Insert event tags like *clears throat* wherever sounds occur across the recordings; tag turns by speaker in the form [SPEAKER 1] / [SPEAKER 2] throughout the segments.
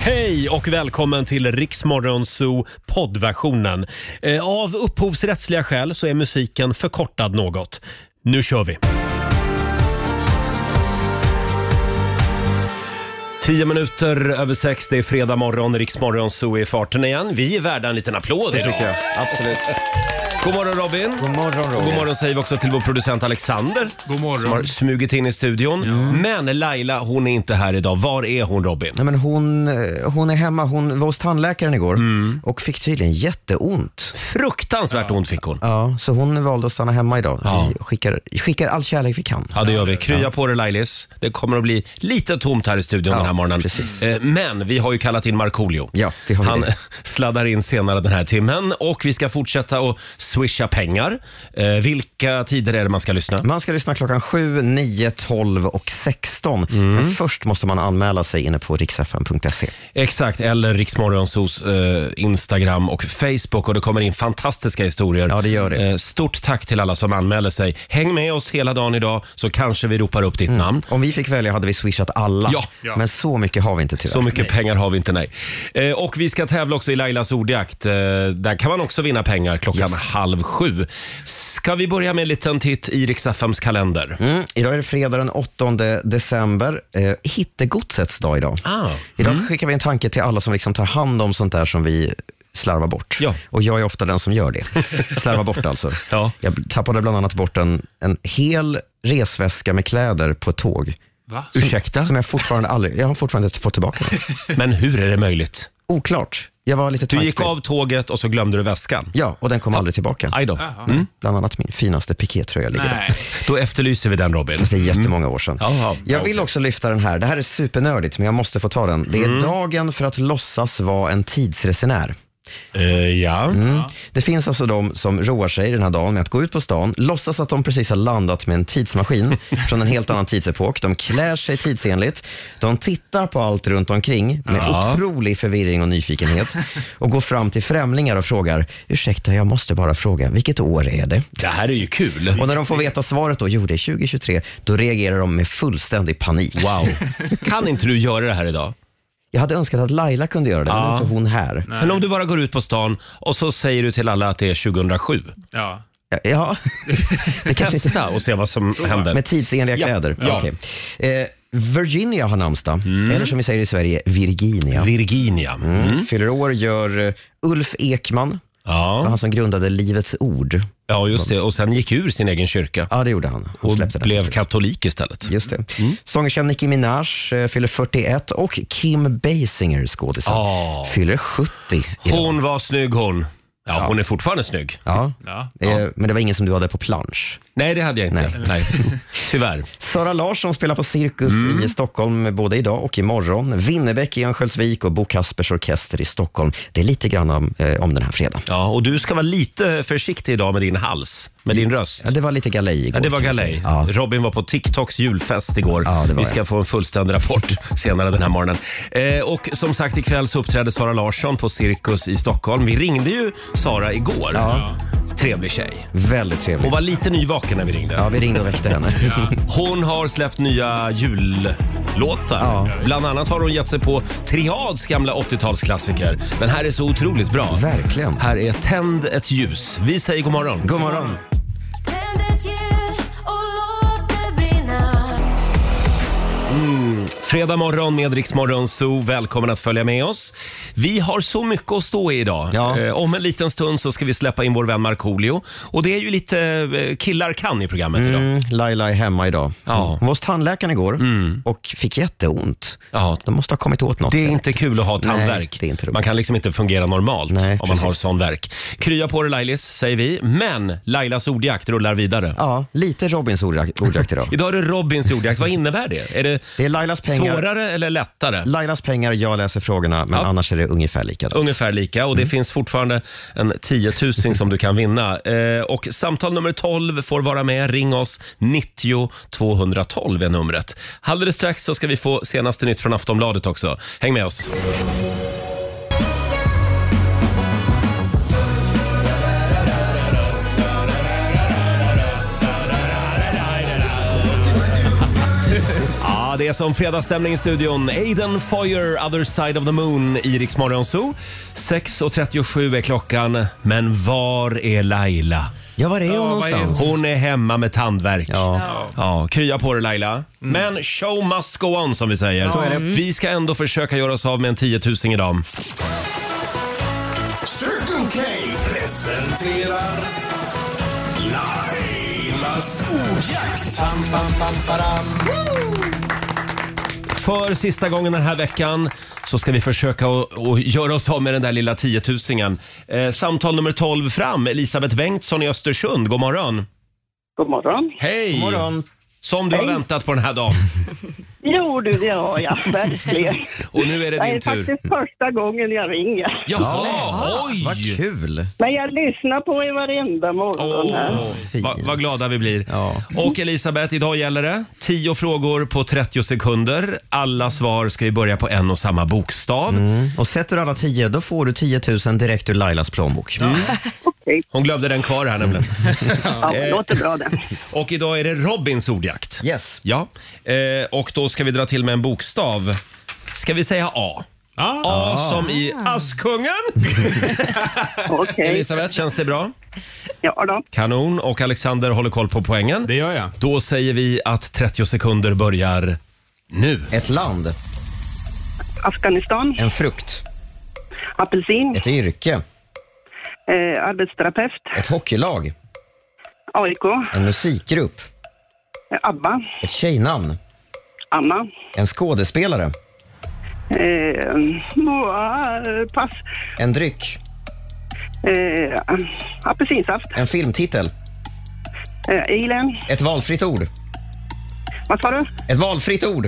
[SPEAKER 1] Hej och välkommen till Riksmorgonzoo poddversionen. Eh, Av upphovsrättsliga skäl så är musiken förkortad något. Nu kör vi! Tio minuter över sex, det är fredag morgon, Riksmorgonzoo är i farten igen. Vi är värda en liten applåd
[SPEAKER 2] Det
[SPEAKER 1] idag.
[SPEAKER 2] tycker jag. Absolut.
[SPEAKER 1] God morgon Robin!
[SPEAKER 2] God morgon Roger.
[SPEAKER 1] God morgon säger vi också till vår producent Alexander
[SPEAKER 3] God morgon.
[SPEAKER 1] som har smugit in i studion. Men Laila, hon är inte här idag. Var är hon Robin?
[SPEAKER 2] Nej, men hon, eh, hon är hemma, hon var hos tandläkaren igår och fick tydligen jätteont.
[SPEAKER 1] Mm. Fruktansvärt ont fick hon.
[SPEAKER 2] Ja, så hon valde att stanna hemma idag.
[SPEAKER 1] Ja.
[SPEAKER 2] Vi skickar, skickar all kärlek vi kan.
[SPEAKER 1] Ja, det gör vi. Krya på dig Lailis. Det kommer att bli lite tomt här i studion
[SPEAKER 2] Ja,
[SPEAKER 1] den här morgonen.
[SPEAKER 2] precis.
[SPEAKER 1] Eh, Men vi har ju kallat in Markoolio.
[SPEAKER 2] Ja, vi har väl
[SPEAKER 1] Han
[SPEAKER 2] det.
[SPEAKER 1] *laughs* sladdar in senare den här timmen och vi ska fortsätta att swisha pengar. Eh, Vilka tider är det man ska lyssna?
[SPEAKER 2] Man ska lyssna klockan 7, 9, 12 och 16.
[SPEAKER 1] Mm.
[SPEAKER 2] Men först måste man anmäla sig inne på riksfn.se.
[SPEAKER 1] Exakt, eller Riksmorgonsos eh, Instagram och Facebook och det kommer in fantastiska historier.
[SPEAKER 2] Ja, det gör det.
[SPEAKER 1] Eh, stort tack till alla som anmäler sig. Häng med oss hela dagen idag så kanske vi ropar upp ditt namn.
[SPEAKER 2] Mm. Om vi fick välja hade vi swishat alla,
[SPEAKER 1] Ja. Ja.
[SPEAKER 2] men så mycket har vi inte tyvärr.
[SPEAKER 1] Så mycket pengar har vi inte, nej. Eh, och vi ska tävla också i Lailas ordjakt. Eh, där kan man också vinna pengar klockan halv sju. Ska vi börja med en liten titt i Riksaffems kalender?
[SPEAKER 2] Mm, idag är det fredag den 8 december. Eh, hittegodsets dag idag.
[SPEAKER 1] Ah,
[SPEAKER 2] Idag skickar vi en tanke till alla som liksom tar hand om sånt där som vi slarvar bort.
[SPEAKER 1] Ja.
[SPEAKER 2] Och jag är ofta den som gör
[SPEAKER 1] *laughs*
[SPEAKER 2] det. Slarvar bort alltså.
[SPEAKER 1] Ja.
[SPEAKER 2] Jag tappade bland annat bort en, en hel resväska med kläder på ett tåg.
[SPEAKER 3] Va?
[SPEAKER 1] Ursäkta,
[SPEAKER 2] Som jag fortfarande aldrig, jag har fortfarande inte fått tillbaka den.
[SPEAKER 1] *laughs* men hur är det möjligt?
[SPEAKER 2] Oklart. Jag var lite
[SPEAKER 1] Du gick
[SPEAKER 2] tankspridd.
[SPEAKER 1] av tåget och så glömde du väskan.
[SPEAKER 2] Ja, och den kom aldrig tillbaka.
[SPEAKER 1] Aj då. Mm.
[SPEAKER 3] Jaha.
[SPEAKER 2] Bland annat min finaste pikétröja ligger där.
[SPEAKER 3] Nej.
[SPEAKER 1] Då efterlyser vi den, Robin. Mm.
[SPEAKER 2] Fast det är jättemånga år sedan.
[SPEAKER 1] Jaha,
[SPEAKER 2] Jag
[SPEAKER 1] ja,
[SPEAKER 2] vill också lyfta den här. Det här är supernördigt, men jag måste få ta den. Det
[SPEAKER 1] Mm.
[SPEAKER 2] är dagen för att låtsas vara en tidsresenär.
[SPEAKER 1] Eh, ja.
[SPEAKER 2] Mm. Det finns alltså de som roar sig den här dagen med att gå ut på stan, låtsas att de precis har landat med en
[SPEAKER 1] *laughs*
[SPEAKER 2] tidsmaskin från en helt annan tidsepok. De klär sig tidsenligt, de tittar på allt runt omkring med
[SPEAKER 1] Ja.
[SPEAKER 2] otrolig förvirring och nyfikenhet och går fram till främlingar och frågar “Ursäkta, jag måste bara fråga, vilket år är det?”
[SPEAKER 1] Det här är ju kul.
[SPEAKER 2] Och när de får veta svaret då, “Jo, det är 2023”, då reagerar de med fullständig panik.
[SPEAKER 1] Wow. Kan inte du göra det här idag?
[SPEAKER 2] Jag hade önskat att Laila kunde göra det, men nu är inte hon här.
[SPEAKER 1] Men om du bara går ut på stan och så säger du till alla att det är 2007.
[SPEAKER 3] Ja.
[SPEAKER 2] Ja, det kanske inte
[SPEAKER 1] Testa och se vad som händer.
[SPEAKER 2] Med tidsenliga kläder?
[SPEAKER 1] Ja. Mm.
[SPEAKER 2] Okej. Eh, Virginia har namnsdag, eller som vi säger i Sverige, Virginia.
[SPEAKER 1] Virginia.
[SPEAKER 2] Mm. Fyller år gör eh, Ulf Ekman,
[SPEAKER 1] Ja.
[SPEAKER 2] han som grundade Livets Ord.
[SPEAKER 1] Ja, just det. Och sen gick ur sin egen kyrka
[SPEAKER 2] Ja, det gjorde han. Han
[SPEAKER 1] och
[SPEAKER 2] släppte den.
[SPEAKER 1] blev katolik istället. Mm.
[SPEAKER 2] Just det. Sångerskan Nicki Minaj eh, fyller 41 och Kim Basinger, skådisen,
[SPEAKER 1] Ja.
[SPEAKER 2] fyller 70. idag.
[SPEAKER 1] Ah. Hon var snygg hon. Ja, hon är fortfarande snygg.
[SPEAKER 2] Ja.
[SPEAKER 3] Ja.
[SPEAKER 2] Eh, Men det var ingen som du hade på plansch.
[SPEAKER 1] Nej, det hade jag inte. Nej. Tyvärr.
[SPEAKER 2] Sara Larsson spelar på Cirkus
[SPEAKER 1] Mm.
[SPEAKER 2] i Stockholm både idag och imorgon. Winnerbäck i Örnsköldsvik och Bo Kaspers Orkester i Stockholm. Det är lite grann om, eh, om den här fredagen.
[SPEAKER 1] Ja, och du ska vara lite försiktig idag med din hals, med din röst.
[SPEAKER 2] Ja, det var lite galej igår.
[SPEAKER 1] Ja, det var
[SPEAKER 2] kan jag
[SPEAKER 1] galej.
[SPEAKER 2] säga. Ja.
[SPEAKER 1] Robin var på TikToks julfest igår.
[SPEAKER 2] Ja, det var
[SPEAKER 1] Vi ska
[SPEAKER 2] jag.
[SPEAKER 1] få en fullständig rapport *laughs* senare den här morgonen. Eh, och som sagt, ikväll så uppträder Sara Larsson på Cirkus i Stockholm. Vi ringde ju Sara igår. Trevlig tjej.
[SPEAKER 2] Väldigt
[SPEAKER 1] Hon
[SPEAKER 2] trevligt.
[SPEAKER 1] var lite nyvaken när vi ringde.
[SPEAKER 2] Ja, vi ringde och väckte
[SPEAKER 1] *laughs*
[SPEAKER 2] henne.
[SPEAKER 1] Hon har släppt nya jullåtar. Bland annat har hon gett sig på Triads gamla 80-talsklassiker. Den här är så otroligt bra.
[SPEAKER 2] Verkligen.
[SPEAKER 1] Här är Tänd ett ljus. Vi säger god morgon.
[SPEAKER 2] God morgon.
[SPEAKER 4] Tänd ett ljus och låt det brinna
[SPEAKER 1] Mm. Fredag morgon med Rix Morgon Zoo. Välkommen att följa med oss. Vi har så mycket att stå i idag.
[SPEAKER 2] Ja.
[SPEAKER 1] Eh, om en liten stund så ska vi släppa in vår vän Markoolio. Och det är ju lite eh, killar kan i programmet idag.
[SPEAKER 2] Mm, Laila är hemma idag.
[SPEAKER 1] Ja. Mm.
[SPEAKER 2] Hon Mm. var hos tandläkaren igår och fick jätteont.
[SPEAKER 1] Ja.
[SPEAKER 2] De måste ha kommit åt något.
[SPEAKER 1] Det är inte kul att ha tandvärk.
[SPEAKER 2] Nej, det är inte roligt.
[SPEAKER 1] man kan liksom inte fungera normalt
[SPEAKER 2] Nej,
[SPEAKER 1] om man
[SPEAKER 2] precis.
[SPEAKER 1] har sån värk. Krya på dig Lailis, säger vi. Men Lailas ordjakt rullar vidare.
[SPEAKER 2] Ja, lite Robins ordjakt ordjakt idag.
[SPEAKER 1] Idag är det Robins ordjakt. Vad innebär det? Är det
[SPEAKER 2] Det är Lailas pengar.
[SPEAKER 1] svårare eller lättare?
[SPEAKER 2] Lailas pengar, jag läser frågorna, men annars är det ungefär likadant.
[SPEAKER 1] Ungefär lika
[SPEAKER 2] Mm.
[SPEAKER 1] och det finns fortfarande en tiotusing som du kan vinna. Eh, och samtal nummer 12 får vara med. Ring oss. 90 212 är numret. Alldeles strax så ska vi få senaste nytt från Aftonbladet också. Häng med oss. Ja, Det Det är som fredagsstämning i studion. Aiden Foyer, Other Side of the Moon, i Rix Morgon Zoo. 6.37 är klockan, men var är Laila?
[SPEAKER 2] Ja, var är hon
[SPEAKER 3] Ja, var är
[SPEAKER 2] någonstans?
[SPEAKER 1] Hon är hemma med tandvärk.
[SPEAKER 2] Ja.
[SPEAKER 1] Ja, krya på dig Laila. Men show must go on som vi säger. Vi ska ändå försöka göra oss av med en 10 000 idag.
[SPEAKER 5] Circle K presenterar Lailas ordjakt.
[SPEAKER 1] För sista gången den här veckan så ska vi försöka att- att göra oss av med den där lilla 10 000 eh, Samtal nummer 12 fram, Elisabeth Bengtsson i Östersund. God morgon!
[SPEAKER 6] God morgon.
[SPEAKER 1] Hej!
[SPEAKER 2] God morgon.
[SPEAKER 1] Som du har väntat på den här dagen.
[SPEAKER 6] Jo du, det har jag verkligen.
[SPEAKER 1] Och *laughs* nu är det
[SPEAKER 6] Det är
[SPEAKER 1] din tur.
[SPEAKER 6] faktiskt första gången jag ringer.
[SPEAKER 1] Jaha,
[SPEAKER 2] Vad
[SPEAKER 1] oj!
[SPEAKER 2] kul!
[SPEAKER 6] Men jag lyssnar på er varenda morgon. här.
[SPEAKER 1] Åh, va- vad glada vi blir.
[SPEAKER 2] Ja.
[SPEAKER 1] Och Elisabeth, idag gäller det 10 frågor på 30 sekunder. Alla svar ska ju börja på en och samma bokstav.
[SPEAKER 2] Mm. Och sätter du alla tio, då får du 10 000 direkt ur Lailas plånbok.
[SPEAKER 6] Okej,
[SPEAKER 1] Hon glömde den kvar här nämligen.
[SPEAKER 6] ja, det låter bra det.
[SPEAKER 1] *laughs* Och idag är det Robins ordjakt.
[SPEAKER 2] Yes.
[SPEAKER 1] Ja, eh, och då ska vi dra till med en bokstav. Ska vi säga A?
[SPEAKER 3] Ah.
[SPEAKER 1] A som i
[SPEAKER 5] Ah.
[SPEAKER 1] Askungen.
[SPEAKER 6] *laughs* Okej,
[SPEAKER 1] Elisabeth, känns det bra?
[SPEAKER 6] ja då.
[SPEAKER 1] Kanon. Och Alexander håller koll på poängen.
[SPEAKER 3] Det gör jag.
[SPEAKER 1] Då säger vi att 30 sekunder börjar nu.
[SPEAKER 2] Ett land,
[SPEAKER 6] Afghanistan,
[SPEAKER 2] en frukt,
[SPEAKER 6] apelsin,
[SPEAKER 2] ett yrke,
[SPEAKER 6] eh, arbetsterapeut,
[SPEAKER 2] ett hockeylag,
[SPEAKER 6] AIK, eh,
[SPEAKER 2] en musikgrupp,
[SPEAKER 6] ABBA,
[SPEAKER 2] ett tjejnamn,
[SPEAKER 6] Anna.
[SPEAKER 2] en skådespelare,
[SPEAKER 6] Eh, oh, pass.
[SPEAKER 2] en dryck,
[SPEAKER 6] Eh, apelsinsaft,
[SPEAKER 2] en filmtitel,
[SPEAKER 6] eh, Alien.
[SPEAKER 2] ett valfritt ord.
[SPEAKER 6] Vad sa du?
[SPEAKER 2] Ett valfritt ord.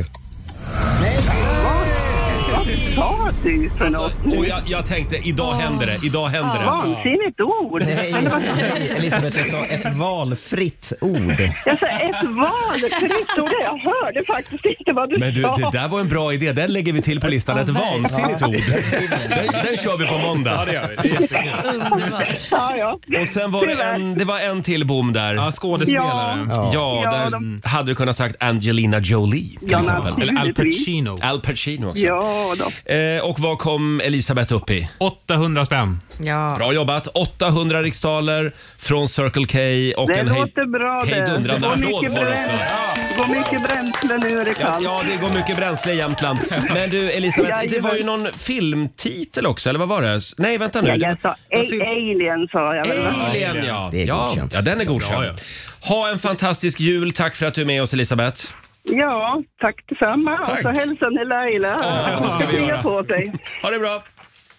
[SPEAKER 6] Vad sa du för något?
[SPEAKER 1] Och jag, jag tänkte, idag händer det. Idag Alltså, händer
[SPEAKER 6] Ah,
[SPEAKER 1] det.
[SPEAKER 6] Vansinnigt ord!
[SPEAKER 2] Nej,
[SPEAKER 6] Eller vad-
[SPEAKER 2] nej, Elisabeth, jag sa ett valfritt ord.
[SPEAKER 6] Jag sa ett val, kryssord. Jag hörde faktiskt inte vad du,
[SPEAKER 1] Men du,
[SPEAKER 6] sa.
[SPEAKER 1] det där var en bra idé. Den lägger vi till på listan. Ett vansinnigt ord. Den, den kör vi på
[SPEAKER 3] Ja,
[SPEAKER 1] måndag.
[SPEAKER 3] det gör vi. Det är jättekul.
[SPEAKER 7] Underbart.
[SPEAKER 6] Ja, ja.
[SPEAKER 1] Och sen var det en, det var en till bom där.
[SPEAKER 3] Ja, skådespelare.
[SPEAKER 2] Ja.
[SPEAKER 1] Ja,
[SPEAKER 6] Ja,
[SPEAKER 1] där
[SPEAKER 6] de-
[SPEAKER 1] hade du kunnat sagt Angelina Jolie till
[SPEAKER 6] Ja,
[SPEAKER 1] exempel.
[SPEAKER 6] men-
[SPEAKER 3] Eller Al Pacino.
[SPEAKER 1] Al Pacino också.
[SPEAKER 6] Ja, då.
[SPEAKER 1] Eh, och vad kom Elisabeth upp i?
[SPEAKER 3] 800 spänn.
[SPEAKER 7] Ja.
[SPEAKER 1] Bra jobbat! 800 riksdaler från Circle K och
[SPEAKER 6] Det
[SPEAKER 1] en hej,
[SPEAKER 6] låter bra det. Det
[SPEAKER 1] hejdundrande
[SPEAKER 6] går
[SPEAKER 1] applåd
[SPEAKER 6] mycket,
[SPEAKER 1] får du också.
[SPEAKER 6] bränsle, det går mycket bränsle nu är det
[SPEAKER 1] Ja,
[SPEAKER 6] kallt.
[SPEAKER 1] ja, det går mycket bränsle i
[SPEAKER 6] *laughs*
[SPEAKER 1] Jämtland. Men du Elisabeth, det var ju någon filmtitel också, eller vad var det? Nej, vänta nu.
[SPEAKER 6] Ja,
[SPEAKER 1] Det
[SPEAKER 6] jag sa
[SPEAKER 1] var- en film-
[SPEAKER 6] a- alien sa jag väl. va?
[SPEAKER 1] Alien, ja.
[SPEAKER 2] Det är
[SPEAKER 1] ja.
[SPEAKER 2] godkänt.
[SPEAKER 1] Ja, den är godkänd.
[SPEAKER 3] Bra, ja.
[SPEAKER 1] Ha en fantastisk jul. Tack för att du är med oss Elisabeth.
[SPEAKER 6] Ja, tack detsamma.
[SPEAKER 1] Tack.
[SPEAKER 6] Och så hälsa ni Laila.
[SPEAKER 1] Ja, det ska vi
[SPEAKER 6] Krya
[SPEAKER 1] göra.
[SPEAKER 6] på sig.
[SPEAKER 1] Ha det bra!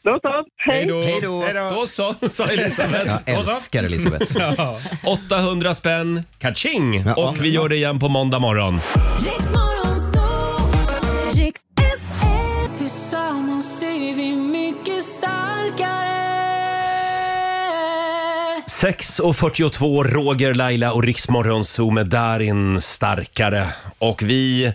[SPEAKER 6] Då så, hej.
[SPEAKER 2] Hej då.
[SPEAKER 1] Då så, sa Elisabeth.
[SPEAKER 2] Jag älskar
[SPEAKER 1] *laughs*
[SPEAKER 2] Elisabeth.
[SPEAKER 1] 800 spänn, kaching!
[SPEAKER 2] Ja.
[SPEAKER 1] Och vi gör det igen på måndag morgon.
[SPEAKER 4] Riks Morgonzoo, Riks FM.
[SPEAKER 7] Tillsammans är vi mycket starkare
[SPEAKER 1] 6.42, Roger, Laila och Riksmorgonzoo med Darin Starkare. Och vi...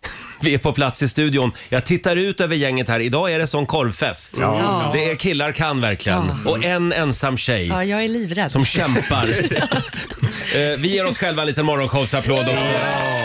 [SPEAKER 1] *laughs* Vi är på plats i studion. Jag tittar ut över gänget här. Idag är det som korvfest.
[SPEAKER 7] Ja.
[SPEAKER 1] Det är killar kan verkligen. Och en ensam tjej.
[SPEAKER 7] Ja, jag är livrädd.
[SPEAKER 1] som kämpar. Eh, Vi ger oss själva en liten morgonshowsapplåd också. Ja.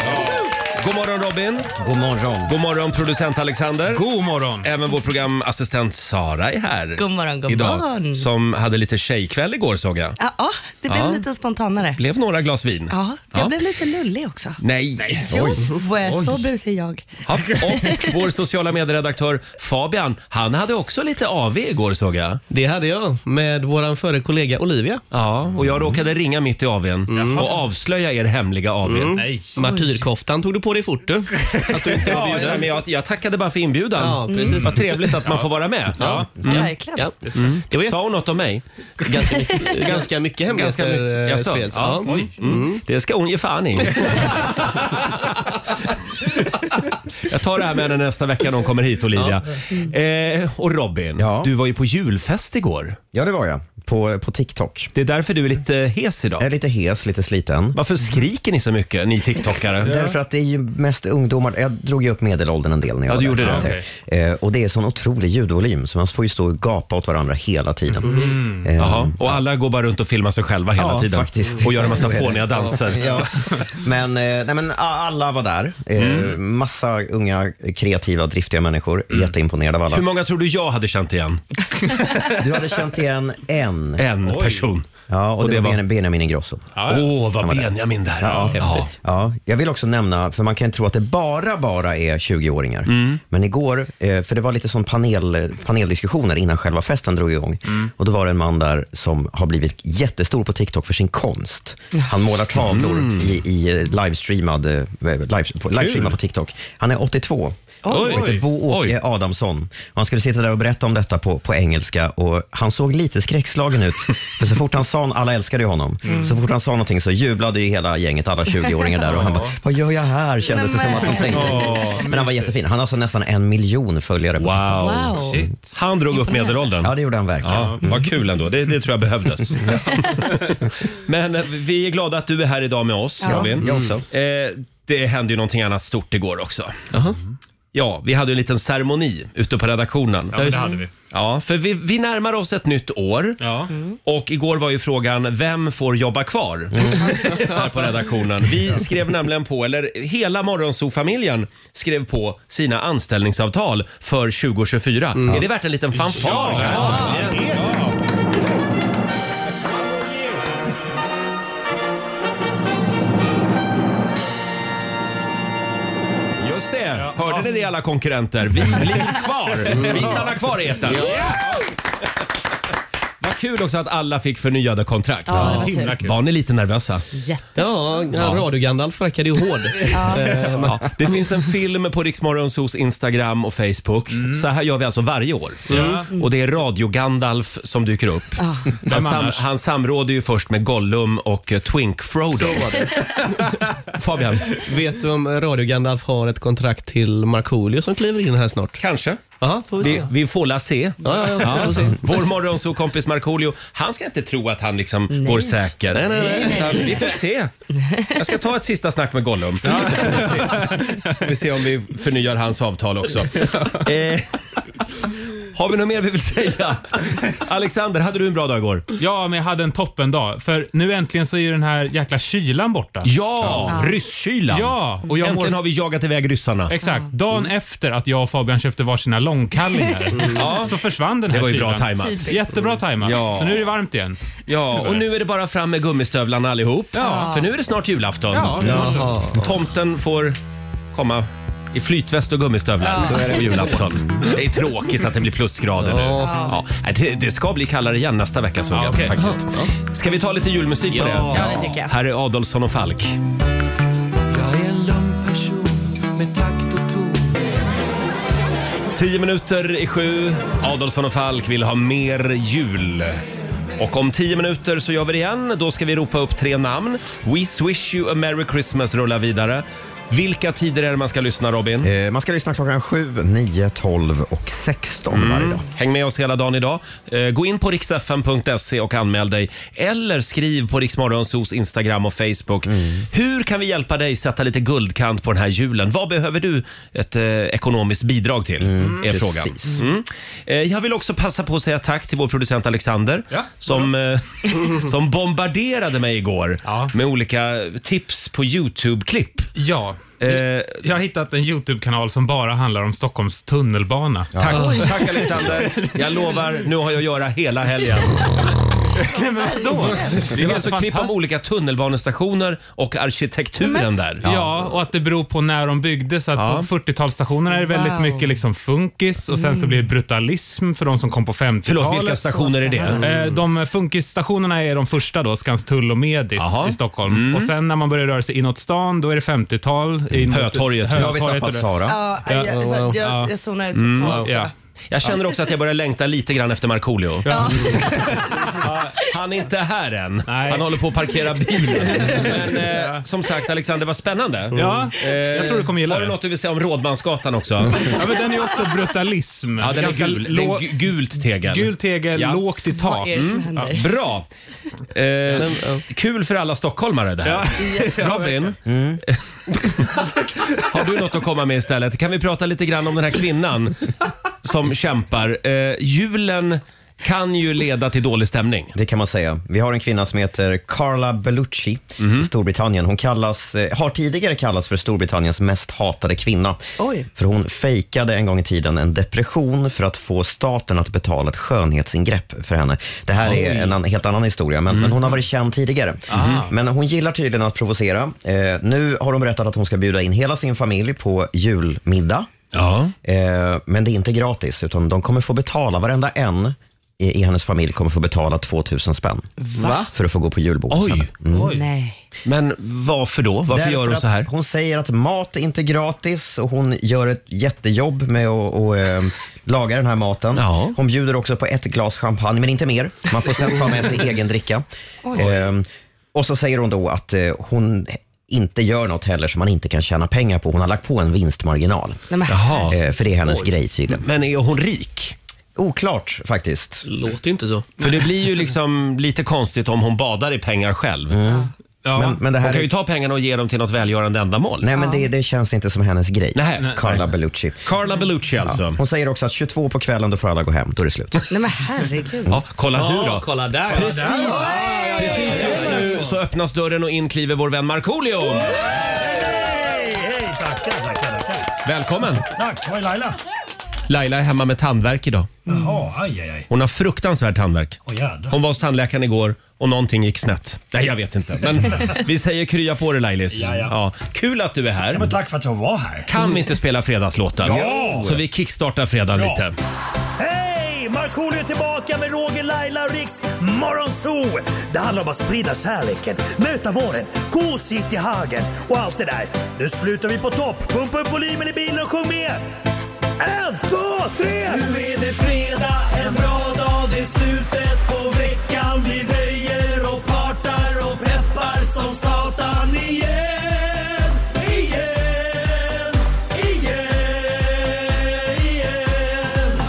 [SPEAKER 1] God morgon Robin.
[SPEAKER 2] God morgon.
[SPEAKER 1] God morgon producent Alexander.
[SPEAKER 3] God morgon.
[SPEAKER 1] Även vår programassistent Sara är här.
[SPEAKER 7] God morgon, god
[SPEAKER 1] idag,
[SPEAKER 7] morgon.
[SPEAKER 1] Som hade lite tjejkväll igår såg jag.
[SPEAKER 7] *laughs* Ja, ja, det blev
[SPEAKER 1] Ja.
[SPEAKER 7] lite spontanare.
[SPEAKER 1] Blev några glas vin.
[SPEAKER 7] Ja, jag blev lite lullig också.
[SPEAKER 1] Nej.
[SPEAKER 7] Jo, eh, så busig jag.
[SPEAKER 1] Ja, Och vår sociala medieredaktör Fabian, han hade också lite AV igår såg jag.
[SPEAKER 8] Det hade jag med våran före kollega Olivia.
[SPEAKER 1] Ja, och jag råkade ringa mitt i AWn och avslöja er hemliga AV.
[SPEAKER 3] Nej.
[SPEAKER 8] Mm. Martyrkoftan tog du på dig fort du. Att du inte var
[SPEAKER 1] *laughs* Ja, nej,
[SPEAKER 8] bjuden.
[SPEAKER 1] men jag, jag tackade bara för inbjudan.
[SPEAKER 8] Ja, precis.
[SPEAKER 1] Vad trevligt att man får vara med. Mm.
[SPEAKER 8] Ja.
[SPEAKER 7] Verkligen.
[SPEAKER 8] Ja. Det var ju
[SPEAKER 1] Sa hon något om mig?
[SPEAKER 8] ganska mycket, *laughs* ganska mycket hemligheter.
[SPEAKER 1] Ganska mycket.
[SPEAKER 8] eh,
[SPEAKER 1] Jaså?
[SPEAKER 8] spreds.
[SPEAKER 1] Ja. Mm.
[SPEAKER 8] Ja.
[SPEAKER 1] Det ska hon ge
[SPEAKER 8] *laughs*
[SPEAKER 1] fan i. Jag tar det här med henne nästa vecka när hon kommer hit, Olivia. Eh, och Robin,
[SPEAKER 2] Ja.
[SPEAKER 1] du var ju på julfest igår.
[SPEAKER 2] Ja, det var jag. på, på TikTok.
[SPEAKER 1] Det är därför du är lite hes
[SPEAKER 2] Jag är
[SPEAKER 1] idag.
[SPEAKER 2] lite hes, lite sliten.
[SPEAKER 1] Varför skriker ni så mycket, ni TikTokare?
[SPEAKER 2] Därför att det är ju mest ungdomar. Jag drog ju upp medelåldern en del när jag
[SPEAKER 1] Ja, du
[SPEAKER 2] var där,
[SPEAKER 1] gjorde
[SPEAKER 2] kan
[SPEAKER 1] det.
[SPEAKER 2] jag säga. Eh, och det är sån otrolig ljudvolym så man får ju stå och gapa åt varandra hela tiden. Eh,
[SPEAKER 1] Mm. Jaha, och alla går bara runt och filmar sig själva hela
[SPEAKER 2] Ja,
[SPEAKER 1] tiden.
[SPEAKER 2] faktiskt.
[SPEAKER 1] Och gör en massa
[SPEAKER 2] Så är *laughs* det.
[SPEAKER 1] fåniga danser.
[SPEAKER 2] Ja. Men, eh, nej, men a- alla var där. Eh,
[SPEAKER 1] Mm.
[SPEAKER 2] Massa unga, kreativa, driftiga människor. Jätteimponerad av alla.
[SPEAKER 1] Hur många tror du jag hade känt igen?
[SPEAKER 2] Du hade känt igen en.
[SPEAKER 1] En
[SPEAKER 3] Oj.
[SPEAKER 1] person.
[SPEAKER 2] Ja, och,
[SPEAKER 1] Och
[SPEAKER 2] det,
[SPEAKER 1] det
[SPEAKER 2] var
[SPEAKER 1] var-
[SPEAKER 2] Bene- Benjamin Ingrosso.
[SPEAKER 1] Åh,
[SPEAKER 3] Ja, ja.
[SPEAKER 1] vad Benjamin där. Ja,
[SPEAKER 2] Ja, jag vill också nämna, för man kan ju tro att det bara, bara är 20-åringar.
[SPEAKER 3] Mm.
[SPEAKER 2] Men igår, eh, för det var lite sån panel, paneldiskussioner innan själva festen drog igång.
[SPEAKER 3] Mm.
[SPEAKER 2] Och då var det en man där som har blivit jättestor på TikTok för sin konst. Han målar tavlor
[SPEAKER 3] Mm.
[SPEAKER 2] i, i livestreamad, eh, live, på, livestreamad på TikTok. Han är 82.
[SPEAKER 3] Oj.
[SPEAKER 2] Och heter Bo-Åke
[SPEAKER 1] Oj.
[SPEAKER 2] Adamsson. Och han skulle sitta där och berätta om detta på, på engelska och han såg lite skräckslagen ut. För så fort han sa, alla älskade ju honom, så fort han sa någonting så jublade ju hela gänget, alla 20-åringar där och han bara, vad gör jag här? Kändes det som att han tänkte. Men han var jättefin. Han har alltså nästan en miljon följare på TikTok.
[SPEAKER 1] Wow.
[SPEAKER 7] Wow.
[SPEAKER 3] Shit.
[SPEAKER 1] Han drog upp
[SPEAKER 7] Imponerande.
[SPEAKER 1] medelåldern.
[SPEAKER 2] Ja, det gjorde han verkligen.
[SPEAKER 1] Ja, vad kul ändå. Det, det tror
[SPEAKER 3] *laughs*
[SPEAKER 1] jag behövdes. Men eh, vi är glada att du är här idag med oss,
[SPEAKER 7] Ja.
[SPEAKER 1] Robin.
[SPEAKER 2] Jag också.
[SPEAKER 1] Eh, det hände ju någonting annat stort igår också. Ja, vi hade ju en liten ceremoni ute på redaktionen.
[SPEAKER 3] Ja,
[SPEAKER 1] Ja,
[SPEAKER 3] men det hade vi.
[SPEAKER 1] för vi, vi närmar oss ett nytt år. Mm.
[SPEAKER 3] Ja.
[SPEAKER 1] Och igår var ju frågan, vem får jobba kvar?
[SPEAKER 3] Mm.
[SPEAKER 1] *laughs* Här på redaktionen. Vi skrev nämligen på, eller hela Morgonzoo-familjen skrev på sina anställningsavtal för 2024.
[SPEAKER 3] Mm.
[SPEAKER 1] Är det värt en liten fanfar? Just det! Hörde ni det alla konkurrenter? Vi blir kvar! *laughs* Vi stannar kvar i etern. Vad kul också att alla fick förnyade kontrakt.
[SPEAKER 7] Ja, det var tur.
[SPEAKER 3] Himla kul.
[SPEAKER 1] Var ni lite nervösa?
[SPEAKER 7] Jätte.
[SPEAKER 8] Ja, ja. Radio-Gandalf rackade ju hård.
[SPEAKER 1] *laughs* Ja, det finns en film på Riksmorgonsos Instagram och Facebook. Så här gör vi alltså varje år.
[SPEAKER 3] Ja.
[SPEAKER 1] Och det är Radio Gandalf som dyker upp. Han, sam
[SPEAKER 3] annars?
[SPEAKER 1] han samråder ju först med Gollum och eh, Twink Frodo. Fabian,
[SPEAKER 8] Vet du om Radio-Gandalf har ett kontrakt till Markoolio som kliver in här snart?
[SPEAKER 1] kanske?
[SPEAKER 8] Ja, får vi se.
[SPEAKER 1] Vi, vi får la se.
[SPEAKER 8] Ja, ja, ja, vi får se.
[SPEAKER 1] Vår morgonsokompis Markoolio, han ska inte tro att han liksom går säker.
[SPEAKER 8] Nej, nej, nej.
[SPEAKER 1] Utan Vi får se. Jag ska ta ett sista snack med Gollum. Vi ser om vi förnyar hans avtal också. Eh, har vi något mer vi vill säga? Alexander, hade du en bra dag igår?
[SPEAKER 3] Ja, men jag hade en toppen dag. För nu äntligen så är ju den här jäkla kylan borta.
[SPEAKER 1] Ja, rysskylan.
[SPEAKER 3] Ja, och jag
[SPEAKER 1] Äntligen
[SPEAKER 3] mår...
[SPEAKER 1] har vi Mm. jagat iväg ryssarna.
[SPEAKER 3] Exakt. Dagen efter att jag och Fabian köpte varsina
[SPEAKER 1] *laughs*
[SPEAKER 3] långkallingar så försvann den här
[SPEAKER 1] Mm. Det var ju
[SPEAKER 3] kylan.
[SPEAKER 1] bra tajmat.
[SPEAKER 3] Jättebra tajmat.
[SPEAKER 1] Ja.
[SPEAKER 3] Så nu är det varmt igen.
[SPEAKER 1] Ja, och nu är det bara fram med gummistövlarna allihop. För nu är det snart julafton.
[SPEAKER 8] Jaha.
[SPEAKER 1] Tomten får komma i flytväst och gummistövlar på julafton. Det är tråkigt att det blir plusgrader nu. Ja. nej, Det, det ska bli kallare igen nästa vecka såg jag
[SPEAKER 3] okej.
[SPEAKER 1] faktiskt. Ska vi ta lite julmusik på det?
[SPEAKER 7] Ja, det tycker jag.
[SPEAKER 1] Här är Adolfsson och Falk. Tio minuter i sju. Adolfsson och Falk vill ha mer jul. Och om tio minuter så gör vi det igen. Då ska vi ropa upp tre namn. We swish you a merry Christmas rullar vidare. Vilka tider är det man ska lyssna Robin?
[SPEAKER 2] Eh, Man ska lyssna klockan 7, 9, 12 och 16
[SPEAKER 1] Mm.
[SPEAKER 3] Mm.
[SPEAKER 2] varje dag.
[SPEAKER 1] Häng med oss hela dagen idag. Eh, Gå in på riksfn.se E och anmäl dig. Eller skriv på Riksmorgonsos Instagram och Facebook.
[SPEAKER 3] Mm.
[SPEAKER 1] Hur kan vi hjälpa dig sätta lite guldkant på den här julen? Vad behöver du ett eh, ekonomiskt bidrag till? är frågan. Mm. Eh, jag vill också passa på att säga tack till vår producent Alexander
[SPEAKER 3] Ja,
[SPEAKER 1] som, eh, *laughs* som bombarderade mig igår
[SPEAKER 3] Ja.
[SPEAKER 1] med olika tips på YouTube-klipp.
[SPEAKER 3] Ja.
[SPEAKER 1] Eh,
[SPEAKER 3] Jag har hittat en Youtube-kanal som bara handlar om Stockholms tunnelbana.
[SPEAKER 1] Tack,
[SPEAKER 3] *laughs*
[SPEAKER 1] tack Alexander. Jag lovar, nu har jag att göra hela helgen.
[SPEAKER 3] Nej, men vadå?
[SPEAKER 1] Det är alltså klipp
[SPEAKER 3] fantastiskt.
[SPEAKER 1] av olika tunnelbanestationer och arkitekturen där.
[SPEAKER 3] Ja, och att det beror på när de byggdes. Att
[SPEAKER 1] Ja.
[SPEAKER 3] På 40-talsstationerna är det väldigt
[SPEAKER 7] Wow. Mm.
[SPEAKER 3] mycket liksom funkis och sen så blir det brutalism för de som kom på 50-talet.
[SPEAKER 1] Förlåt, vilka stationer är det?
[SPEAKER 3] Eh, De funkisstationerna är de första då, Skanstull och Medis
[SPEAKER 1] Jaha. Mm.
[SPEAKER 3] i Stockholm. Och sen när man börjar röra sig inåt stan, då är det 50-tal. inåt-
[SPEAKER 1] Hötorget.
[SPEAKER 2] Nu har vi
[SPEAKER 3] Hötorget och
[SPEAKER 2] tappat
[SPEAKER 3] det-
[SPEAKER 2] Sara.
[SPEAKER 7] Ja, jag, jag, jag zonar
[SPEAKER 1] Mm,
[SPEAKER 7] ut totalt.
[SPEAKER 3] Ja.
[SPEAKER 1] Jag känner också att jag börjar längta lite grann efter Markoolio.
[SPEAKER 3] Ja.
[SPEAKER 1] *laughs* han är inte här än.
[SPEAKER 3] Nej.
[SPEAKER 1] Han håller på att parkera bilen. Men eh, som sagt Alexander, vad spännande. Eh,
[SPEAKER 3] Ja, jag tror du kommer gilla
[SPEAKER 1] Har du
[SPEAKER 3] det.
[SPEAKER 1] något du vill säga om Rådmansgatan också?
[SPEAKER 3] Ja, men den är ju också brutalism.
[SPEAKER 1] Ja, den är
[SPEAKER 3] Ganska
[SPEAKER 1] gul. Den
[SPEAKER 3] lå-
[SPEAKER 1] är gu- gult tegel.
[SPEAKER 3] gul tegel,
[SPEAKER 1] Ja.
[SPEAKER 3] lågt i tak. Mm.
[SPEAKER 7] Vad är det som händer?
[SPEAKER 1] Bra! Eh, kul för alla stockholmare det här. Robin,
[SPEAKER 2] Mm.
[SPEAKER 1] har du något att komma med istället? Kan vi prata lite grann om den här kvinnan som kämpar? Eh, julen kan ju leda till dålig stämning.
[SPEAKER 2] Det kan man säga. Vi har en kvinna som heter Carla Bellucci
[SPEAKER 1] Mhm.
[SPEAKER 2] i Storbritannien. Hon kallas, eh, har tidigare kallats för Storbritanniens mest hatade kvinna.
[SPEAKER 7] Oj.
[SPEAKER 2] För hon fejkade en gång i tiden en depression för att få staten att betala ett skönhetsingrepp för henne. Det här är en an- helt annan historia,
[SPEAKER 1] Mm.
[SPEAKER 2] men, men hon har varit känd tidigare.
[SPEAKER 1] Mm-hmm.
[SPEAKER 2] Men hon gillar tydligen att provocera. Eh, nu har hon berättat att hon ska bjuda in hela sin familj på julmiddag.
[SPEAKER 1] Ja.
[SPEAKER 2] Eh, men det är inte gratis, utan de kommer få betala, varenda en i, i hennes familj kommer få betala 2000 spänn.
[SPEAKER 8] Va?
[SPEAKER 2] För att få gå på julbord Mm. hos henne.
[SPEAKER 1] Oj!
[SPEAKER 7] Mm. Nej.
[SPEAKER 1] Men varför då? Varför
[SPEAKER 2] Därför
[SPEAKER 1] gör hon
[SPEAKER 2] att
[SPEAKER 1] så här?
[SPEAKER 2] Hon säger att mat är inte gratis och hon gör ett jättejobb med att och, eh, laga den här maten.
[SPEAKER 1] Ja.
[SPEAKER 2] Hon bjuder också på ett glas champagne, men inte mer. Man får sen ta med sig egen dricka. Ehm, och så säger hon då att eh, hon inte gör något heller som man inte kan tjäna pengar på. Hon har lagt på en vinstmarginal.
[SPEAKER 7] Nej, men,
[SPEAKER 1] Jaha.
[SPEAKER 2] Eh, för det är hennes grej tydligen.
[SPEAKER 1] Men är hon rik?
[SPEAKER 2] Oklart faktiskt.
[SPEAKER 8] Låter ju inte så.
[SPEAKER 1] För det blir ju liksom lite konstigt om hon badar i pengar själv.
[SPEAKER 3] Ja.
[SPEAKER 2] Mm. Men, men det
[SPEAKER 1] Hon
[SPEAKER 2] här
[SPEAKER 1] kan
[SPEAKER 2] är,
[SPEAKER 1] ju ta pengarna och ge dem till något välgörande ändamål.
[SPEAKER 2] nej, men det, det känns inte som hennes grej.
[SPEAKER 1] Nej.
[SPEAKER 2] Carla Bellucci.
[SPEAKER 1] Carla Bellucci alltså.
[SPEAKER 2] Hon säger också att 22 på kvällen då får alla gå hem, då är det slut.
[SPEAKER 7] *laughs* nej, men herregud.
[SPEAKER 1] Ja, kolla nu då.
[SPEAKER 8] kolla där.
[SPEAKER 1] Precis. Precis just nu så öppnas dörren och inkliver vår vän Markoolio.
[SPEAKER 9] Hej, hej, tackar, tackar, tackar.
[SPEAKER 1] Välkommen!
[SPEAKER 9] Tack, var är Laila?
[SPEAKER 1] Laila är hemma med tandvärk idag.
[SPEAKER 2] Mm.
[SPEAKER 9] Jaha, aj, aj, aj.
[SPEAKER 1] Hon har fruktansvärd tandvärk.
[SPEAKER 9] Åh jädrar.
[SPEAKER 1] Hon var hos tandläkaren igår och någonting gick snett. Nej, jag vet inte.
[SPEAKER 9] *laughs*
[SPEAKER 1] Men vi säger krya på dig Lailis.
[SPEAKER 9] Ja, ja.
[SPEAKER 1] Kul att du är här.
[SPEAKER 9] Men tack för att jag var här.
[SPEAKER 1] Kan vi inte spela fredagslåten?
[SPEAKER 9] Ja!
[SPEAKER 1] Så vi kickstartar fredagen
[SPEAKER 9] Ja.
[SPEAKER 1] lite.
[SPEAKER 9] Hej! Markoolio är tillbaka med Roger, Laila och Riks Morgonzoo! Det handlar om att sprida kärleken, möta våren, gosigt i hagen och allt det där. Nu slutar vi på topp! Pumpa upp volymen i bilen och sjung med! En, två, tre! Nu är det fredag, en bra dag, det är slutet på veckan. Vi röjer och partar och peppar som satan igen, igen, igen, igen.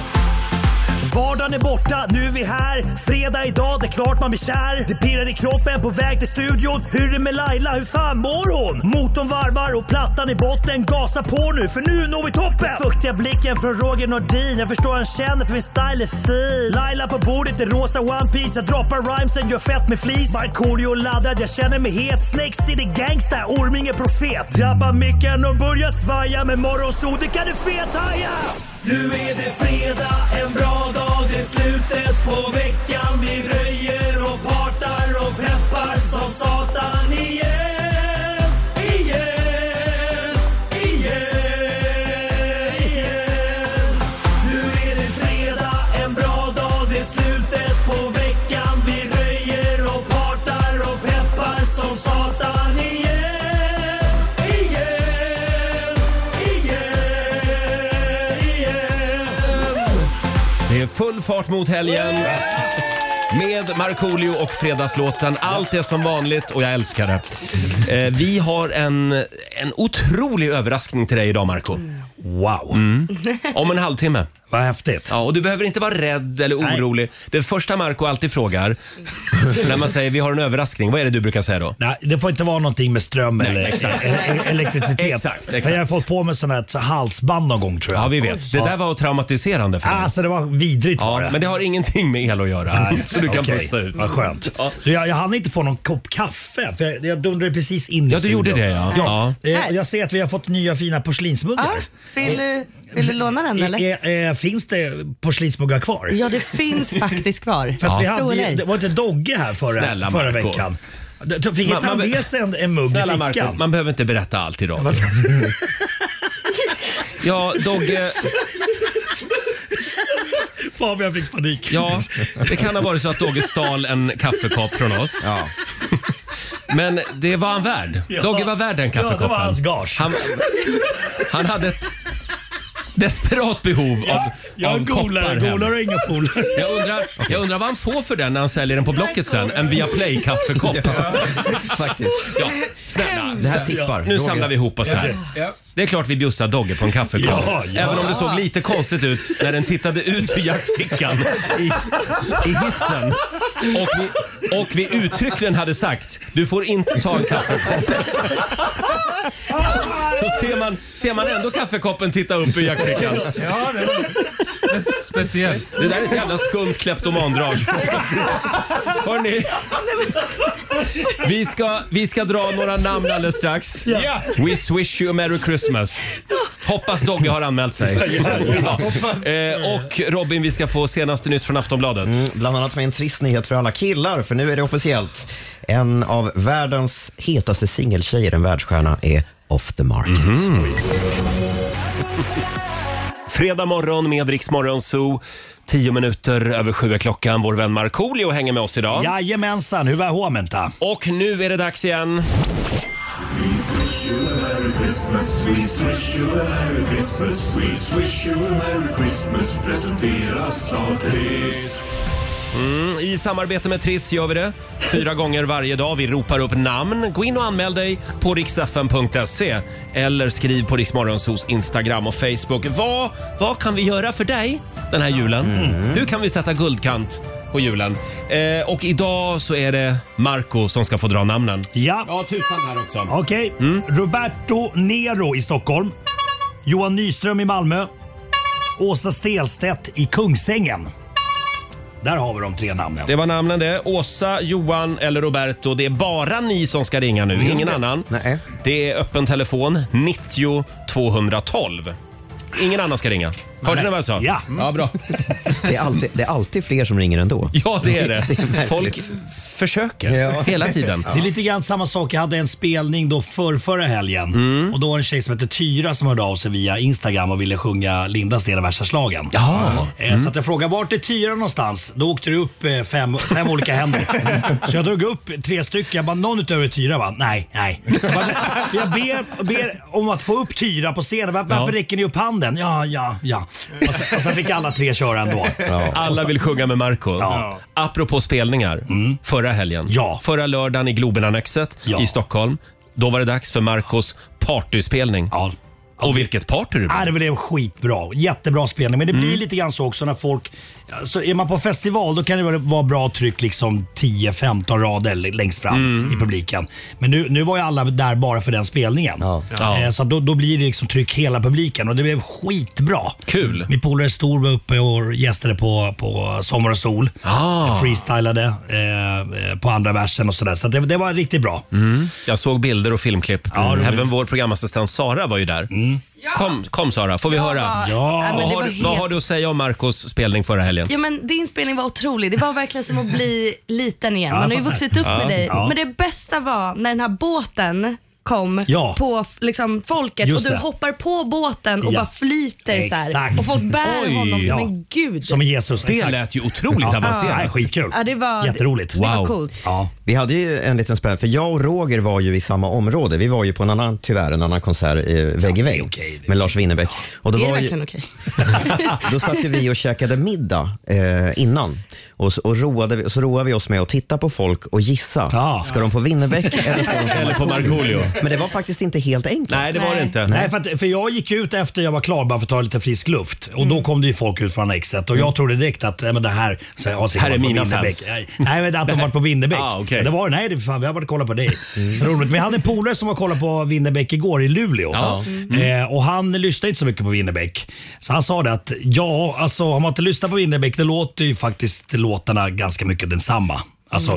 [SPEAKER 9] Vardagen är borta, nu är vi här. Fredag idag, det är klart man blir kär. Det pirrar i kroppen på väg till studion. Hur är det med Laila, hur fan mår hon? Motorn varvar och plattan i botten. Gasa på nu, för nu når vi toppen! Den Fuktiga blicken från Roger Nordin. Jag förstår han känner för min style är fin. Laila på bordet i rosa One Piece Jag droppar rhymesen, gör fett med flis. Markoolio laddad, jag känner mig het. Snakes city gangsta, Orminge profet. Drabbar micken och börjar svaja. Med morgonsol, det kan du fethaja! Nu är det fredag, en bra dag, det är slutet på veckan. Vi röjer och partar och peppar som satan igen. Igen, igen, igen. Nu är det fredag, en bra dag, det är slutet på veckan. Vi röjer och partar och peppar som satan igen. Igen, igen, igen.
[SPEAKER 1] Det är full fart mot helgen. Med Markoolio och Fredagslåten. Allt är som vanligt och jag älskar det. Eh, vi har en, en otrolig överraskning till dig idag Marco. Mm.
[SPEAKER 9] Wow,
[SPEAKER 1] Om en halvtimme.
[SPEAKER 9] vad häftigt.
[SPEAKER 1] Ja, och du behöver inte vara rädd eller
[SPEAKER 9] Nej.
[SPEAKER 1] orolig. Det första Marco alltid frågar när man säger vi har en överraskning, vad är det du brukar säga då?
[SPEAKER 9] Nej, det får inte vara någonting med ström *laughs* eller
[SPEAKER 1] *laughs*
[SPEAKER 9] e- e- elektricitet.
[SPEAKER 1] Exakt,
[SPEAKER 9] För
[SPEAKER 1] exakt.
[SPEAKER 9] Jag har fått på mig sådana här så halsband någon gång tror jag.
[SPEAKER 1] Ja, vi vet. Det där var traumatiserande för mig.
[SPEAKER 9] Alltså det var vidrigt var
[SPEAKER 1] Ja,
[SPEAKER 9] det.
[SPEAKER 1] men det har ingenting med el att göra.
[SPEAKER 9] Nej,
[SPEAKER 1] Så du kan
[SPEAKER 9] okej.
[SPEAKER 1] pusta ut.
[SPEAKER 9] Vad skönt.
[SPEAKER 1] Ja.
[SPEAKER 9] Du, jag, jag hann inte få någon kopp kaffe för jag, jag dundrade precis in i
[SPEAKER 1] Ja, du gjorde
[SPEAKER 9] studion.
[SPEAKER 1] det, ja.
[SPEAKER 9] ja. eh, och Jag ser att vi har fått nya fina porslinsmuggar.
[SPEAKER 7] Ja, vill, du, vill du låna den eller?
[SPEAKER 9] Eh, eh, finns det porslinsmuggar kvar?
[SPEAKER 7] Ja, det
[SPEAKER 9] *laughs*
[SPEAKER 7] finns faktiskt kvar.
[SPEAKER 9] För att vi
[SPEAKER 7] Tror
[SPEAKER 9] hade, ju-
[SPEAKER 7] dig.
[SPEAKER 9] det var inte Dogge här förra,
[SPEAKER 1] Snälla,
[SPEAKER 9] förra
[SPEAKER 1] Marco.
[SPEAKER 9] veckan. Då- då Fick
[SPEAKER 1] Man-
[SPEAKER 9] inte han
[SPEAKER 1] man-
[SPEAKER 9] med sig en, en mugg
[SPEAKER 1] Snälla
[SPEAKER 9] i
[SPEAKER 1] Marco,
[SPEAKER 9] fickan?
[SPEAKER 1] man behöver inte
[SPEAKER 9] *laughs*
[SPEAKER 1] berätta allt idag. Ja, Dogge.
[SPEAKER 9] Fabian fick panik.
[SPEAKER 1] Ja, det kan ha varit så att Dogge stal en kaffekopp från oss.
[SPEAKER 2] Ja.
[SPEAKER 1] Men det var han värd.
[SPEAKER 9] Ja.
[SPEAKER 1] Dogge var värd den
[SPEAKER 9] Ja, det var
[SPEAKER 1] kaffekoppen.
[SPEAKER 9] hans gage.
[SPEAKER 1] Han, han hade ett... desperat behov av,
[SPEAKER 9] *laughs* Jag
[SPEAKER 1] av koppar
[SPEAKER 9] golar,
[SPEAKER 1] hem.
[SPEAKER 9] golar och inga polare.
[SPEAKER 1] *laughs* Jag undrar, jag undrar vad han får för den när han säljer den på Blocket sen. En Viaplay-kaffekopp.
[SPEAKER 2] Faktiskt.
[SPEAKER 1] *laughs* Ja, snälla.
[SPEAKER 2] Det här tippar.
[SPEAKER 1] Nu
[SPEAKER 2] Roger.
[SPEAKER 1] samlar vi ihop oss här. Det är klart vi bjussar Dogge på en kaffekopp.
[SPEAKER 9] Ja, ja.
[SPEAKER 1] Även om det såg lite konstigt ut när den tittade ut ur jackfickan i, i hissen. Och vi, och vi uttryckligen hade sagt, du får inte ta en kaffekopp. Så ser man, ser man ändå kaffekoppen titta upp ur jackfickan.
[SPEAKER 3] Ja, det var speciellt.
[SPEAKER 1] Det där är ett jävla skumt kleptomandrag. Hörrni, vi ska, vi ska dra några namn alldeles strax. We swish you a merry Christmas. Hoppas Dogge har anmält sig. Ja. Eh, och Robin, vi ska få senaste nytt från Aftonbladet.
[SPEAKER 2] Mm, Bland annat med en trist nyhet för alla killar, för nu är det officiellt. En av världens hetaste singeltjejer, en världsstjärna, är off the market.
[SPEAKER 1] Mhm. *laughs* Fredag morgon med Rix Morgon Zoo. Tio minuter över sju är klockan. Vår vän Markoolio hänger med oss idag.
[SPEAKER 9] Jajamensan, hur var håmenta?
[SPEAKER 1] Och nu är det dags igen. Mm, I samarbete med Triss gör vi det. Fyra gånger varje dag. Vi ropar upp namn. Gå in och anmäl dig på riksfn.se eller skriv på Riksmorgonsos Instagram och Facebook. Vad, vad kan vi göra för dig den här julen? Mm. Hur kan vi sätta guldkant på julen? Eh, och idag så är det Marco som ska få dra namnen.
[SPEAKER 9] Ja,
[SPEAKER 1] Ja, tutan här också. Mm.
[SPEAKER 9] okej. Roberto Nero i Stockholm. Johan Nyström i Malmö. Åsa Stelstedt i Kungsängen. Där har vi de tre namnen.
[SPEAKER 1] Det var namnen det. Åsa, Johan eller Roberto. Det är bara ni som ska ringa
[SPEAKER 9] Mm.
[SPEAKER 1] nu, ingen annan.
[SPEAKER 2] Nej.
[SPEAKER 1] Det är öppen telefon, 90 212. Ingen annan ska ringa. Hörde ni vad jag sa?
[SPEAKER 9] Ja.
[SPEAKER 1] ja bra.
[SPEAKER 2] Det är, alltid, det är alltid fler som ringer ändå.
[SPEAKER 1] Ja, det
[SPEAKER 2] *laughs*
[SPEAKER 1] är det.
[SPEAKER 2] märkligt.
[SPEAKER 1] Folk försöker hela tiden.
[SPEAKER 9] Det är lite grann samma sak. Jag hade en spelning då för förra helgen.
[SPEAKER 1] Mm.
[SPEAKER 9] Och då var det en tjej som hette Tyra som hörde av sig via Instagram och ville sjunga Lindas del av värsta slagen.
[SPEAKER 1] Ja.
[SPEAKER 9] Eh, Så att jag frågade vart är Tyra någonstans? Då åkte det upp eh, fem, fem olika händer. Så jag drog upp tre stycken. Jag bara, någon utöver Tyra? Bara, nej, nej. Jag, bara, jag ber, ber om att få upp Tyra på scenen. Var- Varför
[SPEAKER 1] Ja.
[SPEAKER 9] räcker ni upp handen? Ja, ja, ja. Och sen, och sen fick alla tre köra
[SPEAKER 1] *laughs*
[SPEAKER 9] ändå.
[SPEAKER 1] Alla vill sjunga med Marco
[SPEAKER 9] Ja. Mm.
[SPEAKER 1] Apropå spelningar, förra helgen.
[SPEAKER 9] Ja.
[SPEAKER 1] Förra lördagen i Globenannexet
[SPEAKER 9] Ja.
[SPEAKER 1] i Stockholm. Då var det dags för Marcos partyspelning.
[SPEAKER 9] Ja.
[SPEAKER 1] Och vilket party det blev.
[SPEAKER 9] Ja, Äh, det blev skitbra. Jättebra spelning. Men det
[SPEAKER 1] Mm.
[SPEAKER 9] blir lite grann så också när folk... Så är man på festival då kan det vara bra tryck liksom 10-15 rader l- längst fram
[SPEAKER 1] Mm.
[SPEAKER 9] i publiken. Men nu, nu var ju alla där bara för den spelningen.
[SPEAKER 1] Ja.
[SPEAKER 9] Eh, Så då, då blir det liksom tryck hela publiken och det blev skitbra.
[SPEAKER 1] Kul.
[SPEAKER 9] Min polare Stor var uppe och gästade på, på Sommar och sol.
[SPEAKER 1] Ah.
[SPEAKER 9] Jag Freestylade eh, eh, på andra versen och sådär. Så att det, det var riktigt bra.
[SPEAKER 1] Mm. Jag såg bilder och filmklipp. Även vår programassistent Sara var ju där. Kom, kom Sara, får vi höra?
[SPEAKER 9] Mm. Ja.
[SPEAKER 7] men
[SPEAKER 1] Vad,
[SPEAKER 7] det
[SPEAKER 1] har,
[SPEAKER 7] var
[SPEAKER 1] du- vad
[SPEAKER 7] helt...
[SPEAKER 1] har du att säga om Marcos spelning förra helgen?
[SPEAKER 7] Ja, men din spelning var otrolig. Det var verkligen som att bli liten igen. Man har ju
[SPEAKER 9] fattar.
[SPEAKER 7] vuxit upp med dig.
[SPEAKER 9] Ja.
[SPEAKER 7] Men det bästa var när den här båten kom
[SPEAKER 9] Ja.
[SPEAKER 7] på f- liksom, folket
[SPEAKER 9] Just
[SPEAKER 7] och du
[SPEAKER 9] det.
[SPEAKER 7] hoppar på båten och
[SPEAKER 9] Ja.
[SPEAKER 7] bara flyter så här.
[SPEAKER 9] Exakt.
[SPEAKER 7] Och folk bär
[SPEAKER 1] Oj.
[SPEAKER 7] honom som
[SPEAKER 9] Ja.
[SPEAKER 7] en gud.
[SPEAKER 9] Som Jesus.
[SPEAKER 1] Det
[SPEAKER 9] exakt.
[SPEAKER 1] lät ju otroligt
[SPEAKER 9] Ja. Nej,
[SPEAKER 1] avancerat.
[SPEAKER 9] skitkul.
[SPEAKER 7] Ja, det var-
[SPEAKER 9] Jätteroligt.
[SPEAKER 7] Det var
[SPEAKER 1] Wow.
[SPEAKER 7] coolt.
[SPEAKER 9] Ja.
[SPEAKER 2] Vi hade ju en liten spänn, för jag och Roger var ju i samma område. Vi var ju på en annan, tyvärr, en annan konsert eh, vägg i
[SPEAKER 9] det
[SPEAKER 2] vägg
[SPEAKER 9] är okej, det är
[SPEAKER 2] med Lars Winnerbäck. Och då,
[SPEAKER 7] Är det
[SPEAKER 2] var
[SPEAKER 7] verkligen
[SPEAKER 2] ju,
[SPEAKER 7] okej?
[SPEAKER 2] *laughs* då satt ju vi och käkade middag eh, innan och, så- och, roade vi, och så roade vi oss med att titta på folk och gissa.
[SPEAKER 9] Ja.
[SPEAKER 2] Ska de på
[SPEAKER 1] *laughs*
[SPEAKER 2] Winnerbäck eller ska de på
[SPEAKER 1] Eller på Markoolio.
[SPEAKER 2] Men det var faktiskt inte helt enkelt.
[SPEAKER 1] Nej, det var det
[SPEAKER 7] Nej.
[SPEAKER 1] inte.
[SPEAKER 9] Nej, för, att, för jag gick ut efter jag var klar bara för att ta lite frisk luft och då kom det ju folk ut från exet och jag trodde direkt att nej, men det här, så jag har säkert
[SPEAKER 1] Här är
[SPEAKER 9] varit på
[SPEAKER 1] mina
[SPEAKER 9] Winnerbäck.
[SPEAKER 1] fans.
[SPEAKER 9] Nej, Nej, men att de
[SPEAKER 1] *laughs*
[SPEAKER 9] varit på Winnerbäck.
[SPEAKER 1] Ah, okej. Mm.
[SPEAKER 9] Men Det var nej, det, fan, vi har varit och kollat på dig. Så roligt. Men jag hade en polare som var och kollade på Winnerbäck igår i Luleå
[SPEAKER 1] Ja. Mm.
[SPEAKER 9] eh, och han lyssnade inte så mycket på Winnerbäck. Så han sa det att ja, alltså om man inte lyssnar på Winnerbäck, det låter ju faktiskt låtarna ganska mycket densamma. Alltså,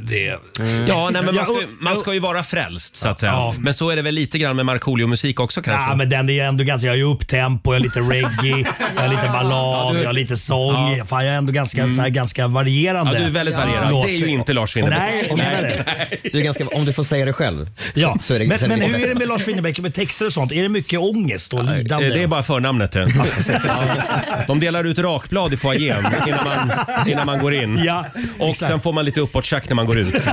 [SPEAKER 9] det,
[SPEAKER 1] Mm. Ja, nej, men man,
[SPEAKER 9] Jag-
[SPEAKER 1] ska, ju- man ska ju vara frälst så att säga.
[SPEAKER 9] Ja.
[SPEAKER 1] Men så är det väl lite grann med Markoolio-musik också
[SPEAKER 9] Ja,
[SPEAKER 1] kanske.
[SPEAKER 9] men den är ju ändå ganska, jag har ju upptempo, jag har lite reggae, jag har lite
[SPEAKER 1] *laughs* Ja,
[SPEAKER 9] ballad,
[SPEAKER 1] du- Mm.
[SPEAKER 9] jag har lite sång. Fan, jag är ändå ganska, så här, ganska varierande.
[SPEAKER 1] Ja, du är väldigt varierad.
[SPEAKER 9] Låter.
[SPEAKER 1] Det är ju inte Lars Winnerbäck.
[SPEAKER 9] Nej, jag menar det.
[SPEAKER 2] Du är ganska, om du får säga det själv.
[SPEAKER 9] Ja.
[SPEAKER 2] Så är det,
[SPEAKER 9] men,
[SPEAKER 2] så är det
[SPEAKER 1] *laughs*
[SPEAKER 9] men
[SPEAKER 2] gott.
[SPEAKER 9] hur är det med Lars Winnerbäck med texter och sånt? Är det mycket ångest och
[SPEAKER 1] Eh,
[SPEAKER 9] lidande?
[SPEAKER 1] Det är bara
[SPEAKER 9] *laughs*
[SPEAKER 1] förnamnet det. Ja. De delar ut rakblad i foajén innan man, innan man går in.
[SPEAKER 9] Ja, *laughs*
[SPEAKER 1] Och sen får man lite uppåttjack när man går ut.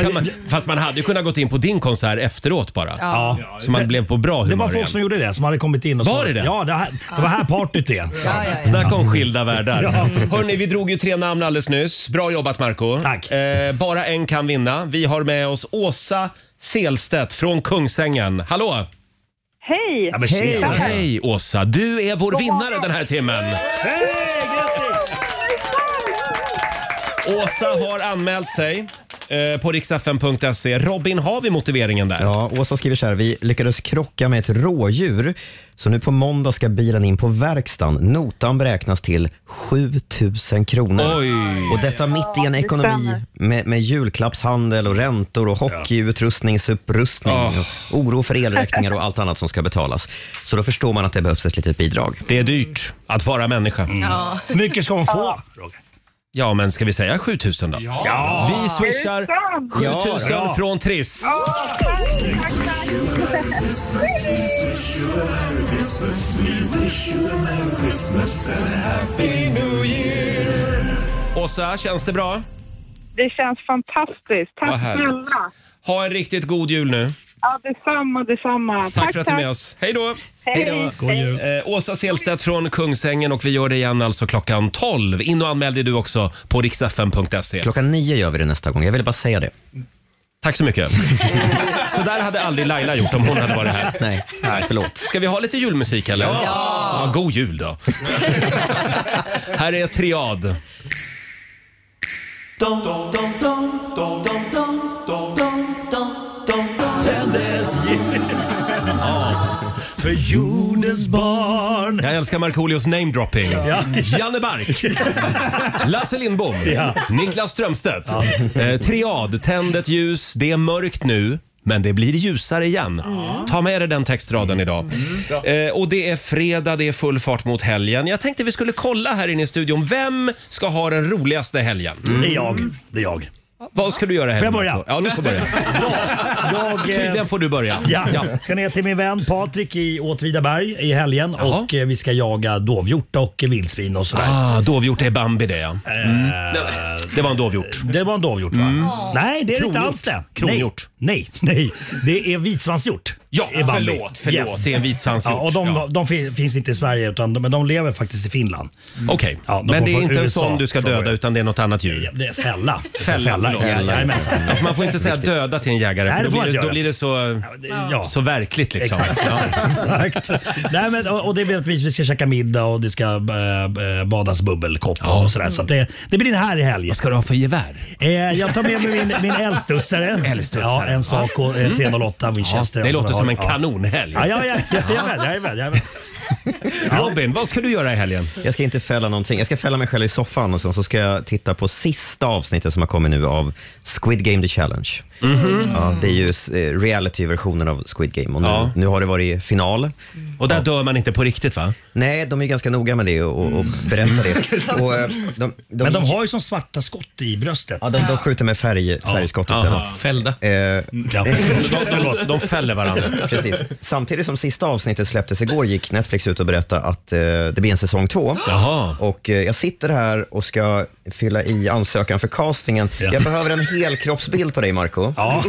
[SPEAKER 1] Kan man, fast man hade ju kunnat gått in på din konsert efteråt bara.
[SPEAKER 9] Ja.
[SPEAKER 1] Så man blev på bra
[SPEAKER 9] Det var
[SPEAKER 1] humör
[SPEAKER 9] folk
[SPEAKER 1] igen.
[SPEAKER 9] som gjorde det, som hade kommit in och
[SPEAKER 1] Var
[SPEAKER 9] sa-
[SPEAKER 1] det det?
[SPEAKER 9] Ja, det, här, det var här partyt det. Så.
[SPEAKER 7] Ja, ja, ja.
[SPEAKER 1] Snacka om skilda världar.
[SPEAKER 9] *laughs* Ja.
[SPEAKER 1] Hörni, vi drog ju tre namn alldeles nyss. Bra jobbat Marco
[SPEAKER 9] Tack.
[SPEAKER 1] Eh, bara en kan vinna. Vi har med oss Åsa Selstedt från Kungsängen. Hallå!
[SPEAKER 6] *laughs* Hej!
[SPEAKER 9] Ja, men tjena.
[SPEAKER 1] Hej Åsa! Du är vår vinnare den här timmen.
[SPEAKER 9] Eh? Hej, grattis!
[SPEAKER 1] Åsa har anmält sig eh, på riksfn.se. Robin, har vi motiveringen där?
[SPEAKER 2] Ja, Åsa skriver så här. Vi lyckades krocka med ett rådjur, så nu på måndag ska bilen in på verkstaden. Notan beräknas till 7000 kronor.
[SPEAKER 1] Oj.
[SPEAKER 2] Och detta mitt i en
[SPEAKER 6] det
[SPEAKER 2] ekonomi
[SPEAKER 6] stämmer.
[SPEAKER 2] med, med julklappshandel och räntor och hockeyutrustning, supprustning,
[SPEAKER 1] Oh.
[SPEAKER 2] och oro för elräkningar och allt annat som ska betalas. Så då förstår man att det behövs ett litet bidrag.
[SPEAKER 1] Det är dyrt att vara människa.
[SPEAKER 7] Ja.
[SPEAKER 9] mycket ska hon få? Roger?
[SPEAKER 1] Ja, men ska vi säga 7000 då?
[SPEAKER 9] Ja.
[SPEAKER 1] Vi swishar
[SPEAKER 6] Sant!
[SPEAKER 1] 7000
[SPEAKER 9] Ja.
[SPEAKER 1] från Triss. Åsa, känns det bra?
[SPEAKER 6] Det känns fantastiskt.
[SPEAKER 1] Vad
[SPEAKER 6] Tack
[SPEAKER 1] härligt.
[SPEAKER 6] snälla.
[SPEAKER 1] Ha en riktigt god jul nu.
[SPEAKER 6] Ja, detsamma, detsamma.
[SPEAKER 1] Tack, för att du är med oss. Hej då!
[SPEAKER 6] Hej då.
[SPEAKER 9] God jul.
[SPEAKER 1] Eh, Åsa Selstedt från Kungsängen och vi gör det igen alltså klockan 12. In och anmäl dig du också på riksfn.se.
[SPEAKER 2] Klockan nio gör vi det nästa gång. Jag ville bara säga det.
[SPEAKER 1] Tack
[SPEAKER 2] *laughs*
[SPEAKER 1] så mycket. så där hade aldrig Laila gjort om hon hade varit här.
[SPEAKER 2] Nej, Nej förlåt.
[SPEAKER 1] Ska vi ha lite julmusik eller? Ja! ja god jul
[SPEAKER 2] *laughs*
[SPEAKER 1] då. här är Triad.
[SPEAKER 9] För jordens barn.
[SPEAKER 1] Jag älskar Markoolios namedropping.
[SPEAKER 9] Ja.
[SPEAKER 1] Janne Bark. *laughs* Lasse Lindbom.
[SPEAKER 9] Ja.
[SPEAKER 1] Niklas Strömstedt. Eh, triad, tänd ett ljus. Det är mörkt nu. Men det blir ljusare igen. Ta med dig den textraden idag. Eh, och det är fredag, det är full fart mot helgen. Jag tänkte vi skulle kolla här inne i studion. Vem ska ha den roligaste helgen?
[SPEAKER 9] Det är jag. Det är jag.
[SPEAKER 1] Vad ska du göra i helgen?
[SPEAKER 9] Får jag börja?
[SPEAKER 1] Ja, du får börja.
[SPEAKER 9] jag eh,
[SPEAKER 1] Tydligen får du börja.
[SPEAKER 9] Ja, ska ner till min vän Patrik i Åtvidaberg i helgen
[SPEAKER 1] Jaha.
[SPEAKER 9] och eh, vi ska jaga dovhjort och eh, vildsvin och sådär.
[SPEAKER 1] Ah, dovhjort är Bambi det ja.
[SPEAKER 9] Eh,
[SPEAKER 1] Det var en dovhjort. Mm.
[SPEAKER 9] Det var en dovhjort va? Nej, det är det inte
[SPEAKER 1] Kronhjort.
[SPEAKER 9] alls det.
[SPEAKER 1] Kronhjort.
[SPEAKER 9] Nej, nej, nej. det är vitsvanshjort.
[SPEAKER 1] Ja,
[SPEAKER 9] i Bambi.
[SPEAKER 1] förlåt, förlåt. Det är en vitsvanshjort,
[SPEAKER 9] Ja, och de,
[SPEAKER 1] ja.
[SPEAKER 9] de fin- finns inte i Sverige, utan, men de lever faktiskt i Finland.
[SPEAKER 1] Okej,
[SPEAKER 9] Ja, de
[SPEAKER 1] men
[SPEAKER 9] får
[SPEAKER 1] det är
[SPEAKER 9] från
[SPEAKER 1] inte en
[SPEAKER 9] USA
[SPEAKER 1] sån du ska
[SPEAKER 9] från
[SPEAKER 1] döda
[SPEAKER 9] början.
[SPEAKER 1] utan det är något annat
[SPEAKER 9] Ja,
[SPEAKER 1] djur.
[SPEAKER 9] Det är fälla. Det är
[SPEAKER 1] Fälla,
[SPEAKER 9] fälla.
[SPEAKER 1] förlåt.
[SPEAKER 9] Jajamensan.
[SPEAKER 1] Ja, för man får inte säga döda till en jägare
[SPEAKER 9] Nej,
[SPEAKER 1] för
[SPEAKER 9] det får
[SPEAKER 1] då blir
[SPEAKER 9] man
[SPEAKER 1] det,
[SPEAKER 9] inte
[SPEAKER 1] då
[SPEAKER 9] göra.
[SPEAKER 1] blir det så,
[SPEAKER 9] Ja.
[SPEAKER 1] så verkligt liksom.
[SPEAKER 9] Exakt,
[SPEAKER 1] Ja.
[SPEAKER 9] exakt. Nej, men, och, och det blir att vi vi ska käka middag och det ska eh, eh, badas bubbelkopp och sådär. Så att det, det blir en härlig helg.
[SPEAKER 1] Vad ska du ha för gevär?
[SPEAKER 9] Eh, jag tar med mig min, min älgstudsare.
[SPEAKER 1] Älgstudsare.
[SPEAKER 9] Ja, en Saco eh, 308 Winchester.
[SPEAKER 1] det
[SPEAKER 9] Och
[SPEAKER 1] låter
[SPEAKER 9] sådär.
[SPEAKER 1] som en
[SPEAKER 9] Ja.
[SPEAKER 1] kanonhelg.
[SPEAKER 9] Ja, ja, ja, ja, jajamän, jajamän, jajamän.
[SPEAKER 1] *laughs* Robin, vad ska du göra i helgen?
[SPEAKER 2] Jag ska inte fälla någonting. Jag ska fälla mig själv i soffan och sen så ska jag titta på sista avsnittet som har kommit nu av Squid Game The Challenge.
[SPEAKER 1] Mhm.
[SPEAKER 2] Ja, det är ju eh, realityversionen av Squid Game och nu,
[SPEAKER 1] Ja. Mm.
[SPEAKER 2] nu har det varit final.
[SPEAKER 1] Och där dör man inte på riktigt va?
[SPEAKER 2] Nej, de är ganska noga med det och, och berättar det.
[SPEAKER 1] *laughs*
[SPEAKER 2] Och, eh, de, de,
[SPEAKER 9] Men de har ju som svarta skott i bröstet.
[SPEAKER 2] ja, de, de skjuter med färg, färgskott istället.
[SPEAKER 1] Aha.
[SPEAKER 8] Fällda.
[SPEAKER 2] Eh,
[SPEAKER 9] Ja.
[SPEAKER 1] De, de, de fäller varandra.
[SPEAKER 2] *laughs* Precis. Samtidigt som sista avsnittet släpptes igår gick Netflix ut och berättade att eh, det blir en säsong två.
[SPEAKER 1] Jaha.
[SPEAKER 2] Och eh, jag sitter här och ska fylla i ansökan för castingen.
[SPEAKER 9] Ja.
[SPEAKER 2] Jag behöver en helkroppsbild på dig, Marco
[SPEAKER 9] Ja.
[SPEAKER 2] *laughs*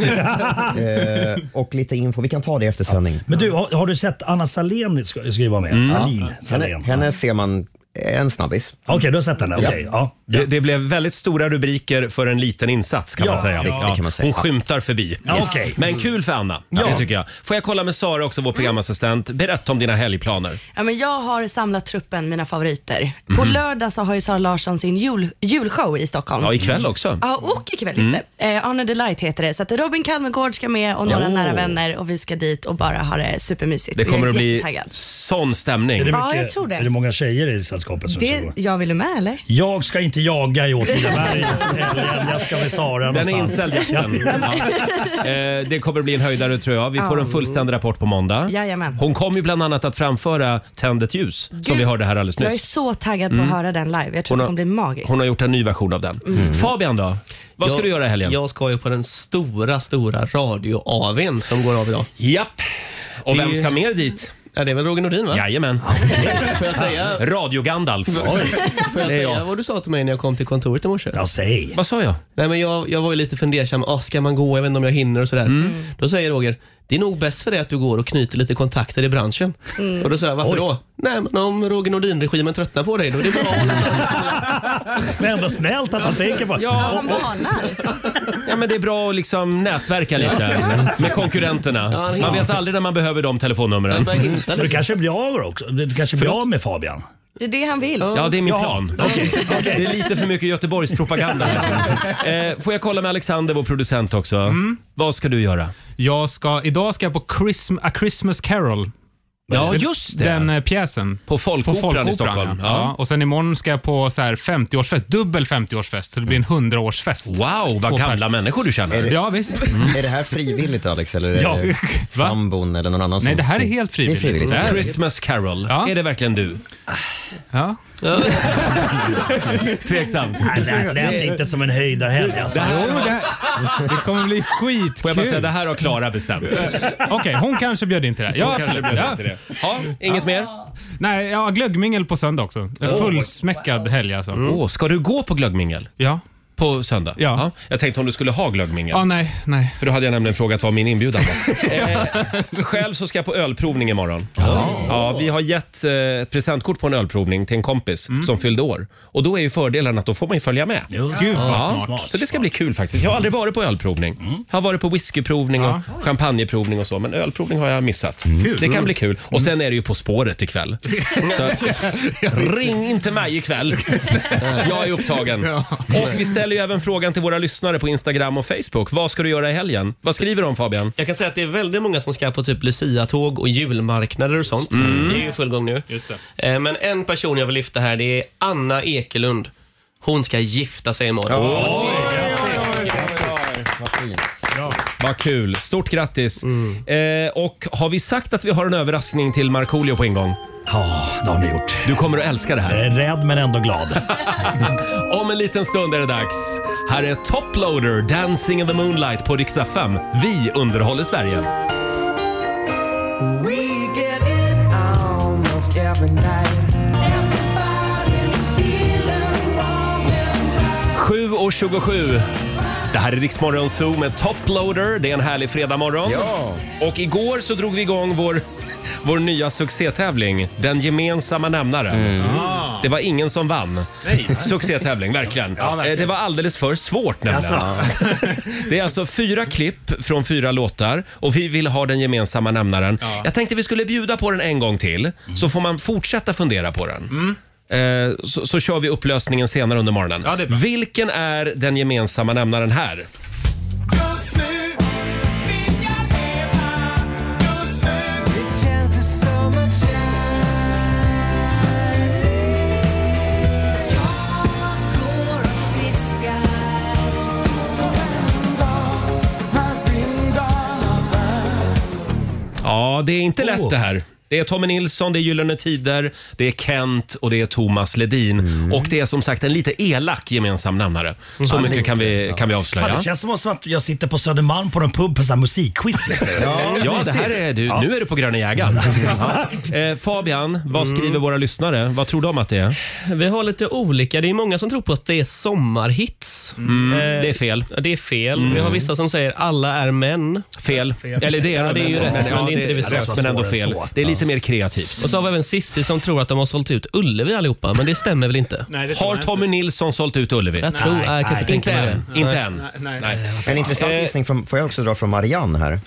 [SPEAKER 2] eh, Och lite info. Vi kan ta det efter sändning.
[SPEAKER 9] Men du, har, har du sett Anna Salén ska, ska ju vara med?
[SPEAKER 1] Mm.
[SPEAKER 9] Salin.
[SPEAKER 2] Henne,
[SPEAKER 9] Salén.
[SPEAKER 2] henne ser man eh, en snabbis.
[SPEAKER 9] Okej, du har sett henne? Okej. Ja.
[SPEAKER 1] Det, det blev väldigt stora rubriker för en liten insats kan
[SPEAKER 9] Ja,
[SPEAKER 1] man säga.
[SPEAKER 2] det- det kan man säga.
[SPEAKER 1] Hon skymtar förbi.
[SPEAKER 9] Ja, okej.
[SPEAKER 1] Men kul för Anna, det tycker jag. Får jag kolla med Sara också, vår programassistent. Berätta om dina helgplaner.
[SPEAKER 7] Ja, men jag har samlat truppen mina favoriter. På lördag så har ju Sara Larsson sin jul, julshow i Stockholm.
[SPEAKER 1] Mhm. Ja, ikväll Mm. också.
[SPEAKER 7] Ja, och ikväll just det. Eh, On a Delight heter det. Så att Robin Kalmegård ska med och några
[SPEAKER 1] Ja.
[SPEAKER 7] nära vänner och vi ska dit och bara ha det supermysigt.
[SPEAKER 1] Det
[SPEAKER 7] Och jag
[SPEAKER 1] kommer
[SPEAKER 7] är
[SPEAKER 1] att bli
[SPEAKER 7] jättetaggad.
[SPEAKER 1] sån stämning.
[SPEAKER 9] Är det
[SPEAKER 7] Ja, jag tror det.
[SPEAKER 9] Är det många tjejer i sällskapet som ska gå?
[SPEAKER 7] Det, jag vill med eller?
[SPEAKER 9] Jag ska inte jaga i Åtvidaberg. eller jag ska med Sara
[SPEAKER 1] Den är
[SPEAKER 9] någonstans.
[SPEAKER 1] inställd jakten. Ja. Eh, Det kommer att bli en höjdare tror jag. Vi får en fullständig rapport på måndag.
[SPEAKER 7] *laughs* Jajamän.
[SPEAKER 1] Hon kommer ju bland annat att framföra Tänd ett ljus som
[SPEAKER 7] Gud,
[SPEAKER 1] vi hörde här alldeles
[SPEAKER 7] Jag är
[SPEAKER 1] nyss. Mm.
[SPEAKER 7] så taggad på att höra den live. Jag tror att
[SPEAKER 1] Hon
[SPEAKER 7] det
[SPEAKER 1] har-
[SPEAKER 7] kommer bli magiskt.
[SPEAKER 1] Hon har gjort en ny version av den. Fabian då? Vad ska
[SPEAKER 8] Jag-
[SPEAKER 1] du göra i helgen?
[SPEAKER 8] Jag ska ju på den stora, stora radio-AWn som går av idag.
[SPEAKER 1] Japp. Och vem
[SPEAKER 8] Det-
[SPEAKER 1] ska mer dit?
[SPEAKER 8] Ja, det är väl Roger Nordin va?
[SPEAKER 1] Jajamän.
[SPEAKER 8] Får jag säga,
[SPEAKER 1] Radio Gandalf.
[SPEAKER 8] får jag
[SPEAKER 1] Det är
[SPEAKER 8] säga
[SPEAKER 1] jag.
[SPEAKER 8] vad du sa till mig när jag kom till kontoret i morse?
[SPEAKER 9] Ja, säg.
[SPEAKER 1] Vad sa jag?
[SPEAKER 8] Nej, men jag, jag var ju lite fundersam. Ah, ska man gå? Jag vet inte om jag hinner och sådär.
[SPEAKER 1] Mm.
[SPEAKER 8] Då säger Roger, det är nog bäst för dig att du går och knyter lite kontakter i branschen.
[SPEAKER 7] Mm.
[SPEAKER 8] Och då sa jag, varför då? Nej, men om Roger Nordin-regimen tröttnar på dig, då är det bra att hålla
[SPEAKER 9] Men ändå snällt att han tänker på.
[SPEAKER 7] Ja, han varnar.
[SPEAKER 1] Ja, men det är bra att liksom nätverka lite med konkurrenterna. Man vet aldrig när man behöver de telefonnumren.
[SPEAKER 8] Man hittar
[SPEAKER 9] Du
[SPEAKER 8] lite.
[SPEAKER 9] kanske blir av också. Du kanske blir av med Fabian.
[SPEAKER 7] Det är det han vill.
[SPEAKER 1] Ja, det är min
[SPEAKER 9] Jaha,
[SPEAKER 1] plan.
[SPEAKER 9] okej,
[SPEAKER 1] Det är lite för mycket Göteborgspropaganda. eh, får jag kolla med Alexander, vår producent också. Vad ska du göra?
[SPEAKER 3] Mm. Jag ska, idag ska jag på Christm- A Christmas Carol.
[SPEAKER 1] Ja,
[SPEAKER 3] Den-
[SPEAKER 1] just
[SPEAKER 3] Den eh, pjäsen.
[SPEAKER 1] På Folkoperan, i Stockholm.
[SPEAKER 3] Ja. Ja,
[SPEAKER 1] Ja.
[SPEAKER 3] och sen imorgon ska jag på så här 50-årsfest, dubbel 50-årsfest, så det blir en 100-årsfest.
[SPEAKER 1] Wow, vad
[SPEAKER 3] Två
[SPEAKER 1] gamla människor du känner.
[SPEAKER 3] Ja, visst.
[SPEAKER 2] Mm. Är det här frivilligt Alex? Eller är
[SPEAKER 9] Ja.
[SPEAKER 2] det sambon eller någon annan som-
[SPEAKER 3] Nej, det här är helt frivilligt.
[SPEAKER 2] Det är frivilligt.
[SPEAKER 3] Det här-
[SPEAKER 1] Christmas Carol,
[SPEAKER 3] Ja.
[SPEAKER 1] är det verkligen du?
[SPEAKER 3] Ja.
[SPEAKER 1] Tveksamt.
[SPEAKER 9] Nej, nej, lät inte som en höjdarhelg alltså.
[SPEAKER 3] Jo, det, här, det kommer bli skitkul.
[SPEAKER 1] Får jag bara säga, det här har Klara bestämt.
[SPEAKER 3] Okej, hon kanske bjöd in till det. här. Ja,
[SPEAKER 1] kanske
[SPEAKER 3] absolut.
[SPEAKER 1] bjöd
[SPEAKER 3] Ja.
[SPEAKER 1] in till det. Ja, inget mer? Åh,
[SPEAKER 3] Nej, ja, glöggmingel på söndag också. En fullsmäckad helg alltså.
[SPEAKER 1] ska du gå på glöggmingel?
[SPEAKER 3] Ja.
[SPEAKER 1] På söndag?
[SPEAKER 3] Ja.
[SPEAKER 1] Jag tänkte om du skulle ha glöggmingel.
[SPEAKER 3] Ja, nej, nej.
[SPEAKER 1] För då hade jag nämligen frågat vad min inbjudan var. eh, själv så ska jag på ölprovning imorgon. Ja, vi har gett eh, ett presentkort på en ölprovning till en kompis som fyllde år. Och då är ju fördelen att då får man ju följa med.
[SPEAKER 9] Just
[SPEAKER 3] Gud,
[SPEAKER 9] det.
[SPEAKER 3] vad
[SPEAKER 9] Ja,
[SPEAKER 3] smart.
[SPEAKER 1] Så det ska bli kul faktiskt. Jag har aldrig varit på ölprovning. Jag har varit på whiskyprovning och champagneprovning och så, men ölprovning har jag missat. Det kan bli kul. Och sen är det ju På spåret ikväll. Så att, ring inte mig ikväll. *laughs* Jag är upptagen. Och vi ställer ju även frågan till våra lyssnare på Instagram och Facebook. Vad ska du göra i helgen? Vad skriver de Fabian?
[SPEAKER 8] Jag kan säga att det är väldigt många som ska på typ Lucia-tåg och julmarknader och sånt.
[SPEAKER 1] Mm.
[SPEAKER 8] Det är ju i full gång nu.
[SPEAKER 3] Just det.
[SPEAKER 8] Eh, Men en person jag vill lyfta här, det är Anna Ekelund. Hon ska gifta sig imorgon.
[SPEAKER 1] Vad kul. Stort grattis. Eh, och har vi sagt att vi har en överraskning till Markoolio på ingång?
[SPEAKER 9] Ja, det har ni gjort.
[SPEAKER 1] Du kommer att älska det här.
[SPEAKER 9] Jag är rädd men ändå glad.
[SPEAKER 1] *laughs* Om en liten stund är det dags. Här är Toploader, Dancing in the Moonlight på riksdag 5. Vi underhåller Sverige. Sju och 27. Det här är Riksmorgon Zoo med Toploader. Det är en härlig fredagmorgon.
[SPEAKER 2] Ja.
[SPEAKER 1] Och igår så drog vi igång vår, vår nya succétävling, Den gemensamma nämnaren. Mm. Det var ingen som vann. *laughs* Succétävling, verkligen. Eh, Det var alldeles för svårt nämligen. *laughs* Det är alltså fyra klipp från fyra låtar och vi vill ha den gemensamma nämnaren. Jag tänkte vi skulle bjuda på den en gång till,
[SPEAKER 3] Mm.
[SPEAKER 1] så får man fortsätta fundera på den. Eh, Så, så kör vi upplösningen senare under morgonen.
[SPEAKER 3] Ja, det är bra.
[SPEAKER 1] Vilken är den gemensamma nämnaren här? Ja, det är inte lätt det här. Det är Tommy Nilsson, det är Gyllene Tider, det är Kent och det är Thomas Ledin.
[SPEAKER 3] Mm.
[SPEAKER 1] Och det är som sagt en lite elak gemensam nämnare. Så mycket kan vi, kan vi avslöja.
[SPEAKER 9] Fan, det känns som att jag sitter på Södermalm på någon pub på så här musikquiz just nu.
[SPEAKER 1] Eh, Ja, det här är du. Nu är du på Gröna jägaren. *laughs* Ja. Eh, Fabian, vad skriver våra lyssnare? Vad tror de att det är?
[SPEAKER 8] Vi har lite olika. Det är många som tror på att det är sommarhits. Eh,
[SPEAKER 1] Mm, Det är fel.
[SPEAKER 8] Ja, Det är fel. Vi har vissa som säger alla är män.
[SPEAKER 1] Fel. Eller det är,
[SPEAKER 8] Ja, det är ju rätt, men det är inte det vi
[SPEAKER 1] är
[SPEAKER 8] sa.
[SPEAKER 1] rätt, men ändå fel. Det är lite mer kreativt.
[SPEAKER 8] Och så har vi även Sissi som tror att de har sålt ut Ullevi allihopa, men det stämmer väl inte?
[SPEAKER 3] *laughs* Nej, det tror
[SPEAKER 1] Har
[SPEAKER 3] jag
[SPEAKER 1] Tommy Nilsson sålt ut Ullevi?
[SPEAKER 8] Jag tror, nej, jag kan
[SPEAKER 9] nej,
[SPEAKER 8] inte tänka
[SPEAKER 1] Inte
[SPEAKER 8] mig
[SPEAKER 1] än.
[SPEAKER 8] det.
[SPEAKER 1] Inte
[SPEAKER 8] Nej. Eh,
[SPEAKER 1] än. Eh,
[SPEAKER 3] Nej.
[SPEAKER 1] Nej. Mm.
[SPEAKER 2] En intressant gissning från, får jag också dra från Marianne här.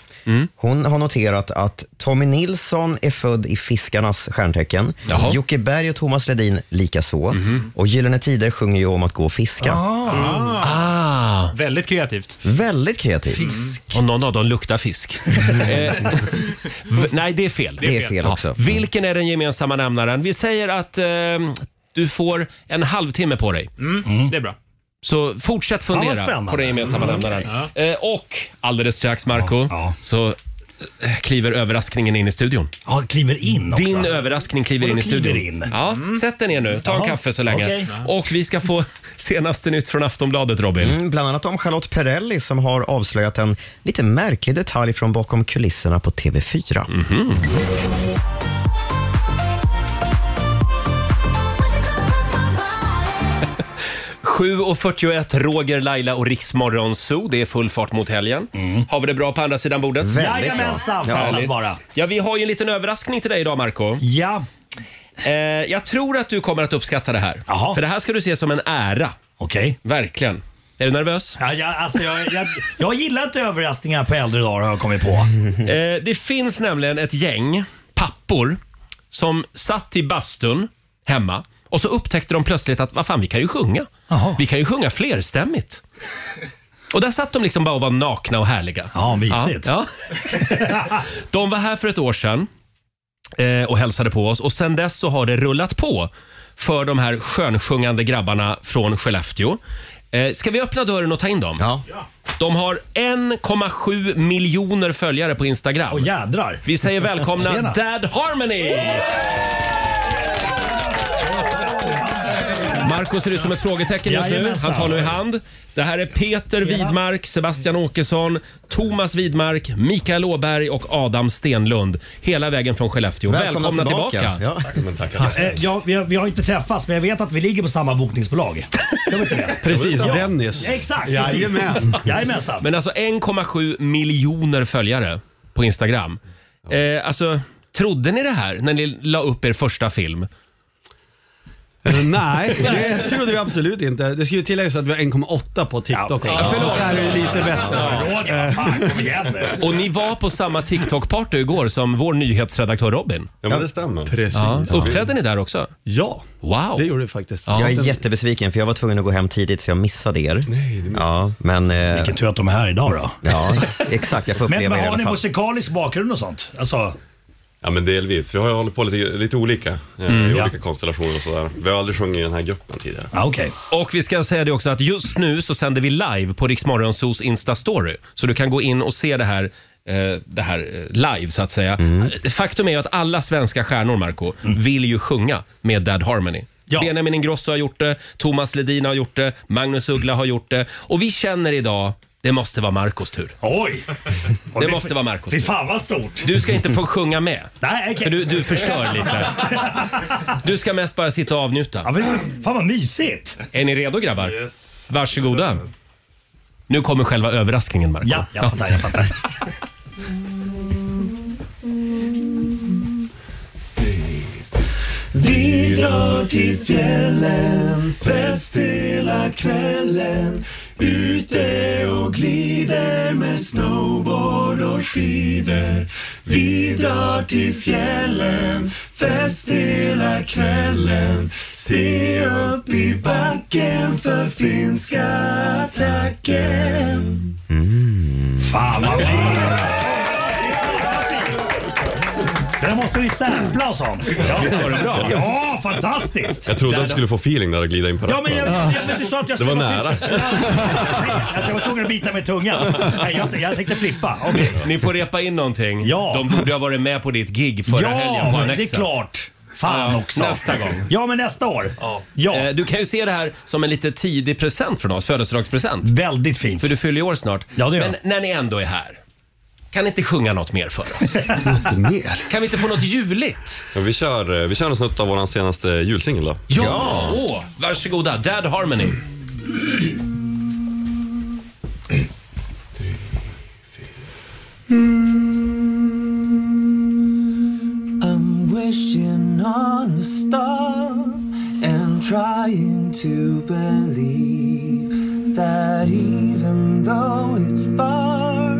[SPEAKER 2] Hon har noterat att Tommy Nilsson är född i Fiskarnas stjärntecken.
[SPEAKER 1] Jaha. Mhm.
[SPEAKER 2] Jocke Berg och Thomas Ledin likaså. Och Gyllene Tider sjunger ju om att gå och fiska.
[SPEAKER 1] Ah,
[SPEAKER 3] Väldigt kreativt.
[SPEAKER 2] Väldigt kreativt.
[SPEAKER 1] Typ. om någon av dem
[SPEAKER 9] *laughs*
[SPEAKER 1] luktar fisk. Eh, v- Nej, det är fel.
[SPEAKER 2] Det är fel också.
[SPEAKER 1] Vilken är den gemensamma nämnaren? Vi säger att eh, du får en halvtimme på dig.
[SPEAKER 3] Mm.
[SPEAKER 1] Mm.
[SPEAKER 3] Det är bra.
[SPEAKER 1] Så fortsätt
[SPEAKER 9] vad
[SPEAKER 1] fundera
[SPEAKER 9] spännande.
[SPEAKER 1] på den gemensamma
[SPEAKER 3] Mm,
[SPEAKER 1] nämnaren. Eh, och alldeles strax, Marco,
[SPEAKER 9] ja.
[SPEAKER 1] så eh, kliver överraskningen in i studion.
[SPEAKER 9] Ja, kliver in också.
[SPEAKER 1] Din överraskning kliver
[SPEAKER 9] Och då
[SPEAKER 1] in i studion.
[SPEAKER 9] kliver in.
[SPEAKER 1] Ja, Sätt dig ner nu, ta en
[SPEAKER 9] Jaha,
[SPEAKER 1] kaffe så länge.
[SPEAKER 9] okej.
[SPEAKER 1] Och vi ska få *laughs* senaste nytt från Aftonbladet, Robin.
[SPEAKER 2] Mm, bland annat om Charlotte Perrelli som har avslöjat
[SPEAKER 1] Mhm.
[SPEAKER 2] en lite märklig detalj från bakom kulisserna på TV4.
[SPEAKER 1] 7.41, Roger, Laila och Riksmorgon Zoo. Det är full fart mot helgen. Har vi det bra på andra sidan bordet?
[SPEAKER 9] Jajamensan, fattas bara.
[SPEAKER 1] Ja, vi har ju en liten överraskning till dig idag, Marco.
[SPEAKER 9] Ja,
[SPEAKER 1] Eh, jag tror att du kommer att uppskatta det här.
[SPEAKER 9] Jaha.
[SPEAKER 1] För det här ska du se som en ära.
[SPEAKER 9] okej.
[SPEAKER 1] Verkligen. Är du nervös?
[SPEAKER 9] Ja, jag, alltså, jag, jag, jag gillar inte överraskningar på äldre dagar har jag kommit på.
[SPEAKER 1] Eh, det finns nämligen ett gäng pappor som satt i bastun hemma och så upptäckte de plötsligt att vad fan, vi kan ju sjunga.
[SPEAKER 9] Jaha.
[SPEAKER 1] Vi kan ju sjunga flerstämmigt. Och där satt de liksom bara och var nakna och härliga.
[SPEAKER 9] Ja, mysigt.
[SPEAKER 1] Ja, ja. De var här för ett år sedan eh, och hälsade på oss och sen dess så har det rullat på för de här skönsjungande grabbarna från Skellefteå. Eh, ska vi öppna dörren och ta in dem?
[SPEAKER 2] Ja.
[SPEAKER 1] De har 1,7 miljoner följare på Instagram.
[SPEAKER 9] Åh jädrar.
[SPEAKER 1] Vi säger välkomna
[SPEAKER 9] Tjena.
[SPEAKER 1] Dad Harmony! Marco ser ut som ett frågetecken just nu.
[SPEAKER 9] Jajamensan.
[SPEAKER 1] Han tar nu i hand. Det här är Peter Widmark, Sebastian Åkesson, Thomas Widmark, Mikael Åberg och Adam Stenlund. Hela vägen från Skellefteå. Välkomna, tillbaka!
[SPEAKER 2] Ja.
[SPEAKER 9] Eh, ja, vi, har, vi har inte träffats men jag vet att vi ligger på samma bokningsbolag. Jag vet inte det.
[SPEAKER 1] Precis.
[SPEAKER 9] Ja.
[SPEAKER 10] Dennis.
[SPEAKER 9] Exakt,
[SPEAKER 10] Jajamän.
[SPEAKER 9] precis. Jajamensan.
[SPEAKER 1] Men alltså 1,7 miljoner följare på Instagram. Eh, alltså, trodde ni det här när ni la upp er första film?
[SPEAKER 10] Eh, *laughs* Nej, det trodde vi absolut inte. Det ska ju tilläggas att vi har 1,8 på TikTok också.
[SPEAKER 9] Ja,
[SPEAKER 10] Så det här är ju lite bättre.
[SPEAKER 9] Roger, vad fan, kom igen nu.
[SPEAKER 1] Och ni var på samma TikTok-party igår som vår nyhetsredaktör Robin.
[SPEAKER 11] Ja, men det stämmer.
[SPEAKER 10] Precis.
[SPEAKER 1] Ja.
[SPEAKER 10] Ja,
[SPEAKER 1] Uppträdde ni där också? Wow!
[SPEAKER 10] det gjorde vi faktiskt.
[SPEAKER 1] Ja.
[SPEAKER 10] Ja.
[SPEAKER 2] Jag är jättebesviken för jag var tvungen att gå hem tidigt så jag missade er. Nej, du ja, men, eh,
[SPEAKER 9] Vilken tur att de är här idag då.
[SPEAKER 2] ja, exakt. Jag får
[SPEAKER 9] Men,
[SPEAKER 2] uppleva
[SPEAKER 9] men
[SPEAKER 2] er i
[SPEAKER 9] har
[SPEAKER 2] alla
[SPEAKER 9] ni
[SPEAKER 2] fall.
[SPEAKER 9] musikalisk bakgrund och sånt? Alltså,
[SPEAKER 11] Ja, men delvis. Vi har ju hållit på lite, lite olika eh,
[SPEAKER 1] Mm,
[SPEAKER 11] i olika konstellationer och sådär. Vi har aldrig sjungit i den här gruppen tidigare.
[SPEAKER 9] ja, okej.
[SPEAKER 1] Ah, Och vi ska säga det också att just nu så sänder vi live på Riksmorgonsos Insta-story. Så du kan gå in och se det här, eh, det här eh, live så att säga.
[SPEAKER 9] Mm.
[SPEAKER 1] Faktum är ju att alla svenska stjärnor, Marco, vill ju sjunga med Dad Harmony.
[SPEAKER 9] Ja.
[SPEAKER 1] Benjamin Ingrosso har gjort det, Thomas Ledin har gjort det, Magnus Uggla har gjort det. Och vi känner idag, det måste vara Marcos tur.
[SPEAKER 9] Oj! Och
[SPEAKER 1] Det måste vara Marcos
[SPEAKER 9] Fy
[SPEAKER 1] tur.
[SPEAKER 9] fan vad stort.
[SPEAKER 1] Du ska inte få sjunga med.
[SPEAKER 9] Nej,
[SPEAKER 1] För
[SPEAKER 9] okej.
[SPEAKER 1] du,
[SPEAKER 9] *laughs*
[SPEAKER 1] du förstör lite. Du ska mest bara sitta och
[SPEAKER 9] Ja,
[SPEAKER 1] avnjuta.
[SPEAKER 9] men för- fan vad mysigt.
[SPEAKER 1] Är ni redo grabbar? Varsågoda. Nu kommer själva överraskningen Marco.
[SPEAKER 9] Ja, jag fattar, jag
[SPEAKER 1] *laughs*
[SPEAKER 9] fattar.
[SPEAKER 5] Vi drar till fjällen, fest hela kvällen. Ute och glider med snowboard och skidor. Vi drar till fjällen, fest hela kvällen. Se upp i backen för finska attacken.
[SPEAKER 9] Fan vad fint. Där måste vi sampla och sånt. Ja, det var bra. Ja, fantastiskt.
[SPEAKER 11] Jag trodde att du skulle få feeling där och glida in på
[SPEAKER 9] Ja men, jag,
[SPEAKER 11] rappen.
[SPEAKER 9] ja, men du sa att jag
[SPEAKER 11] Det var
[SPEAKER 9] skulle vara
[SPEAKER 11] nära.
[SPEAKER 9] tyst. Ja, jag var tvungen att bita mig i tungan. Nej, jag, jag tänkte flippa. Okej.
[SPEAKER 1] Ni får repa in någonting.
[SPEAKER 9] Ja.
[SPEAKER 1] De borde ha varit med på ditt gig förra helgen
[SPEAKER 9] Ja, det
[SPEAKER 1] på
[SPEAKER 9] är
[SPEAKER 1] Annexet.
[SPEAKER 9] klart. Fan
[SPEAKER 1] Ja,
[SPEAKER 9] också.
[SPEAKER 1] nästa gång.
[SPEAKER 9] Ja, men nästa år. Ja.
[SPEAKER 1] Eh, Du kan ju se det här som en lite tidig present från oss, födelsedagspresent.
[SPEAKER 9] Väldigt fint.
[SPEAKER 1] För du fyller ju år snart.
[SPEAKER 9] Ja, det gör
[SPEAKER 1] Men när ni ändå är här, kan ni inte sjunga något mer för oss?
[SPEAKER 10] Mer.
[SPEAKER 1] Kan vi inte få något juligt?
[SPEAKER 11] Men vi kör, eh, vi kör en snutt av vår senaste julsingel då. Mm.
[SPEAKER 1] Ja! Åh, varsågoda, Dad Harmony.
[SPEAKER 5] Hmm. I'm wishing on a star and trying to believe that even though it's far,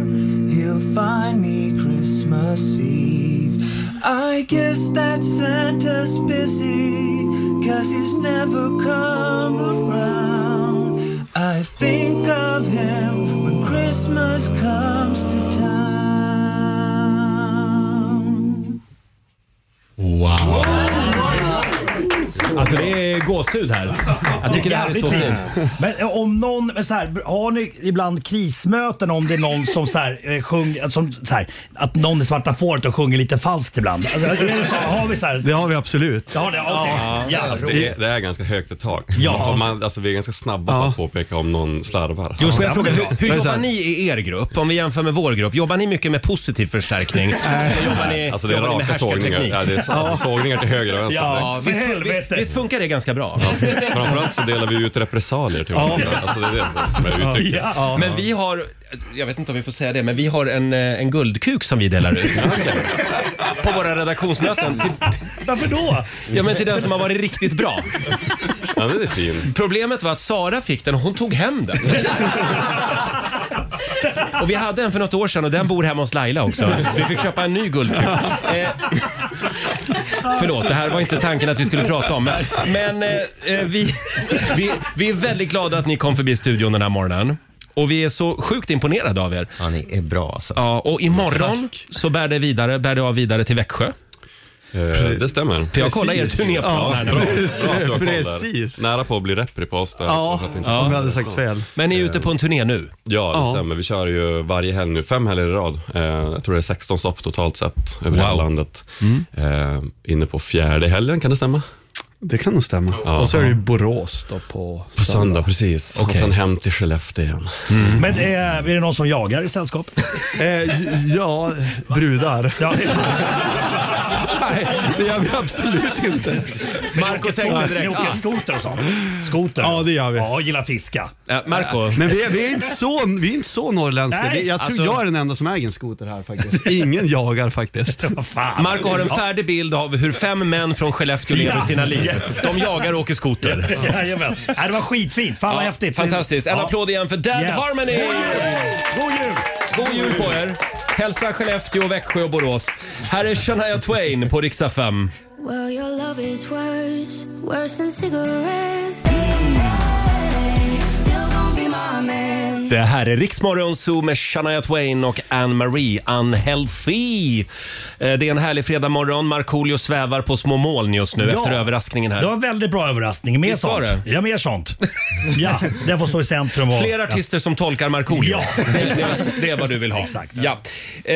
[SPEAKER 5] he'll find me Christmas Eve. I guess that Santa's busy, cause he's never come around. I think of him when Christmas comes to town.
[SPEAKER 1] Wow! Alltså det är gåshud här. Jag tycker det här är så
[SPEAKER 9] Jävligt
[SPEAKER 1] fint.
[SPEAKER 9] Men eh, om någon, men så här, har ni ibland krismöten om det är någon som så här, eh, sjung, som, så här att någon i Svarta Fåret och sjunger lite falskt ibland? Alltså, är det så, har vi så här?
[SPEAKER 10] Det har vi absolut.
[SPEAKER 9] Ja, det, okay. ja,
[SPEAKER 11] Alltså,
[SPEAKER 9] roligt.
[SPEAKER 11] det, är, det är ganska högt i tak.
[SPEAKER 9] Ja.
[SPEAKER 11] För Man, alltså, vi är ganska snabba på att påpeka om någon slarvar.
[SPEAKER 1] Just får jag fråga, hur, hur
[SPEAKER 10] Men så
[SPEAKER 1] jobbar
[SPEAKER 10] här-
[SPEAKER 1] ni i er grupp? Om vi jämför med vår grupp, jobbar ni mycket med positiv förstärkning? Eller jobbar ni,
[SPEAKER 11] Alltså det är
[SPEAKER 1] jobbar ni med
[SPEAKER 11] raka sågningar.
[SPEAKER 1] härskarteknik?
[SPEAKER 11] Ja, det är så- alltså, sågningar till höger och vänster.
[SPEAKER 9] Ja.
[SPEAKER 1] Ja, visst,
[SPEAKER 9] För helvete.
[SPEAKER 1] visst, visst Visst funkar det ganska bra?
[SPEAKER 11] Framförallt så delar vi ut repressalier till
[SPEAKER 1] Ja.
[SPEAKER 11] varandra. Alltså det är det som är uttrycket.
[SPEAKER 1] Men vi har, jag vet inte om vi får säga det, men vi har en, eh, en guldkuk som vi delar ut. På våra redaktionsmöten.
[SPEAKER 9] Varför då?
[SPEAKER 1] Ja men till den som har varit riktigt bra.
[SPEAKER 11] Ja, den är fin.
[SPEAKER 1] Problemet var att Sara fick den och hon tog hem den. Och vi hade en för något år sedan och den bor hemma hos Laila också. Så vi fick köpa en ny guldkuk. Eh, *laughs* förlåt, det här var inte tanken att vi skulle prata om. Men, men eh,
[SPEAKER 2] *laughs*
[SPEAKER 1] eh, vi, vi, vi är väldigt glada att ni kom förbi studion den här morgonen. Och vi är så sjukt imponerade av er.
[SPEAKER 2] Ja, ni är bra alltså.
[SPEAKER 1] Ja, och imorgon så bär det, vidare, bär det av vidare till Växjö.
[SPEAKER 11] Eh,
[SPEAKER 9] Eh,
[SPEAKER 11] det stämmer.
[SPEAKER 1] För jag kollar er turnéplan här nu.
[SPEAKER 11] bra. Bra att du har koll där.
[SPEAKER 1] Precis.
[SPEAKER 11] Nära på att bli repripas där.
[SPEAKER 1] Ja,
[SPEAKER 11] så att
[SPEAKER 1] om jag hade
[SPEAKER 10] sagt fel.
[SPEAKER 1] Men ni är ute på en turné nu?
[SPEAKER 11] Ja, det
[SPEAKER 1] Ja.
[SPEAKER 11] stämmer. Vi kör ju varje helg nu, fem helger i rad. Eh, jag tror det är 16 stopp totalt sett över hela
[SPEAKER 10] Wow.
[SPEAKER 11] landet.
[SPEAKER 10] Mm.
[SPEAKER 11] Eh, inne på fjärde helgen, kan det stämma?
[SPEAKER 10] Det kan nog stämma.
[SPEAKER 11] Ja.
[SPEAKER 10] Och så är det ju Borås då på
[SPEAKER 11] På söndag, precis. Och
[SPEAKER 10] Okej. Mm.
[SPEAKER 11] sen hem till Skellefteå igen.
[SPEAKER 9] Men eh, är det någon som jagar i sällskap?
[SPEAKER 10] Eh, ja, brudar.
[SPEAKER 9] Ja,
[SPEAKER 10] Nej, det gör vi absolut inte.
[SPEAKER 1] Marco
[SPEAKER 9] Ni
[SPEAKER 1] sänkte
[SPEAKER 9] åker- Ni
[SPEAKER 1] direkt.
[SPEAKER 9] åker
[SPEAKER 1] Ah.
[SPEAKER 9] skoter och sånt? Skoter?
[SPEAKER 10] Ja, det gör vi.
[SPEAKER 9] Ja, gillar fiska.
[SPEAKER 1] Ja,
[SPEAKER 10] Äh, Men vi är, vi är inte så, vi är inte så norrländska.
[SPEAKER 9] Nej,
[SPEAKER 10] Det- jag tror
[SPEAKER 9] alltså-
[SPEAKER 10] jag är den enda som äger en skoter här faktiskt. *laughs* Ingen
[SPEAKER 9] *laughs*
[SPEAKER 10] jagar faktiskt.
[SPEAKER 1] Marco har en färdig bild av hur fem män från Skellefteå lever
[SPEAKER 9] Ja,
[SPEAKER 1] sina liv.
[SPEAKER 9] yes.
[SPEAKER 1] De jagar och åker skoter.
[SPEAKER 9] Jajamän. Nej, det var skitfint. Fan vad
[SPEAKER 1] Ja,
[SPEAKER 9] häftigt.
[SPEAKER 1] Fantastiskt. En
[SPEAKER 9] Ja.
[SPEAKER 1] applåd igen för Dead
[SPEAKER 9] Yes.
[SPEAKER 1] Harmony!
[SPEAKER 9] God jul! God jul!
[SPEAKER 1] God jul på er! Hälsa Skellefteå, Växjö och Borås. Här är Shania Twain på riksdag 5.
[SPEAKER 4] Well, your love is worse, worse than cigarettes. Still gonna be my
[SPEAKER 1] *laughs*
[SPEAKER 4] man.
[SPEAKER 1] Det här är Riksmorgon Zoo med Shania Twain och Anne-Marie Unhealthy. Eh, Det är en härlig fredagmorgon. Markoolio svävar på små moln just nu
[SPEAKER 9] Ja.
[SPEAKER 1] efter överraskningen här.
[SPEAKER 9] Det var en väldigt bra överraskning. Mer
[SPEAKER 1] Visst var
[SPEAKER 9] sånt.
[SPEAKER 1] det?
[SPEAKER 9] Ja, mer sånt. Ja, det får stå i centrum. Och,
[SPEAKER 1] Fler artister som tolkar Markoolio.
[SPEAKER 9] Ja.
[SPEAKER 1] *laughs* Det, det, det är vad du vill ha. Exakt. Ja. Eh,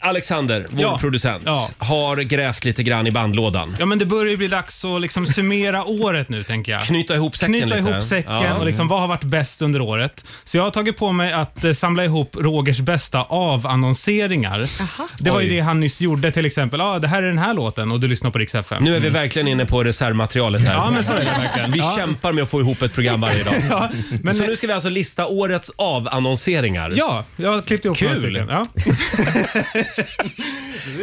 [SPEAKER 1] Alexander, vår
[SPEAKER 3] Ja.
[SPEAKER 1] producent,
[SPEAKER 3] Ja.
[SPEAKER 1] har grävt lite grann i bandlådan.
[SPEAKER 3] Ja, men det börjar ju bli dags att liksom summera året nu, tänker jag.
[SPEAKER 1] Knyta ihop säcken
[SPEAKER 3] Knyta
[SPEAKER 1] lite.
[SPEAKER 3] ihop säcken
[SPEAKER 1] Ja.
[SPEAKER 3] och liksom, vad har varit bäst under året? Så jag har tagit på mig att eh, samla ihop Rogers bästa avannonseringar. Det var ju
[SPEAKER 1] Oj.
[SPEAKER 3] det han nyss gjorde, till exempel. Ah, det här är den här låten och du lyssnar på Rix FM.
[SPEAKER 1] Nu är vi verkligen inne på reservmaterialet här.
[SPEAKER 3] Ja, men så är det verkligen.
[SPEAKER 1] Vi
[SPEAKER 3] Ja.
[SPEAKER 1] kämpar med att få ihop ett program varje dag.
[SPEAKER 3] *laughs* Ja, men-
[SPEAKER 1] Så nu ska vi alltså lista årets avannonseringar.
[SPEAKER 3] Ja, jag klippte ihop några
[SPEAKER 1] Kul!
[SPEAKER 3] stycken. Ja.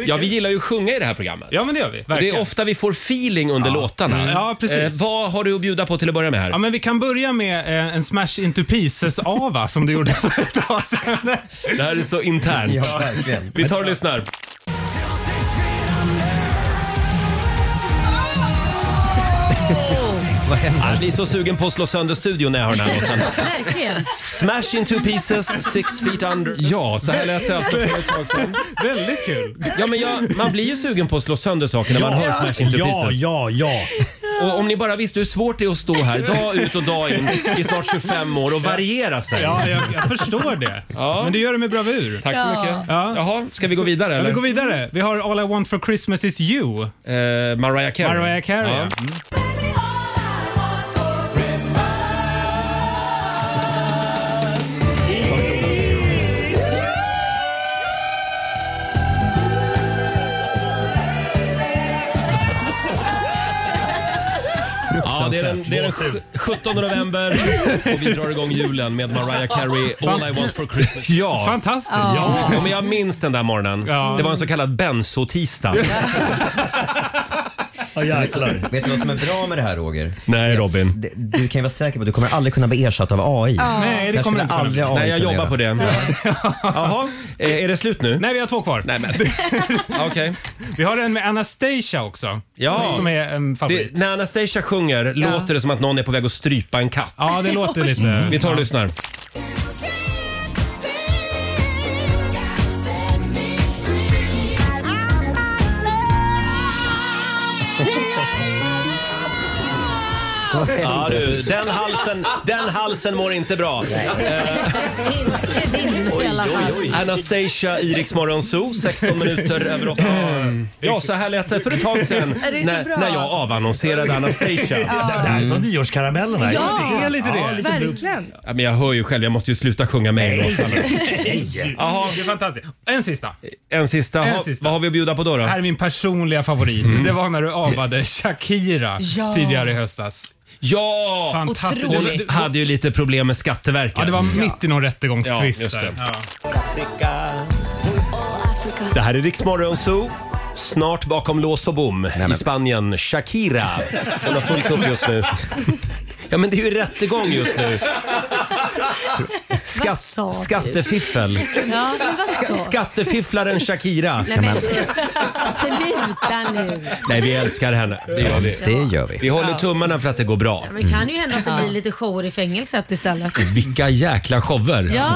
[SPEAKER 1] Ja, vi gillar ju att sjunga i det här programmet.
[SPEAKER 3] Ja, men det gör vi.
[SPEAKER 1] Och det är
[SPEAKER 3] verkligen. Mm.
[SPEAKER 1] ofta vi får feeling under låtarna. Eh,
[SPEAKER 3] Ja, precis.
[SPEAKER 1] vad har du att bjuda på till att börja med här?
[SPEAKER 3] Ja, men vi kan börja med eh, en Smash Into Pieces-ava som du gjorde för ett tag sedan.
[SPEAKER 1] Det här är så internt.
[SPEAKER 3] Ja, verkligen.
[SPEAKER 1] Vi tar och lyssnar. Jag blir så sugen på att slå sönder studion när jag hör den här låten.
[SPEAKER 12] Verkligen.
[SPEAKER 1] Smash into pieces, six feet under. Ja, så här lät det alltså för ett tag sedan.
[SPEAKER 3] Väldigt kul.
[SPEAKER 1] Ja, men jag, man blir ju sugen på att slå sönder saker när man
[SPEAKER 9] Ja.
[SPEAKER 1] hör Smash into
[SPEAKER 9] Ja,
[SPEAKER 1] pieces.
[SPEAKER 9] ja, ja.
[SPEAKER 1] Och om ni bara visste hur svårt det är att stå här dag ut och dag in i snart 25 år och variera sig.
[SPEAKER 3] Ja, jag, jag förstår det.
[SPEAKER 1] Ja.
[SPEAKER 3] Men du gör det med bravur.
[SPEAKER 1] Tack så mycket.
[SPEAKER 3] Ja.
[SPEAKER 1] Jaha, ska vi gå vidare
[SPEAKER 3] Ja,
[SPEAKER 1] eller?
[SPEAKER 3] vi går vidare. Vi har All I want for Christmas is you.
[SPEAKER 1] Eh, Mariah Carey.
[SPEAKER 3] Mariah Carey.
[SPEAKER 1] Ja.
[SPEAKER 3] Mm.
[SPEAKER 1] Ja, det är den, det är den sj- 17 november och vi drar igång julen med Mariah Carey, All I want for Christmas. Ja.
[SPEAKER 3] Fantastiskt.
[SPEAKER 1] Ja. men jag minns den där morgonen. Det var en så kallad bensotisdag.
[SPEAKER 2] Vet du vad som är bra med det här Roger?
[SPEAKER 1] Nej Robin.
[SPEAKER 2] Det- Du kan ju vara säker på att du kommer aldrig kunna bli ersatt av AI.
[SPEAKER 1] Ja.
[SPEAKER 3] Nej, det
[SPEAKER 2] Där
[SPEAKER 3] kommer
[SPEAKER 2] skulle
[SPEAKER 3] inte kunna
[SPEAKER 2] aldrig AI
[SPEAKER 1] Nej, jag
[SPEAKER 2] kunna
[SPEAKER 1] jobbar
[SPEAKER 2] göra.
[SPEAKER 1] på det. *laughs* Jaha, eh, är det slut nu?
[SPEAKER 3] Nej, vi har två kvar. *laughs*
[SPEAKER 1] Nej, men. Okej.
[SPEAKER 3] Vi har en med Anastasia också.
[SPEAKER 1] Ja.
[SPEAKER 3] Som, som är en favorit.
[SPEAKER 1] Det, när Anastasia sjunger låter det som att någon är på väg att strypa en katt.
[SPEAKER 3] Ja, det låter lite...
[SPEAKER 1] Vi tar och
[SPEAKER 3] ja.
[SPEAKER 1] lyssnar. Wow! Ja, du, den, halsen, den halsen mår inte bra. Eh,
[SPEAKER 12] Inte din i alla fall.
[SPEAKER 1] Anastasia i Rix Morgon Zoo, 16 minuter över 8.
[SPEAKER 3] Mm.
[SPEAKER 1] Ja, så här lät det för ett tag sedan
[SPEAKER 12] Är det så bra?
[SPEAKER 1] när, när jag avannonserade
[SPEAKER 12] Ja.
[SPEAKER 1] Anastasia.
[SPEAKER 12] Det där är som
[SPEAKER 1] nyårskaramellerna.
[SPEAKER 12] verkligen.
[SPEAKER 1] Ja, men jag hör ju själv, jag måste ju sluta sjunga med en gång.
[SPEAKER 3] Jaha. Det är fantastiskt. En sista.
[SPEAKER 1] En sista.
[SPEAKER 3] En
[SPEAKER 1] Ha-
[SPEAKER 3] sista.
[SPEAKER 1] Vad har vi att bjuda på då? Mm. då?
[SPEAKER 3] Det här är min personliga favorit. Det var när du avade Shakira
[SPEAKER 1] Ja.
[SPEAKER 3] tidigare i höstas.
[SPEAKER 1] Ja!
[SPEAKER 3] Fantastiskt.
[SPEAKER 1] Hon
[SPEAKER 3] Det- det-
[SPEAKER 1] hade ju lite problem med Skatteverket.
[SPEAKER 3] Ja, det var mitt i någon rättegångstvist
[SPEAKER 1] Ja, just
[SPEAKER 3] där.
[SPEAKER 1] det.
[SPEAKER 3] Ja.
[SPEAKER 1] Det här är Rix Morgon Zoo. Snart bakom lås och bom i Spanien, Shakira. Hon har fullt upp just nu. Ja, men det är ju rättegång just nu.
[SPEAKER 12] Vad sa du?
[SPEAKER 1] Skattefiffel.
[SPEAKER 12] Ja, men vad sa
[SPEAKER 1] Skattefifflaren Shakira.
[SPEAKER 12] Nej men sluta nu.
[SPEAKER 1] Nej, vi älskar henne. Det gör vi.
[SPEAKER 12] Det
[SPEAKER 2] gör vi.
[SPEAKER 1] Vi håller
[SPEAKER 12] Ja.
[SPEAKER 1] tummarna för att det går bra.
[SPEAKER 12] Men det kan ju hända att det blir lite shower i fängelset istället.
[SPEAKER 1] Vilka jäkla shower!
[SPEAKER 12] Ja,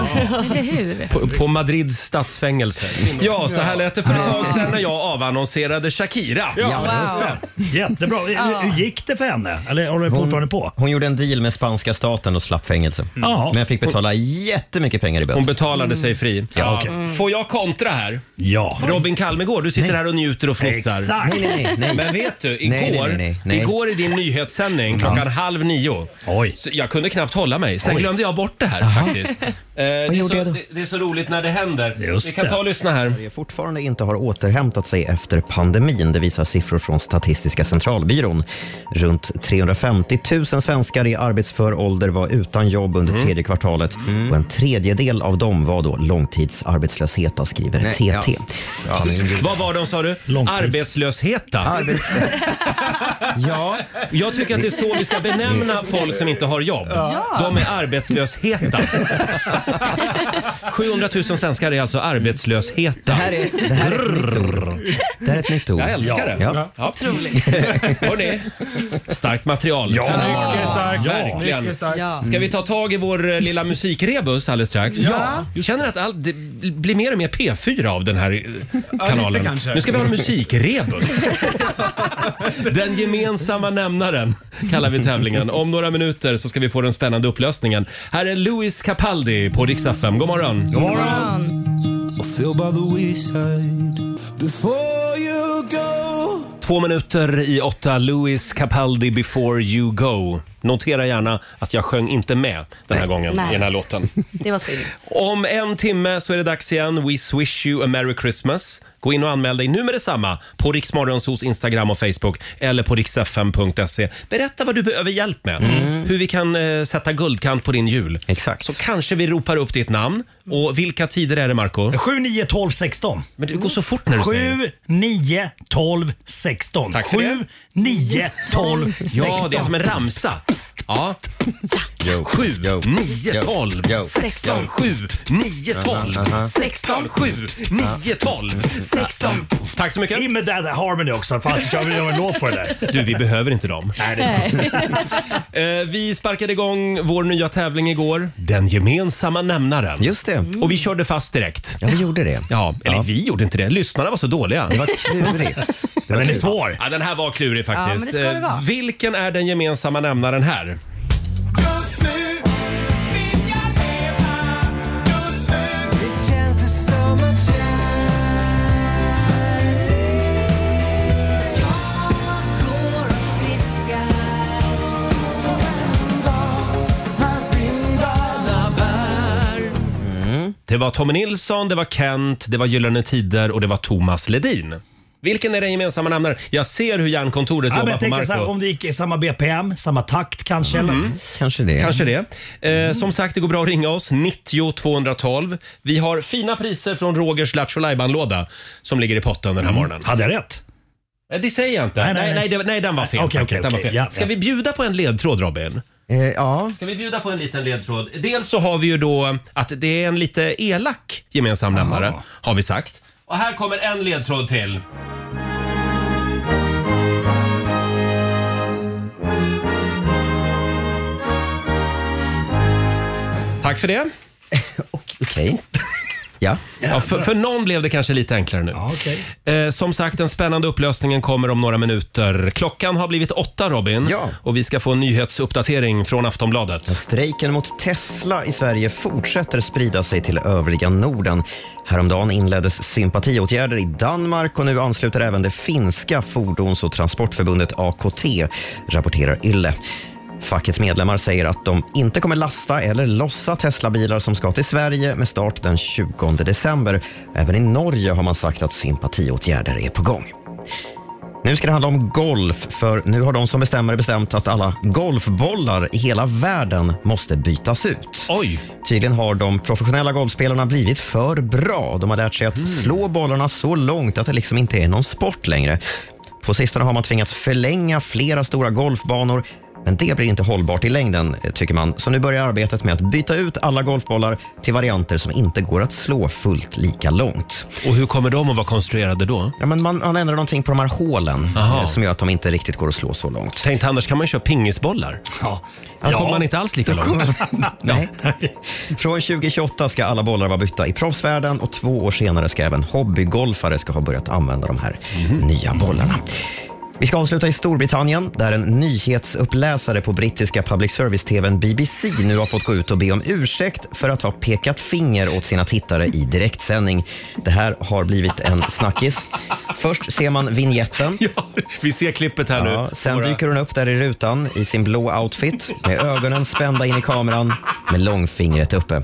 [SPEAKER 12] eller hur?
[SPEAKER 1] På, på Madrids stadsfängelse. Ja, så här lät det för ett tag sedan när jag avannonserade Shakira.
[SPEAKER 13] Ja, just det. Jättebra.
[SPEAKER 12] Ja.
[SPEAKER 13] Hur gick det för henne? Eller håller hon fortfarande på?
[SPEAKER 2] Hon gjorde en deal med spanska staten och slapp fängelse.
[SPEAKER 9] Mm.
[SPEAKER 13] Jaha.
[SPEAKER 2] Men jag fick betala jättemycket pengar i böter.
[SPEAKER 1] Hon betalade sig fri.
[SPEAKER 2] Ja,
[SPEAKER 1] Ja.
[SPEAKER 2] okej.
[SPEAKER 1] Får jag kontra här?
[SPEAKER 13] Ja.
[SPEAKER 1] Robin Kalmegård, du sitter
[SPEAKER 2] Nej.
[SPEAKER 1] här och njuter och fnissar.
[SPEAKER 2] Exakt. Nej, nej, nej.
[SPEAKER 1] Men vet du,
[SPEAKER 2] Nej, nej,
[SPEAKER 1] igår,
[SPEAKER 2] nej, nej, nej.
[SPEAKER 1] igår i din nyhetssändning klockan halv nio. Så jag kunde knappt hålla mig. Sen
[SPEAKER 11] Oj.
[SPEAKER 1] glömde jag bort det här
[SPEAKER 2] Jaha.
[SPEAKER 1] faktiskt. Eh, det, är så, det, det är så roligt när det händer. Vi kan ta och lyssna här.
[SPEAKER 2] Sverige fortfarande inte har återhämtat sig efter pandemin. Det visar siffror från Statistiska centralbyrån. Runt 350 000 svenskar i arbetsför ålder var utan jobb under
[SPEAKER 1] Mm.
[SPEAKER 2] tredje kvartalet och en tredjedel av dem var då långtidsarbetslösheta, skriver
[SPEAKER 1] Nej,
[SPEAKER 2] TT.
[SPEAKER 1] ja. Vad var de sa du? Arbetslösheta? *laughs* ja. Jag tycker att det är så vi ska benämna folk som inte har jobb.
[SPEAKER 12] Ja.
[SPEAKER 1] De är arbetslösheta. 700 000 svenskar är alltså arbetslösheta. Det här
[SPEAKER 2] är, det här är ett nytt ord. Det här är ett nytt ord.
[SPEAKER 1] Jag älskar det.
[SPEAKER 2] Ja.
[SPEAKER 1] Otroligt. Hörrni, starkt material.
[SPEAKER 2] Ja.
[SPEAKER 1] Den här
[SPEAKER 2] Mycket
[SPEAKER 1] morgonen.
[SPEAKER 2] starkt.
[SPEAKER 1] Verkligen.
[SPEAKER 12] Mycket starkt. Ja.
[SPEAKER 1] Ska vi ta tag i vår eh, lilla musikrebus alldeles strax?
[SPEAKER 12] Ja.
[SPEAKER 1] Känner att allt, det blir mer och mer P4 av den här eh,
[SPEAKER 12] Ja,
[SPEAKER 1] kanalen.
[SPEAKER 12] lite kanske.
[SPEAKER 1] nu ska vi ha
[SPEAKER 3] *laughs*
[SPEAKER 1] en musikrebus. *laughs* Den gemensamma nämnaren kallar vi tävlingen. Om några minuter så ska vi få den spännande upplösningen. Här är Louis Capaldi på Rix FM. God morgon! God morgon! Två minuter i åtta, Louis Capaldi “Before You Go”. Notera gärna att jag sjöng inte med den här gången
[SPEAKER 7] Nej.
[SPEAKER 1] i den här låten.
[SPEAKER 7] Det var synd.
[SPEAKER 1] Om en timme så är det dags igen. We swish you a merry Christmas. Gå in och anmäl dig nu med detsamma på Riksmorgonsos Instagram och Facebook eller på riksfm.se. Berätta vad du behöver hjälp med.
[SPEAKER 7] Mm.
[SPEAKER 1] Hur vi kan eh, sätta guldkant på din jul.
[SPEAKER 2] Exakt.
[SPEAKER 1] Så kanske vi ropar upp ditt namn. Och vilka tider är det Marco?
[SPEAKER 13] 7, 9, 12, 16.
[SPEAKER 1] Men det går så fort när du säger
[SPEAKER 13] 7, 9, 12, 16.
[SPEAKER 1] Tack för
[SPEAKER 13] 7, 9, 12, 16.
[SPEAKER 1] Ja, det är som en ramsa. Ja. 7, 9, 12, 16, 7, 9, 12,
[SPEAKER 13] Aha, aha.
[SPEAKER 1] 16, 7, 9, 12, 16. Tack så mycket.
[SPEAKER 13] In med Dad Harmony också. Fan, jag vill göra en låt på det där.
[SPEAKER 1] Du, vi behöver inte dem.
[SPEAKER 13] Nej, det är sant.
[SPEAKER 1] *laughs* Eh, vi sparkade igång vår nya tävling igår. Den gemensamma nämnaren.
[SPEAKER 2] Just det.
[SPEAKER 1] Och vi körde fast direkt.
[SPEAKER 2] Ja, vi gjorde det.
[SPEAKER 1] Ja, eller vi gjorde inte det. Lyssnarna var så dåliga.
[SPEAKER 2] Det var klurigt.
[SPEAKER 1] Den
[SPEAKER 2] är
[SPEAKER 1] svår. Ja, den här var klurig
[SPEAKER 12] Ja, men
[SPEAKER 1] faktiskt.
[SPEAKER 12] det ska det
[SPEAKER 1] Eh,
[SPEAKER 12] vara.
[SPEAKER 1] Vilken är den gemensamma nämnaren här? Mm. Det var Tommy Nilsson, det var Kent, det var Gyllene Tider och det var Thomas Ledin. Vilken är den gemensamma nämnaren? Jag ser hur hjärnkontoret
[SPEAKER 13] Ja, men
[SPEAKER 1] jobbar
[SPEAKER 13] jag
[SPEAKER 1] på
[SPEAKER 13] tänker
[SPEAKER 1] Marco.
[SPEAKER 13] så här, om det gick i samma BPM, samma takt kanske. Eller?
[SPEAKER 2] Mm. Kanske det.
[SPEAKER 1] Kanske det. Eh,
[SPEAKER 13] Mm.
[SPEAKER 1] Som sagt, det går bra att ringa oss. 90 212. Vi har fina priser från Rogers Lattjo låda som ligger i potten den här morgonen.
[SPEAKER 13] Mm. Hade jag rätt?
[SPEAKER 1] Eh, Det säger jag inte. Nej,
[SPEAKER 13] Nej,
[SPEAKER 1] nej,
[SPEAKER 13] nej,
[SPEAKER 1] nej.
[SPEAKER 13] nej.
[SPEAKER 1] det, nej den var fel.
[SPEAKER 13] Okej, okej,
[SPEAKER 1] faktiskt. den var
[SPEAKER 13] okej.
[SPEAKER 1] fel.
[SPEAKER 13] Ja,
[SPEAKER 1] Ska
[SPEAKER 13] ja.
[SPEAKER 1] vi bjuda på en ledtråd, Robin?
[SPEAKER 2] ja.
[SPEAKER 1] Ska vi bjuda på en liten ledtråd? Dels så har vi ju då att det är en lite elak gemensam nämnare, har vi sagt. Och här kommer en ledtråd till. Tack för det.
[SPEAKER 2] *laughs* Okej. Ja.
[SPEAKER 1] Ja, för, för någon blev det kanske lite enklare nu. eh, som sagt, den spännande upplösningen kommer om några minuter. Klockan har blivit åtta, Robin. Och vi ska få en nyhetsuppdatering från Aftonbladet.
[SPEAKER 2] Strejken mot Tesla i Sverige fortsätter sprida sig till övriga Norden. Häromdagen inleddes sympatiåtgärder i Danmark och nu ansluter även det finska fordons och transportförbundet AKT, rapporterar Yle. Fackets medlemmar säger att de inte kommer lasta eller lossa Tesla-bilar som ska till Sverige med start den 20 december. Även i Norge har man sagt att sympatiåtgärder är på gång. Nu ska det handla om golf, för nu har de som bestämmer bestämt att alla golfbollar i hela världen måste bytas ut.
[SPEAKER 1] Oj.
[SPEAKER 2] Tydligen har de professionella golfspelarna blivit för bra. De har lärt sig att
[SPEAKER 1] Mm.
[SPEAKER 2] slå bollarna så långt att det liksom inte är någon sport längre. På sistone har man tvingats förlänga flera stora golfbanor men det blir inte hållbart i längden, eh, tycker man. Så nu börjar arbetet med att byta ut alla golfbollar till varianter som inte går att slå fullt lika långt.
[SPEAKER 1] Och hur kommer de att vara konstruerade då?
[SPEAKER 2] Ja, men man, man ändrar någonting på de här hålen
[SPEAKER 1] Aha.
[SPEAKER 2] eh, som gör att de inte riktigt går att slå så långt.
[SPEAKER 1] Tänkte annars kan man ju köra pingisbollar.
[SPEAKER 13] Ja.
[SPEAKER 1] Då
[SPEAKER 2] Ja.
[SPEAKER 1] kommer man inte alls lika
[SPEAKER 2] Då
[SPEAKER 1] långt.
[SPEAKER 2] Nej. Från 2028 ska alla bollar vara bytta i proffsvärlden och två år senare ska även hobbygolfare ska ha börjat använda de här nya bollarna. Vi ska avsluta i Storbritannien där en nyhetsuppläsare på brittiska public service-tvn BBC nu har fått gå ut och be om ursäkt för att ha pekat finger åt sina tittare i direktsändning. Det här har blivit en snackis. Först ser man vignetten.
[SPEAKER 1] *laughs* vi ser klippet här nu.
[SPEAKER 2] Sen dyker hon upp där i rutan i sin blå outfit med ögonen spända in i kameran med långfingret uppe.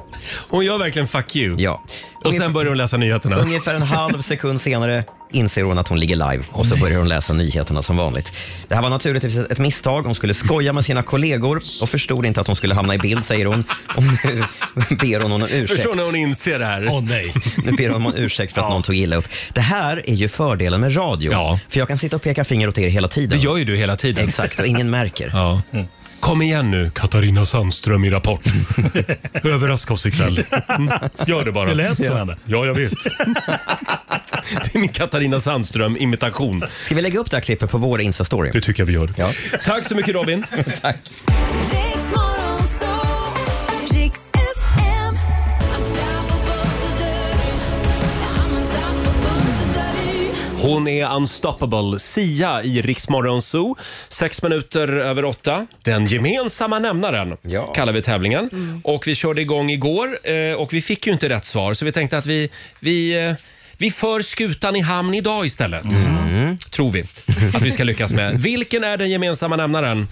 [SPEAKER 1] Hon gör verkligen fuck you.
[SPEAKER 2] Ja.
[SPEAKER 1] Och sen börjar hon läsa nyheterna.
[SPEAKER 2] Ungefär en halv sekund senare inser hon att hon ligger live och så börjar hon läsa nyheterna som vanligt. Det här var naturligtvis ett misstag. Hon skulle skoja med sina kollegor och förstod inte att hon skulle hamna i bild, säger hon. Och nu *laughs* ber hon om ursäkt.
[SPEAKER 1] Förstår när hon inser det här?
[SPEAKER 13] Åh
[SPEAKER 1] *laughs*
[SPEAKER 13] nej.
[SPEAKER 2] Nu ber de om ursäkt för att någon tog illa upp. Det här är ju fördelen med radio. För jag kan sitta och peka finger åt er hela tiden.
[SPEAKER 1] Det gör ju du hela tiden.
[SPEAKER 2] Exakt, och ingen märker.
[SPEAKER 1] Ja. Kom igen nu, Katarina Sandström
[SPEAKER 2] *laughs*
[SPEAKER 1] i Rapport. Överraska oss ikväll. Mm. Gör det bara.
[SPEAKER 13] Det lät som
[SPEAKER 1] ja.
[SPEAKER 13] henne.
[SPEAKER 1] Ja, jag vet. *laughs* det är min Katarina Sandström-imitation.
[SPEAKER 2] Ska vi lägga upp det här klippet på vår Insta-story? Det
[SPEAKER 1] tycker jag vi gör.
[SPEAKER 2] Ja.
[SPEAKER 1] Tack så mycket Robin.
[SPEAKER 2] *laughs* Tack.
[SPEAKER 1] Hon är unstoppable. Sia i Riksmorgon Zoo. Sex minuter över åtta. Den gemensamma nämnaren kallar vi tävlingen. Och vi körde igång igår eh, och vi fick ju inte rätt svar så vi tänkte att vi, vi, eh, vi för skutan i hamn idag istället. Tror vi att vi ska lyckas med. Vilken är den gemensamma nämnaren?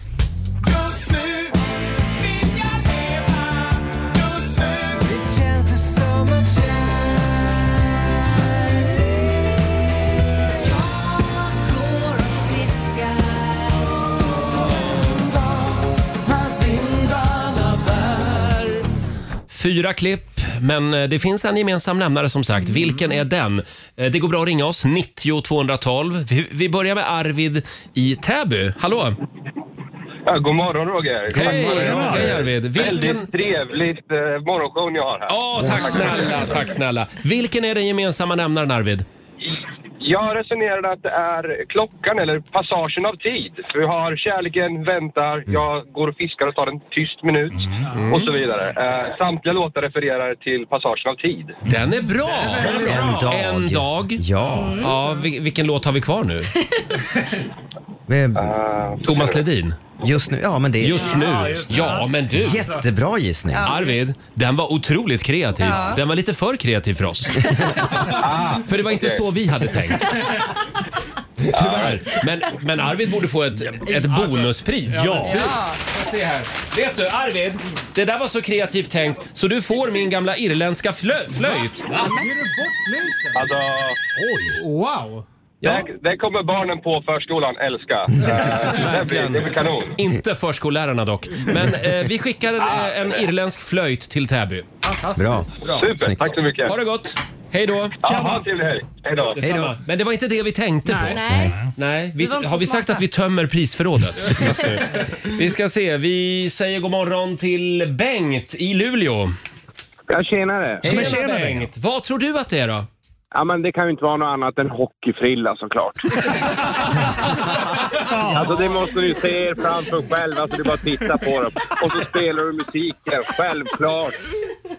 [SPEAKER 1] Fyra klipp, men eh, det finns en gemensam nämnare som sagt. Vilken är den? Eh, Det går bra att ringa oss, 90 212. Vi, vi börjar med Arvid i Täby. Hallå!
[SPEAKER 14] Ja, god morgon Roger!
[SPEAKER 1] Hej, hej Arvid! Vilken...
[SPEAKER 14] Väldigt trevligt eh, morgonshow ni har här.
[SPEAKER 1] Ja, tack snälla, tack snälla. Vilken är den gemensamma nämnaren Arvid?
[SPEAKER 14] Jag resonerade att det är klockan eller passagen av tid. Vi har kärleken, väntar,
[SPEAKER 1] Mm.
[SPEAKER 14] jag går och fiskar och tar en tyst minut och så vidare. Eh, samtliga låtar refererar till passagen av tid.
[SPEAKER 1] Den är bra!
[SPEAKER 2] En dag.
[SPEAKER 1] En dag.
[SPEAKER 2] Ja.
[SPEAKER 1] ja vi, vilken låt har vi kvar nu? Thomas Ledin?
[SPEAKER 2] Just nu, ja men det...
[SPEAKER 1] Just
[SPEAKER 2] Ja,
[SPEAKER 1] nu?
[SPEAKER 2] just det.
[SPEAKER 1] Ja, men du!
[SPEAKER 2] Jättebra gissning.
[SPEAKER 1] Arvid, den var otroligt kreativ.
[SPEAKER 2] Ja.
[SPEAKER 1] Den var lite för kreativ
[SPEAKER 2] *laughs*
[SPEAKER 1] för oss.
[SPEAKER 2] Ah,
[SPEAKER 1] för det var inte
[SPEAKER 14] okej.
[SPEAKER 1] så vi hade tänkt. Tyvärr. Men, men Arvid borde få ett, ett
[SPEAKER 2] Alltså,
[SPEAKER 1] bonuspris.
[SPEAKER 13] Ja.
[SPEAKER 1] Se här. Vet du, Arvid, det där var så kreativt tänkt så du får min gamla irländska flö- flöjt.
[SPEAKER 3] Ger du bort flöjten?
[SPEAKER 14] Alltså,
[SPEAKER 3] Oj! Wow!
[SPEAKER 14] det, det kommer barnen på förskolan älska. Eh, det, blir, det blir kanon.
[SPEAKER 1] Inte förskollärarna dock. Men eh, vi skickar en, eh, en irländsk flöjt till Täby.
[SPEAKER 14] Fantastiskt. Bra. Bra. Super, Snyggt. tack så mycket.
[SPEAKER 1] Ha det gott. Hej då.
[SPEAKER 14] Ja, ha en trevlig helg. Hej då.
[SPEAKER 1] Detsamma. Men det var inte det vi tänkte
[SPEAKER 14] Nej.
[SPEAKER 1] på.
[SPEAKER 14] Nej.
[SPEAKER 1] Nej.
[SPEAKER 14] Vi
[SPEAKER 1] Vi,
[SPEAKER 14] var inte
[SPEAKER 1] har
[SPEAKER 14] så
[SPEAKER 1] vi sagt
[SPEAKER 14] smarta.
[SPEAKER 1] att vi tömmer prisförrådet just nu? *laughs* Vi ska se. Vi säger god morgon till Bengt i Luleå.
[SPEAKER 15] Ja, tjenare.
[SPEAKER 1] Tjena, Bengt. Vad tror du att det är då?
[SPEAKER 15] Ja, men det kan ju inte vara något annat än hockeyfrilla såklart. alltså det måste ni ju se er framför själv. Alltså det är bara att titta på dem. Och så spelar du musiken, självklart.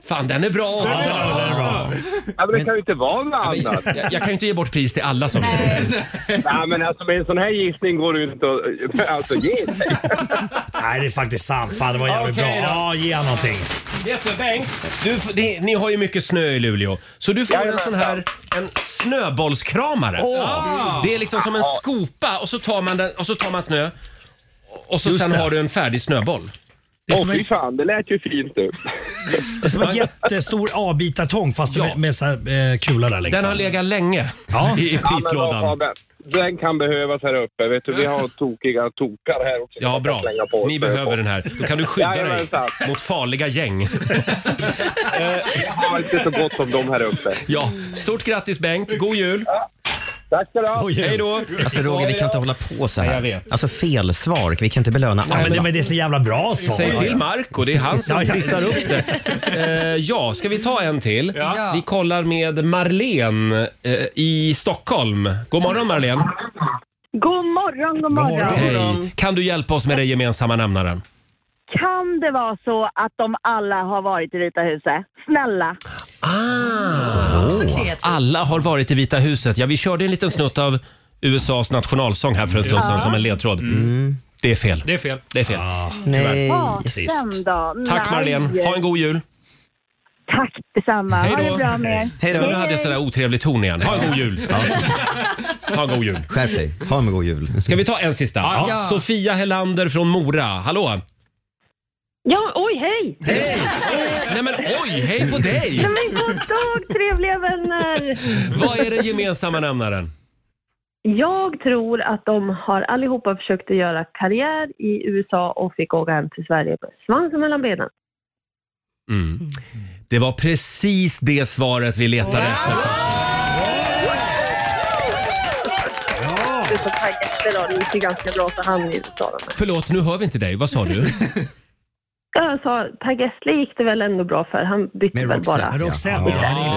[SPEAKER 1] Fan, den är bra alltså. också!
[SPEAKER 14] Ja, men det kan ju inte vara något annat.
[SPEAKER 1] Jag, jag kan ju inte ge bort pris till alla som
[SPEAKER 14] Nej, men alltså med en sån här gissning går det ju inte att alltså, ge sig.
[SPEAKER 9] Nej, det är faktiskt sant. Fan, det var jävligt
[SPEAKER 1] Okej
[SPEAKER 9] bra.
[SPEAKER 1] då.
[SPEAKER 9] Ja, ge han någonting.
[SPEAKER 1] Vet du Bengt, du, f- ni, ni har ju mycket snö i Luleå. Så du får en sån här en snöbollskramare.
[SPEAKER 5] Åh.
[SPEAKER 1] Det är liksom som en
[SPEAKER 5] Ja.
[SPEAKER 1] skopa och så tar man, den, och så tar man snö och så
[SPEAKER 5] Just
[SPEAKER 1] sen
[SPEAKER 5] det.
[SPEAKER 1] har du en färdig snöboll.
[SPEAKER 14] Åh fy fan, det lät ju fint du.
[SPEAKER 9] Det är som en jättestor avbitartång fast med, med så här, eh, kula där längst
[SPEAKER 1] Den har
[SPEAKER 9] fram.
[SPEAKER 1] legat länge
[SPEAKER 9] Ja.
[SPEAKER 1] *laughs* i prislådan.
[SPEAKER 14] Ja, men vad fan, den kan behövas här uppe. Vet du, vi har tokiga tokar här också.
[SPEAKER 1] Ja, bra. Ni behöver den här. Då kan du skydda dig mot farliga gäng.
[SPEAKER 14] Jag har inte så gott om dem här uppe.
[SPEAKER 1] Ja, stort grattis Bengt. God jul!
[SPEAKER 14] Tack ska du ha!
[SPEAKER 1] Hej då!
[SPEAKER 2] Alltså Roger, vi kan inte hålla på så här.
[SPEAKER 1] Nej, jag vet.
[SPEAKER 2] Alltså felsvar, vi kan inte belöna
[SPEAKER 1] Nej, men det- men det är
[SPEAKER 9] så jävla bra svar.
[SPEAKER 1] Säg till Marco, det är han som trissar upp det. Eh, ja, ska vi ta en till?
[SPEAKER 9] Ja.
[SPEAKER 1] Vi kollar med Marlene eh, i Stockholm. God morgon Marlene!
[SPEAKER 6] God morgon, god morgon.
[SPEAKER 1] Hej! Kan du hjälpa oss med den gemensamma nämnaren?
[SPEAKER 6] Kan det vara så att de alla har varit i Vita huset? Snälla.
[SPEAKER 1] Ah,
[SPEAKER 6] Också kreativt.
[SPEAKER 1] alla har varit i Vita huset. Ja, vi körde en liten snutt av USAs nationalsång här för en stund
[SPEAKER 6] Ja. Mm.
[SPEAKER 1] sedan som en ledtråd. Det är fel.
[SPEAKER 16] Det är fel.
[SPEAKER 1] Det är fel.
[SPEAKER 6] Ah. Nej.
[SPEAKER 1] Trist.
[SPEAKER 6] Fasen då.
[SPEAKER 1] Tack Marlene. Ha en god jul.
[SPEAKER 6] Tack detsamma.
[SPEAKER 1] Hej
[SPEAKER 6] Ha
[SPEAKER 1] då.
[SPEAKER 6] det bra med er.
[SPEAKER 1] Nu hade jag sådär otrevlig ton igen. Ha en god jul. Ha en god jul.
[SPEAKER 2] Skärp dig, ha en god jul.
[SPEAKER 1] Ska vi ta en sista?
[SPEAKER 2] Ja.
[SPEAKER 1] Ja. Sofia Hellander från Mora. Hallå!
[SPEAKER 6] Ja, oj, hej!
[SPEAKER 1] Hej! Nej men oj, hej på dig!
[SPEAKER 6] Nej, men god dag trevliga vänner!
[SPEAKER 1] Vad är den gemensamma nämnaren?
[SPEAKER 6] Jag tror att de har allihopa försökt att göra karriär i USA och fick åka hem till Sverige med svansen mellan benen.
[SPEAKER 1] Mm. Det var precis det svaret vi letade efter.
[SPEAKER 6] Det som taggade då, det gick ju ganska bra för han i USA. då.
[SPEAKER 1] Förlåt, nu hör vi inte dig. Vad sa du?
[SPEAKER 6] Ja, Jag sa, Per Gessle gick det väl ändå bra för. Han bytte väl bara.
[SPEAKER 1] ja.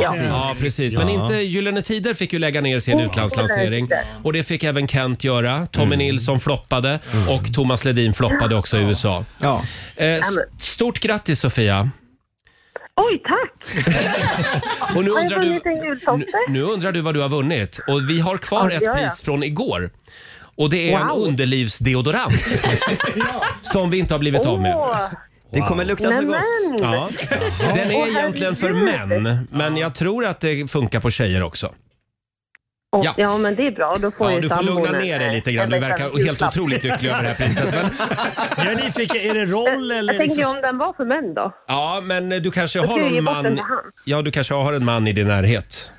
[SPEAKER 6] Ja.
[SPEAKER 1] ja, precis. Men
[SPEAKER 6] Ja.
[SPEAKER 1] inte Gyllene Tider fick ju lägga ner sin
[SPEAKER 6] Åh,
[SPEAKER 1] utlandslansering.
[SPEAKER 6] nej.
[SPEAKER 1] Och det fick även Kent göra. Tommy Nilsson floppade och Thomas Ledin floppade också i USA.
[SPEAKER 2] Ja.
[SPEAKER 1] Eh, s- stort grattis Sofia!
[SPEAKER 6] Oj, tack!
[SPEAKER 1] Och nu
[SPEAKER 6] Har jag
[SPEAKER 1] undrar du...
[SPEAKER 6] vunnit en jultomte?
[SPEAKER 1] Nu undrar du vad du har vunnit och vi har kvar
[SPEAKER 6] Ja,
[SPEAKER 1] ett
[SPEAKER 6] ja, ja.
[SPEAKER 1] pris från igår. Och det är en
[SPEAKER 6] Wow. *laughs*
[SPEAKER 1] underlivsdeodorant *laughs* som vi inte har blivit av med.
[SPEAKER 6] Åh.
[SPEAKER 2] Det kommer lukta så gott.
[SPEAKER 6] Nämen.
[SPEAKER 1] Ja. Den
[SPEAKER 6] Oh. Åh,
[SPEAKER 1] är egentligen för
[SPEAKER 6] herregud.
[SPEAKER 1] män, men jag tror att det funkar på tjejer också.
[SPEAKER 6] Åh,
[SPEAKER 1] Ja.
[SPEAKER 6] ja. men det är bra. Då får
[SPEAKER 1] Ja,
[SPEAKER 6] ju
[SPEAKER 1] du får
[SPEAKER 6] sambon
[SPEAKER 1] lugna
[SPEAKER 6] en-
[SPEAKER 1] ner dig lite grann. Du
[SPEAKER 6] en veckans
[SPEAKER 1] verkar helt
[SPEAKER 6] julklapp.
[SPEAKER 1] otroligt
[SPEAKER 6] *laughs*
[SPEAKER 1] lycklig över det här priset. Men,
[SPEAKER 9] Jag är nyfiken, är det roll eller?
[SPEAKER 6] Jag tänkte ju
[SPEAKER 9] liksom-
[SPEAKER 6] om den var för män då.
[SPEAKER 1] ja, men du kanske
[SPEAKER 6] Då ska
[SPEAKER 1] har
[SPEAKER 6] jag ge
[SPEAKER 1] någon
[SPEAKER 6] bort den
[SPEAKER 1] man...
[SPEAKER 6] till han.
[SPEAKER 1] Ja, du kanske har en man i din närhet.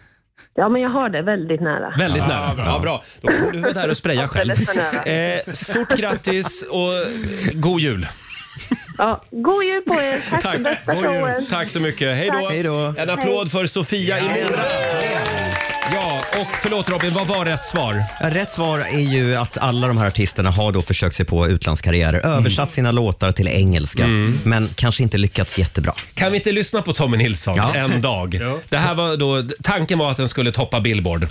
[SPEAKER 6] Ja, men jag har det väldigt nära.
[SPEAKER 1] Väldigt nära. Ja, bra. Då kommer du vara där och spraya själv.
[SPEAKER 6] Alldeles för nära.
[SPEAKER 1] *laughs* Eh, stort grattis och god jul!
[SPEAKER 6] Ja, god jul på er. Tack, för bästa
[SPEAKER 1] God jul.
[SPEAKER 6] showen.
[SPEAKER 1] Tack så mycket. Hej
[SPEAKER 6] Tack. Hej
[SPEAKER 1] då.
[SPEAKER 6] då.
[SPEAKER 1] En applåd för Sofia i Mora. Ja, och förlåt Robin, vad var rätt svar?
[SPEAKER 2] Ja, Rätt svar är ju att alla de här artisterna har då försökt sig på utlandskarriärer,
[SPEAKER 1] Mm.
[SPEAKER 2] översatt sina låtar till engelska, men kanske inte lyckats jättebra.
[SPEAKER 1] Kan vi inte lyssna på Tommy Nilsson
[SPEAKER 2] Ja.
[SPEAKER 1] en dag?
[SPEAKER 2] Ja.
[SPEAKER 1] Det här var då, tanken var att den skulle toppa Billboard.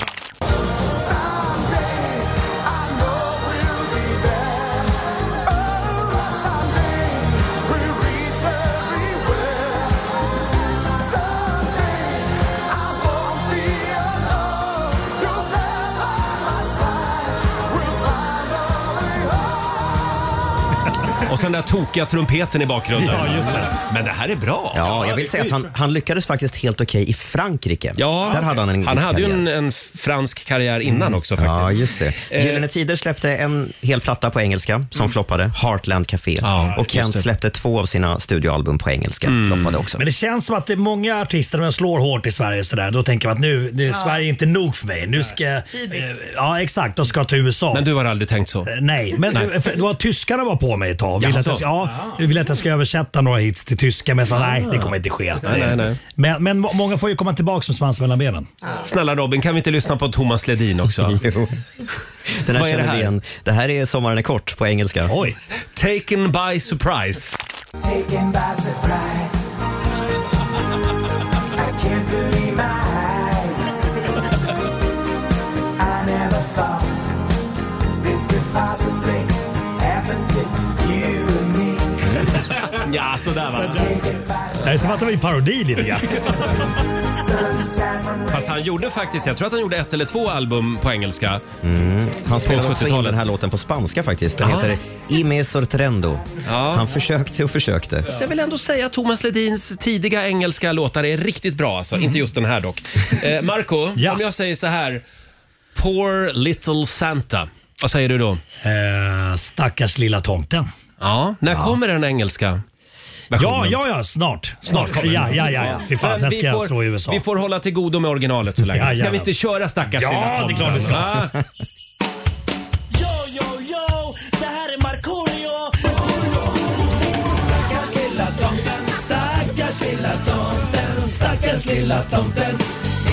[SPEAKER 1] Och sen den där tokiga trumpeten i bakgrunden.
[SPEAKER 2] Ja, just det.
[SPEAKER 1] Men det här är bra.
[SPEAKER 2] Ja, jag vill säga att han, han lyckades faktiskt helt okej i Frankrike.
[SPEAKER 1] Ja,
[SPEAKER 2] Där hade han en viss
[SPEAKER 1] hade ju
[SPEAKER 2] karriär. Mm.
[SPEAKER 1] en, en fransk karriär innan också
[SPEAKER 2] Ja,
[SPEAKER 1] faktiskt.
[SPEAKER 2] just det.
[SPEAKER 1] Eh,
[SPEAKER 2] Gyllene Tider släppte en hel platta på engelska som
[SPEAKER 1] Mm.
[SPEAKER 2] floppade, Heartland Café. och
[SPEAKER 9] just det.
[SPEAKER 2] Kent släppte två av sina studioalbum på engelska,
[SPEAKER 1] Mm.
[SPEAKER 2] floppade också.
[SPEAKER 9] Men det känns som att det är många artister som slår hårt i Sverige sådär. Då tänker man att nu, det, Sverige är inte nog för mig. Nu ska, eh, ja exakt, de ska till USA. Eh,
[SPEAKER 1] Men du har aldrig tänkt så?
[SPEAKER 9] Nej, men
[SPEAKER 1] Nej.
[SPEAKER 9] för Det var tyskarna var på mig ett tag. Ville att jag,
[SPEAKER 1] Jaså? Ah.
[SPEAKER 9] ska- ja, du ville att jag ska översätta några hits till tyska, men jag sa nej, det kommer inte ske.
[SPEAKER 1] Nej, nej, nej.
[SPEAKER 9] Men, men må- många får ju komma tillbaka som svans mellan benen.
[SPEAKER 14] Ah.
[SPEAKER 1] Snälla Robin, kan vi inte lyssna på Thomas
[SPEAKER 2] *laughs*
[SPEAKER 1] Ledin också?
[SPEAKER 2] Den här
[SPEAKER 1] Vad är det
[SPEAKER 2] känner vi
[SPEAKER 1] här?
[SPEAKER 2] igen. Det här är Sommaren är kort på engelska.
[SPEAKER 9] Oj.
[SPEAKER 1] Taken by surprise.
[SPEAKER 5] Taken by surprise. I can't believe my eyes. I never thought this could possibly happen to you and me.
[SPEAKER 1] Ja, sådär va.
[SPEAKER 9] Det är som att det var en parodi lite grann.
[SPEAKER 14] *laughs*
[SPEAKER 1] Fast han gjorde faktiskt, jag tror att han gjorde ett eller två album på engelska.
[SPEAKER 2] Mm. Han spelade
[SPEAKER 1] På
[SPEAKER 2] också in
[SPEAKER 1] 70-talet.
[SPEAKER 2] den här låten på spanska faktiskt. Den
[SPEAKER 1] Ah.
[SPEAKER 2] heter Ime Sortrendo. Han försökte och försökte.
[SPEAKER 1] Så jag vill ändå säga att Thomas Ledins tidiga engelska låtar är riktigt bra
[SPEAKER 9] Mhm.
[SPEAKER 1] alltså. Inte just den här dock.
[SPEAKER 9] *laughs*
[SPEAKER 1] Eh, Marco, om jag säger så här. Poor little Santa. Vad säger du då?
[SPEAKER 9] Eh, stackars lilla tomten.
[SPEAKER 1] Ja, när kommer den engelska? versionen?
[SPEAKER 9] Ja, ja, ja, snart.
[SPEAKER 1] Snart kommer den.
[SPEAKER 9] Ja, ja, ja. ja. Fy fan, sen
[SPEAKER 1] Vi
[SPEAKER 9] ska jag
[SPEAKER 1] får-
[SPEAKER 9] slå i USA.
[SPEAKER 1] Vi får hålla till godo med originalet så länge. Ska
[SPEAKER 9] Jajamän.
[SPEAKER 1] vi inte köra stackars
[SPEAKER 9] Ja,
[SPEAKER 1] lilla
[SPEAKER 9] det är
[SPEAKER 1] tomten?
[SPEAKER 9] klart vi ska.
[SPEAKER 1] Va?
[SPEAKER 9] *laughs*
[SPEAKER 5] Yo, yo, yo, det här är Markoolio Stackars lilla tomten, stackars lilla tomten, stackars lilla tomten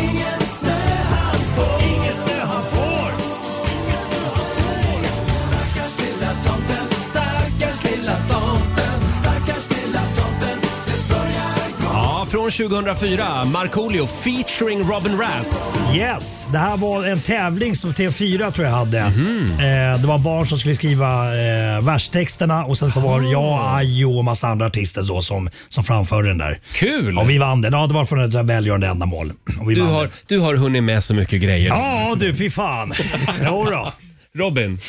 [SPEAKER 5] Ingen snö han får, ingen snö han får Ingen snö han får. Stackars lilla tomten, stackars lilla tomten, stackars lilla tomten Det börjar
[SPEAKER 1] Ja, från 2004. Markoolio featuring Robin Rass.
[SPEAKER 9] Yes, det här var en tävling som TV4 tror jag hade. Eh, det var barn som skulle skriva eh, verstexterna och sen så var det jag, Ayo och massa andra artister då som, som framförde den där.
[SPEAKER 1] Kul!
[SPEAKER 9] Och vi vann den. Ja, det var från ett välgörande ändamål. Och vi
[SPEAKER 1] Du
[SPEAKER 9] vann
[SPEAKER 1] har, du har hunnit med så mycket grejer.
[SPEAKER 9] Ja du, fy *laughs* fan. Jodå.
[SPEAKER 1] Robin?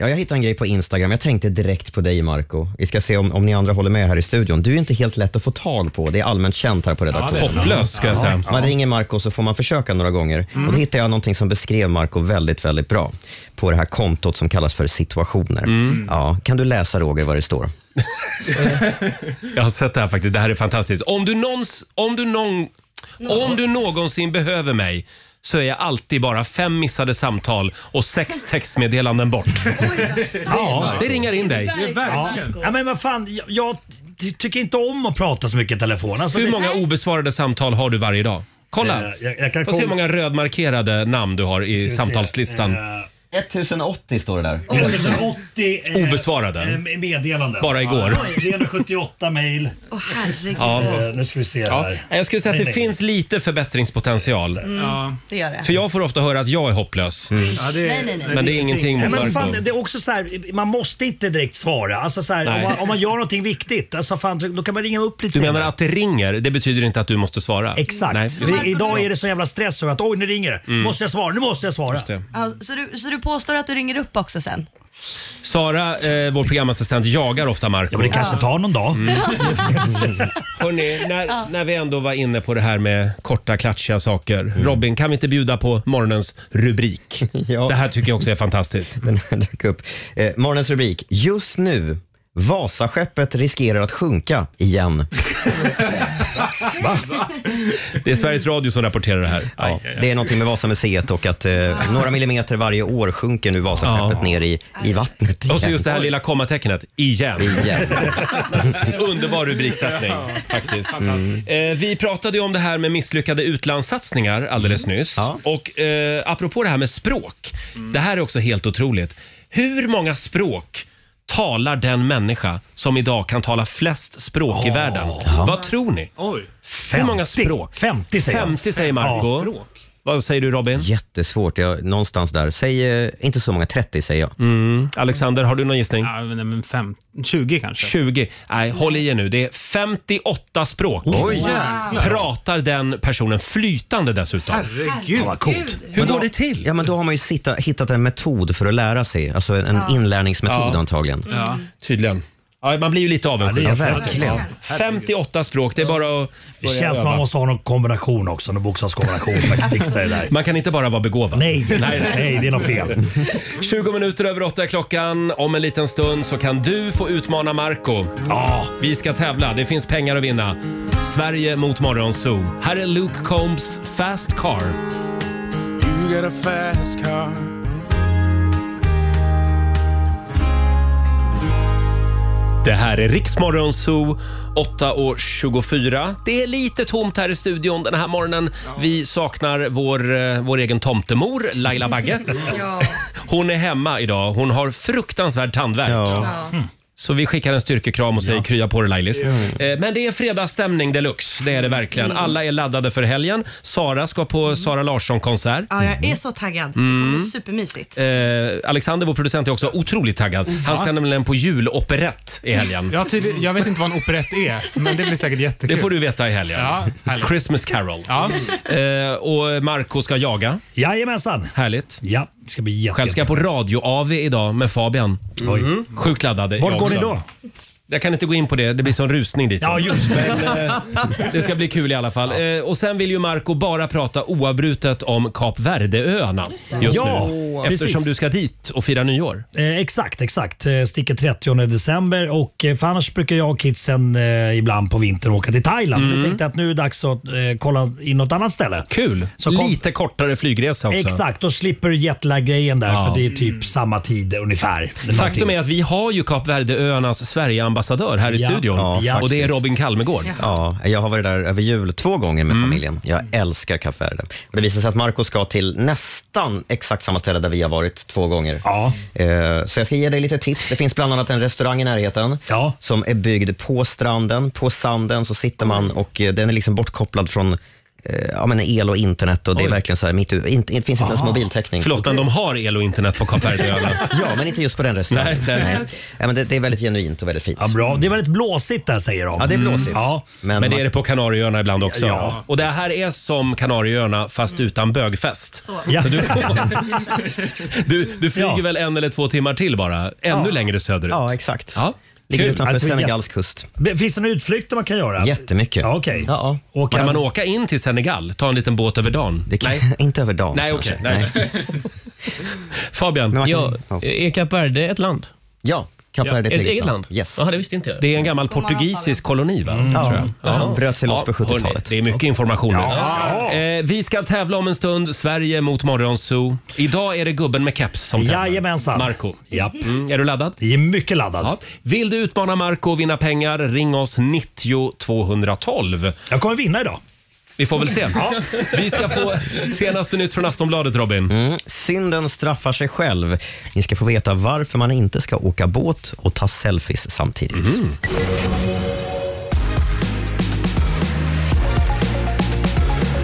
[SPEAKER 2] Ja, jag hittade en grej på Instagram. Jag tänkte direkt på dig, Marco. Vi ska se om, om ni andra håller med här i studion. Du är inte helt lätt att få tag på. Det är allmänt känt här på redaktionen.
[SPEAKER 1] det är- Hopplös, ska jag säga. Mm.
[SPEAKER 2] Man ringer Marco så får man försöka några gånger. Och då hittade jag någonting som beskrev Marco väldigt, väldigt bra på det här kontot som kallas för situationer.
[SPEAKER 1] Mm.
[SPEAKER 2] Ja, kan du läsa, Roger, vad det står?
[SPEAKER 1] *laughs* Jag har sett det här faktiskt. Det här är fantastiskt. Om du, någons, om du, någon, om du någonsin behöver mig så är jag alltid bara fem missade samtal och sex textmeddelanden bort. Ja, det ringar in dig.
[SPEAKER 9] Ja. ja, men vad fan. Jag, jag ty- tycker inte om att prata så mycket i telefon. Alltså,
[SPEAKER 1] Hur
[SPEAKER 9] det-
[SPEAKER 1] många obesvarade samtal har du varje dag? Kolla!
[SPEAKER 9] Eh, jag- jag kan
[SPEAKER 1] Få se hur
[SPEAKER 9] kolla.
[SPEAKER 1] många rödmarkerade namn du har i
[SPEAKER 9] se. Eh,
[SPEAKER 1] samtalslistan.
[SPEAKER 2] 1080 står det där.
[SPEAKER 9] 1080 eh,
[SPEAKER 1] Obesvarade.
[SPEAKER 9] eh, meddelanden.
[SPEAKER 1] Bara igår.
[SPEAKER 9] Ja, 378 mejl.
[SPEAKER 7] Åh herregud.
[SPEAKER 1] Ja.
[SPEAKER 9] Eh, Nu ska vi se
[SPEAKER 1] Ja,
[SPEAKER 9] här.
[SPEAKER 1] jag skulle säga att
[SPEAKER 9] Nej,
[SPEAKER 1] det
[SPEAKER 9] nej.
[SPEAKER 1] finns lite förbättringspotential.
[SPEAKER 7] Mm, Det gör det.
[SPEAKER 1] För jag får ofta höra att jag är hopplös.
[SPEAKER 7] Nej, nej, nej.
[SPEAKER 1] Men Mm. det är ingenting mot
[SPEAKER 9] Nej, men fan,
[SPEAKER 1] Marco.
[SPEAKER 9] det är också så här, man måste inte direkt svara. Alltså så här,
[SPEAKER 1] Nej.
[SPEAKER 9] om, man, om man gör någonting viktigt, alltså fan, då kan man ringa upp lite
[SPEAKER 1] Du menar
[SPEAKER 9] senare.
[SPEAKER 1] att det ringer, det betyder inte att du måste svara?
[SPEAKER 9] Exakt.
[SPEAKER 1] Nej,
[SPEAKER 9] Det- Idag är det så jävla stress över att oj nu ringer det.
[SPEAKER 1] Mm.
[SPEAKER 9] Måste jag svara? Nu måste jag svara.
[SPEAKER 7] Ja, så, du, så du påstår att du ringer upp också sen?
[SPEAKER 1] Sara, eh, vår programassistent, jagar ofta Marco. Ja, men
[SPEAKER 9] det kanske Ja. tar någon dag. *laughs*
[SPEAKER 1] Hörrni, när, när vi ändå var inne på det här med korta, klatschiga saker.
[SPEAKER 9] Mm.
[SPEAKER 1] Robin, kan vi inte bjuda på morgonens
[SPEAKER 9] *laughs*
[SPEAKER 1] rubrik? Det här tycker jag också är fantastiskt.
[SPEAKER 2] Den här dök upp. Eh, morgonens rubrik. Just nu, Vasaskeppet riskerar att sjunka igen.
[SPEAKER 1] Det är Sveriges Radio som rapporterar det här.
[SPEAKER 2] Ja, det är någonting med Vasamuseet och att eh, några millimeter varje år sjunker nu Vasaskeppet ner i, i vattnet igen.
[SPEAKER 1] Och så just det här lilla kommatecknet, igen.
[SPEAKER 2] Igen.
[SPEAKER 1] *laughs* Underbar rubriksättning faktiskt. Eh, vi pratade ju om det här med misslyckade utlandssatsningar alldeles
[SPEAKER 2] Mm.
[SPEAKER 1] nyss. Och eh, apropå det här med språk. Det här är också helt otroligt. Hur många språk talar den människa som idag kan tala flest språk i världen? Vad tror ni?
[SPEAKER 17] Oj.
[SPEAKER 1] Hur många språk?
[SPEAKER 9] 50
[SPEAKER 2] säger jag.
[SPEAKER 1] 50 säger Marco.
[SPEAKER 2] Ja.
[SPEAKER 1] Vad säger du Robin?
[SPEAKER 2] Jättesvårt. Jag, någonstans där. Säg eh, inte så många, 30 säger jag.
[SPEAKER 1] Mm. Alexander, har du någon gissning?
[SPEAKER 17] Ja, men fem, 20 kanske.
[SPEAKER 1] 20. Nej, håll i er nu. Det är 58 språk.
[SPEAKER 17] Oj, jäklar.
[SPEAKER 1] Pratar den personen flytande dessutom.
[SPEAKER 2] Herregud.
[SPEAKER 1] vad coolt. Hur går det till?
[SPEAKER 2] Ja, men då har man ju sitta, hittat en metod för att lära sig. Alltså en, en
[SPEAKER 1] Ja.
[SPEAKER 2] inlärningsmetod
[SPEAKER 1] Ja.
[SPEAKER 2] antagligen.
[SPEAKER 1] Ja, tydligen. Ja, man blir ju lite avundsjuk.
[SPEAKER 2] Ja, det är verkligen.
[SPEAKER 1] Ja. 58 språk, det är bara att
[SPEAKER 9] Det
[SPEAKER 1] börja
[SPEAKER 9] känns som man
[SPEAKER 1] öva.
[SPEAKER 9] måste ha någon kombination också, någon bokstavskombination för att fixa det där.
[SPEAKER 1] *laughs* Man kan inte bara vara begåvad.
[SPEAKER 9] Nej,
[SPEAKER 13] *laughs*
[SPEAKER 9] nej, det är något fel.
[SPEAKER 1] 20 minuter över åtta är klockan. Om en liten stund så kan du få utmana Marco.
[SPEAKER 9] Ja.
[SPEAKER 1] Vi ska tävla, det finns pengar att vinna. Sverige mot Morgonzoo. Här är Luke Combs Fast Car.
[SPEAKER 5] You got a fast car.
[SPEAKER 1] Det här är Riksmorgon Zoo, 8 år 24. Det är lite tomt här i studion den här morgonen. Vi saknar vår, eh, vår egen tomtemor, Laila Bagge. Hon är hemma idag. Hon har fruktansvärd tandvärk. Mm. Så vi skickar en styrkekram och säger krya på dig Lailis.
[SPEAKER 5] Ja.
[SPEAKER 1] Eh, Men det är fredagsstämning deluxe, det är det verkligen.
[SPEAKER 7] Mm.
[SPEAKER 1] Alla är laddade för helgen. Sara ska på Sara Larsson-konsert.
[SPEAKER 7] Ja, jag är så taggad. Det kommer
[SPEAKER 1] Mhm. Mm.
[SPEAKER 7] bli supermysigt.
[SPEAKER 1] Eh, Alexander, vår producent, är också otroligt taggad. Han ska
[SPEAKER 3] Ja.
[SPEAKER 1] nämligen på juloperett i helgen.
[SPEAKER 3] Jag, har tydlig, jag vet inte vad en operett är, men det blir säkert jättekul.
[SPEAKER 1] Det får du veta i helgen. Christmas Carol. Eh, och Marco ska jaga.
[SPEAKER 13] Jajamensan.
[SPEAKER 1] Härligt.
[SPEAKER 13] Ja, det ska bli jätte,
[SPEAKER 1] Själv ska jag på radio-AV idag med Fabian.
[SPEAKER 13] Oj.
[SPEAKER 1] Mm. Sjukt laddad.
[SPEAKER 13] Vart
[SPEAKER 1] jag
[SPEAKER 13] går ni
[SPEAKER 1] också.
[SPEAKER 13] då?
[SPEAKER 1] Jag kan inte gå in på det, det blir sån rusning dit.
[SPEAKER 13] Ja, just det.
[SPEAKER 1] Men, eh, *laughs* det ska bli kul i alla fall. Eh, och sen vill ju Marco bara prata oavbrutet om Kap Verdeöarna
[SPEAKER 13] det.
[SPEAKER 1] just
[SPEAKER 13] Ja,
[SPEAKER 1] nu.
[SPEAKER 13] precis.
[SPEAKER 1] Eftersom du ska dit och fira nyår.
[SPEAKER 13] Eh, exakt, exakt. Eh, sticker 30 december. Och, eh, för annars brukar jag och kidsen eh, ibland på vintern åka till Thailand.
[SPEAKER 1] Mm.
[SPEAKER 13] Men Jag tänkte att nu är det dags att eh, kolla in något annat ställe.
[SPEAKER 1] Kul! Lite kortare flygresa också.
[SPEAKER 13] Exakt, då slipper du jetlag-grejen där
[SPEAKER 1] Ja.
[SPEAKER 13] för det är typ samma tid ungefär.
[SPEAKER 1] Faktum är att vi har ju Kap Verdeöarnas Sverigeambassadör här i
[SPEAKER 2] Ja.
[SPEAKER 1] studion.
[SPEAKER 2] Ja,
[SPEAKER 1] och
[SPEAKER 2] faktiskt.
[SPEAKER 1] det är Robin Kalmegård. Mm.
[SPEAKER 2] Ja, jag har varit där över jul två gånger med familjen. Jag älskar Kap Verde. Och det visar sig att Marco ska till nästan exakt samma ställe där vi har varit två gånger. Eh, Så jag ska ge dig lite tips. Det finns bland annat en restaurang i närheten som är byggd på stranden. På sanden så sitter man och eh, den är liksom bortkopplad från eh, Ja, men el och internet och det är verkligen så här mitt, u- in, det finns inte ens
[SPEAKER 1] Ah.
[SPEAKER 2] mobiltäckning.
[SPEAKER 1] Förlåt, men de har el och internet på Kap Verdeöarna.
[SPEAKER 2] ja, men inte just på den restaurangen.
[SPEAKER 1] Nej, nej.
[SPEAKER 2] Ja, men det, det är väldigt genuint och väldigt fint.
[SPEAKER 13] Ja, bra. Det är väldigt blåsigt där säger de.
[SPEAKER 2] *laughs* Ja, det är blåsigt.
[SPEAKER 13] Ja.
[SPEAKER 1] Mm. Men, det är det på Kanarieöarna ibland också.
[SPEAKER 13] Ja.
[SPEAKER 1] Och det här är som Kanarieöarna
[SPEAKER 2] Mm.
[SPEAKER 1] fast utan bögfest. Så,
[SPEAKER 13] *laughs* Ja.
[SPEAKER 1] du, du, du flyger väl en eller två timmar till bara? Ännu
[SPEAKER 13] Ja.
[SPEAKER 1] längre söderut?
[SPEAKER 13] Ja, exakt.
[SPEAKER 1] Ja.
[SPEAKER 13] Ligger
[SPEAKER 1] Kul.
[SPEAKER 13] utanför Alltså, Senegals jätte-
[SPEAKER 2] kust.
[SPEAKER 13] Men Finns det några utflykter man kan göra?
[SPEAKER 2] Jättemycket.
[SPEAKER 13] Ja, Okej.
[SPEAKER 2] Ja,
[SPEAKER 13] Och
[SPEAKER 1] Kan
[SPEAKER 13] kan-
[SPEAKER 1] man åka in till Senegal? Ta en liten båt över dagen? Nej.
[SPEAKER 2] *laughs* Inte över dagen
[SPEAKER 1] Nej,
[SPEAKER 2] kanske.
[SPEAKER 1] okej. nej. *laughs* Fabian?
[SPEAKER 8] Ja, är Kap Verde ett land?
[SPEAKER 2] Ja, Kap Verde är
[SPEAKER 8] ett
[SPEAKER 2] ett eget
[SPEAKER 8] eget
[SPEAKER 2] land.
[SPEAKER 8] land?
[SPEAKER 2] Yes.
[SPEAKER 8] Jaha, det visste inte jag. Mm.
[SPEAKER 1] Det är en gammal portugisisk koloni, va?
[SPEAKER 8] Ja.
[SPEAKER 1] Tror jag.
[SPEAKER 8] Ja, bröt sig loss på
[SPEAKER 1] 70-talet. det är mycket information nu. Eh, vi ska tävla om en stund. Sverige mot Morgonzoo. Idag är det gubben med keps som tävlar.
[SPEAKER 13] Jajamensan.
[SPEAKER 1] Marco.
[SPEAKER 13] Japp.
[SPEAKER 1] Mm, är du laddad?
[SPEAKER 13] Jag är mycket laddad.
[SPEAKER 1] Ja. Vill du utmana Marco och vinna pengar, ring oss 90 212.
[SPEAKER 13] Jag kommer vinna idag.
[SPEAKER 1] Vi
[SPEAKER 2] *laughs*
[SPEAKER 1] får väl se.
[SPEAKER 13] Ja.
[SPEAKER 1] Vi ska få senaste nytt från Aftonbladet, Robin.
[SPEAKER 2] Mm. Synden straffar sig själv. Ni ska få veta varför man inte ska åka båt och ta selfies samtidigt.
[SPEAKER 1] Mm.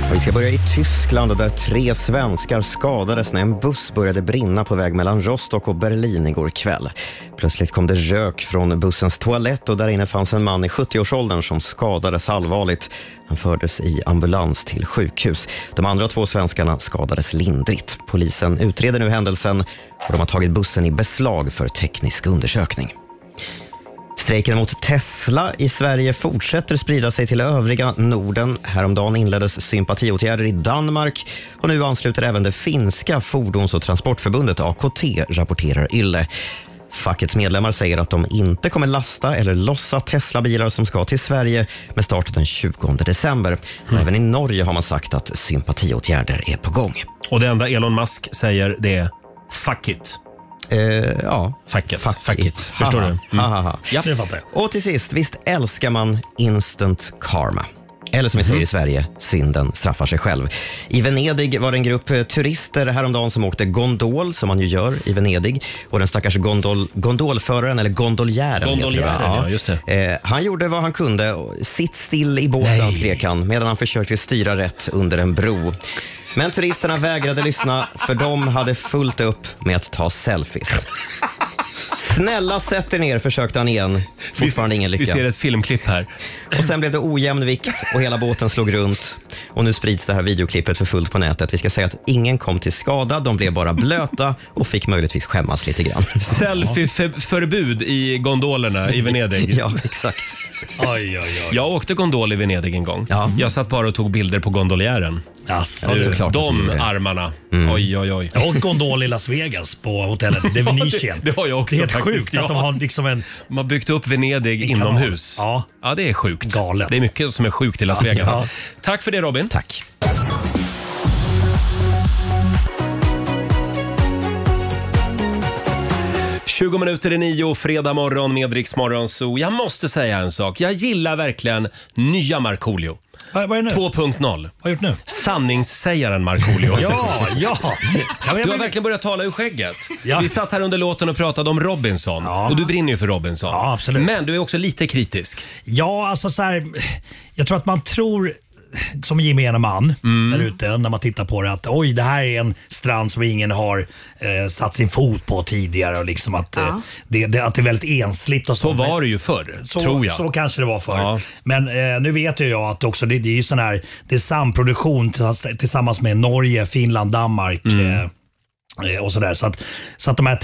[SPEAKER 2] Och Vi ska börja i Tyskland där tre svenskar skadades när en buss började brinna på väg mellan Rostock och Berlin igår kväll. Plötsligt kom det rök från bussens toalett och där inne fanns en man i 70-årsåldern som skadades allvarligt. Han fördes i ambulans till sjukhus. De andra två svenskarna skadades lindrigt. Polisen utreder nu händelsen och de har tagit bussen i beslag för teknisk undersökning. Strejken mot Tesla i Sverige fortsätter sprida sig till övriga Norden. Häromdagen inleddes sympatiåtgärder i Danmark och nu ansluter även det finska fordons och transportförbundet AKT, rapporterar Yle. Fackets medlemmar säger att de inte kommer lasta eller lossa Tesla-bilar som ska till Sverige med start den 20 december. Och även i Norge har man sagt att sympatiåtgärder är på gång.
[SPEAKER 1] Och det enda Elon Musk säger det är “fuck it”.
[SPEAKER 13] Eh,
[SPEAKER 2] ja.
[SPEAKER 1] Fuck it. Fuck, it. Förstår
[SPEAKER 2] Haha.
[SPEAKER 1] du? Mm.
[SPEAKER 2] Hahaha.
[SPEAKER 1] Ja.
[SPEAKER 13] Det fattar jag.
[SPEAKER 2] Och till sist, visst älskar man instant karma? Eller som vi
[SPEAKER 1] Mhm.
[SPEAKER 2] säger i Sverige, synden straffar sig själv. I Venedig var det en grupp eh, turister häromdagen som åkte gondol, som man ju gör i Venedig. Och den stackars gondol, gondolföraren, eller gondoljären.
[SPEAKER 1] Gondoljären,
[SPEAKER 2] heter det, va?
[SPEAKER 1] ja, just
[SPEAKER 2] Eh, han gjorde vad han kunde. och Sitt still i båten, skrek han, medan han försökte styra rätt under en bro. Men turisterna vägrade lyssna, för de hade fullt upp med att ta selfies. Snälla sätt er ner, försökte han igen. Fortfarande ingen lycka.
[SPEAKER 1] Vi ser ett filmklipp här.
[SPEAKER 2] Och sen blev det ojämn vikt och hela båten slog runt. Och nu sprids det här videoklippet för fullt på nätet. Vi ska säga att ingen kom till skada, de blev bara blöta och fick möjligtvis skämmas lite grann.
[SPEAKER 1] Selfieförbud i gondolerna i Venedig.
[SPEAKER 13] *laughs*
[SPEAKER 2] Ja, exakt.
[SPEAKER 13] Oj, oj, oj.
[SPEAKER 1] Jag åkte gondol i Venedig en gång. Jag satt bara och tog bilder på gondoljären.
[SPEAKER 13] Jaså,
[SPEAKER 1] Du,
[SPEAKER 13] det är klart att du
[SPEAKER 1] de
[SPEAKER 13] gjorde det.
[SPEAKER 1] armarna.
[SPEAKER 13] Mm.
[SPEAKER 1] Oj, oj, oj.
[SPEAKER 13] Jag har åkt gondol i Las Vegas på
[SPEAKER 1] *laughs*
[SPEAKER 13] hotellet De Venetian.
[SPEAKER 1] det, det har jag också
[SPEAKER 13] Det är helt
[SPEAKER 1] faktiskt.
[SPEAKER 13] sjukt att de har liksom en...
[SPEAKER 1] De har byggt upp Venedig inomhus. Ja. ja, det är sjukt. Galet. Det är mycket som är sjukt i Las
[SPEAKER 13] Ja.
[SPEAKER 1] Vegas.
[SPEAKER 13] Ja.
[SPEAKER 1] Tack för det Robin.
[SPEAKER 2] Tack.
[SPEAKER 1] 20 minuter i nio, fredag morgon med Rix Morgon Zoo. Jag måste säga en sak. Jag gillar verkligen nya Markoolio.
[SPEAKER 9] Vad är det nu?
[SPEAKER 1] 2.0. Vad
[SPEAKER 9] har gjort nu?
[SPEAKER 1] Sanningssägaren Markoolio.
[SPEAKER 9] *laughs* Ja,
[SPEAKER 1] *laughs*
[SPEAKER 9] ja.
[SPEAKER 1] Du har verkligen börjat tala ur skägget. Vi satt här under låten och pratade om Robinson. Och du brinner ju för Robinson. Men du är också lite kritisk.
[SPEAKER 9] Ja, alltså så här, jag tror att man tror som gemene man
[SPEAKER 1] Mm.
[SPEAKER 9] där ute när man tittar på det att oj, det här är en strand som ingen har eh, satt sin fot på tidigare och liksom att, eh, det, det, att det är väldigt ensligt och så. Så
[SPEAKER 1] var det ju förr,
[SPEAKER 9] så,
[SPEAKER 1] tror jag.
[SPEAKER 9] Så kanske det var förr. Men eh, nu vet ju jag att också det, det är ju sån här, det är samproduktion tills- tillsammans med Norge, Finland, Danmark.
[SPEAKER 1] Mm.
[SPEAKER 9] Eh, Eh, och sådär. Så, att, så att de här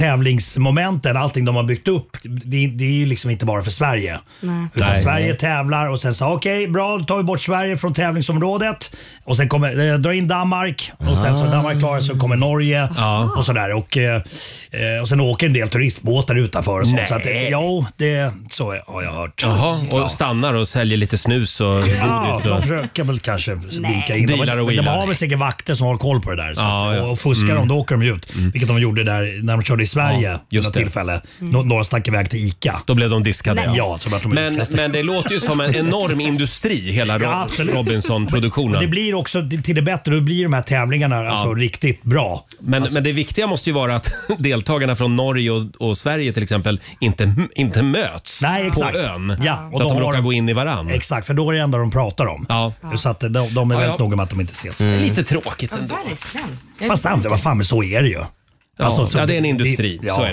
[SPEAKER 9] tävlingsmomenten, allting de har byggt upp, det, det är ju liksom inte bara för Sverige.
[SPEAKER 10] Nej.
[SPEAKER 9] Utan
[SPEAKER 10] Nej.
[SPEAKER 9] Sverige tävlar och sen så okej, bra, då tar vi bort Sverige från tävlingsområdet. Och sen kommer, eh, drar in Danmark och sen så
[SPEAKER 10] Ah.
[SPEAKER 9] är Danmark klarar så kommer Norge och sådär. Och, eh, eh, och sen åker en del turistbåtar utanför och sånt.
[SPEAKER 1] Nej.
[SPEAKER 9] Så att, eh, jo, det, så har jag hört.
[SPEAKER 1] Jaha,
[SPEAKER 9] Ja.
[SPEAKER 1] och stannar och säljer lite snus och godis.
[SPEAKER 9] Ja, de
[SPEAKER 1] och...
[SPEAKER 9] försöker väl kanske vinka in.
[SPEAKER 1] Dealar och
[SPEAKER 9] de, de
[SPEAKER 1] wheelar.
[SPEAKER 9] har väl säkert vakter som har koll på det där. Så
[SPEAKER 1] Ja,
[SPEAKER 9] att,
[SPEAKER 1] ja.
[SPEAKER 9] Och, och fuskar
[SPEAKER 1] Mm.
[SPEAKER 9] de, då åker de ut. Vilket de gjorde där när de körde i Sverige
[SPEAKER 1] Ja,
[SPEAKER 9] vid
[SPEAKER 1] just
[SPEAKER 9] något
[SPEAKER 1] det.
[SPEAKER 9] tillfälle.
[SPEAKER 1] Mm.
[SPEAKER 9] Nå- Några stack iväg till ICA.
[SPEAKER 1] Då blev de diskade.
[SPEAKER 9] Nej. Ja, så blev de
[SPEAKER 1] men,
[SPEAKER 9] utkastade.
[SPEAKER 1] men det låter ju som en
[SPEAKER 9] *laughs*
[SPEAKER 1] enorm industri, hela Ro-
[SPEAKER 9] Ja, absolut.
[SPEAKER 1] Robinson-produktionen.
[SPEAKER 9] Det blir också till det bättre. Då blir de här tävlingarna alltså riktigt bra. Alltså-
[SPEAKER 1] Men, men det viktiga måste ju vara att *laughs* deltagarna från Norge och, och Sverige till exempel inte, inte möts
[SPEAKER 9] Nej, exakt.
[SPEAKER 1] på ön.
[SPEAKER 9] Ja, och
[SPEAKER 1] så att
[SPEAKER 9] då
[SPEAKER 1] de
[SPEAKER 9] har
[SPEAKER 1] råkar
[SPEAKER 9] de-
[SPEAKER 1] gå in i varann.
[SPEAKER 9] Exakt, för då är det enda de pratar om.
[SPEAKER 1] Ja.
[SPEAKER 9] Så att de, de är
[SPEAKER 1] Ja,
[SPEAKER 9] väldigt
[SPEAKER 1] ja.
[SPEAKER 9] noga med att de inte ses.
[SPEAKER 1] Mm. Lite tråkigt ändå.
[SPEAKER 18] verkligen.
[SPEAKER 9] Fast samtidigt, vad fan, men så är det ju.
[SPEAKER 1] Ja,
[SPEAKER 9] Alltså, så-
[SPEAKER 1] ja, det är en industri.
[SPEAKER 9] Ja.
[SPEAKER 1] Så är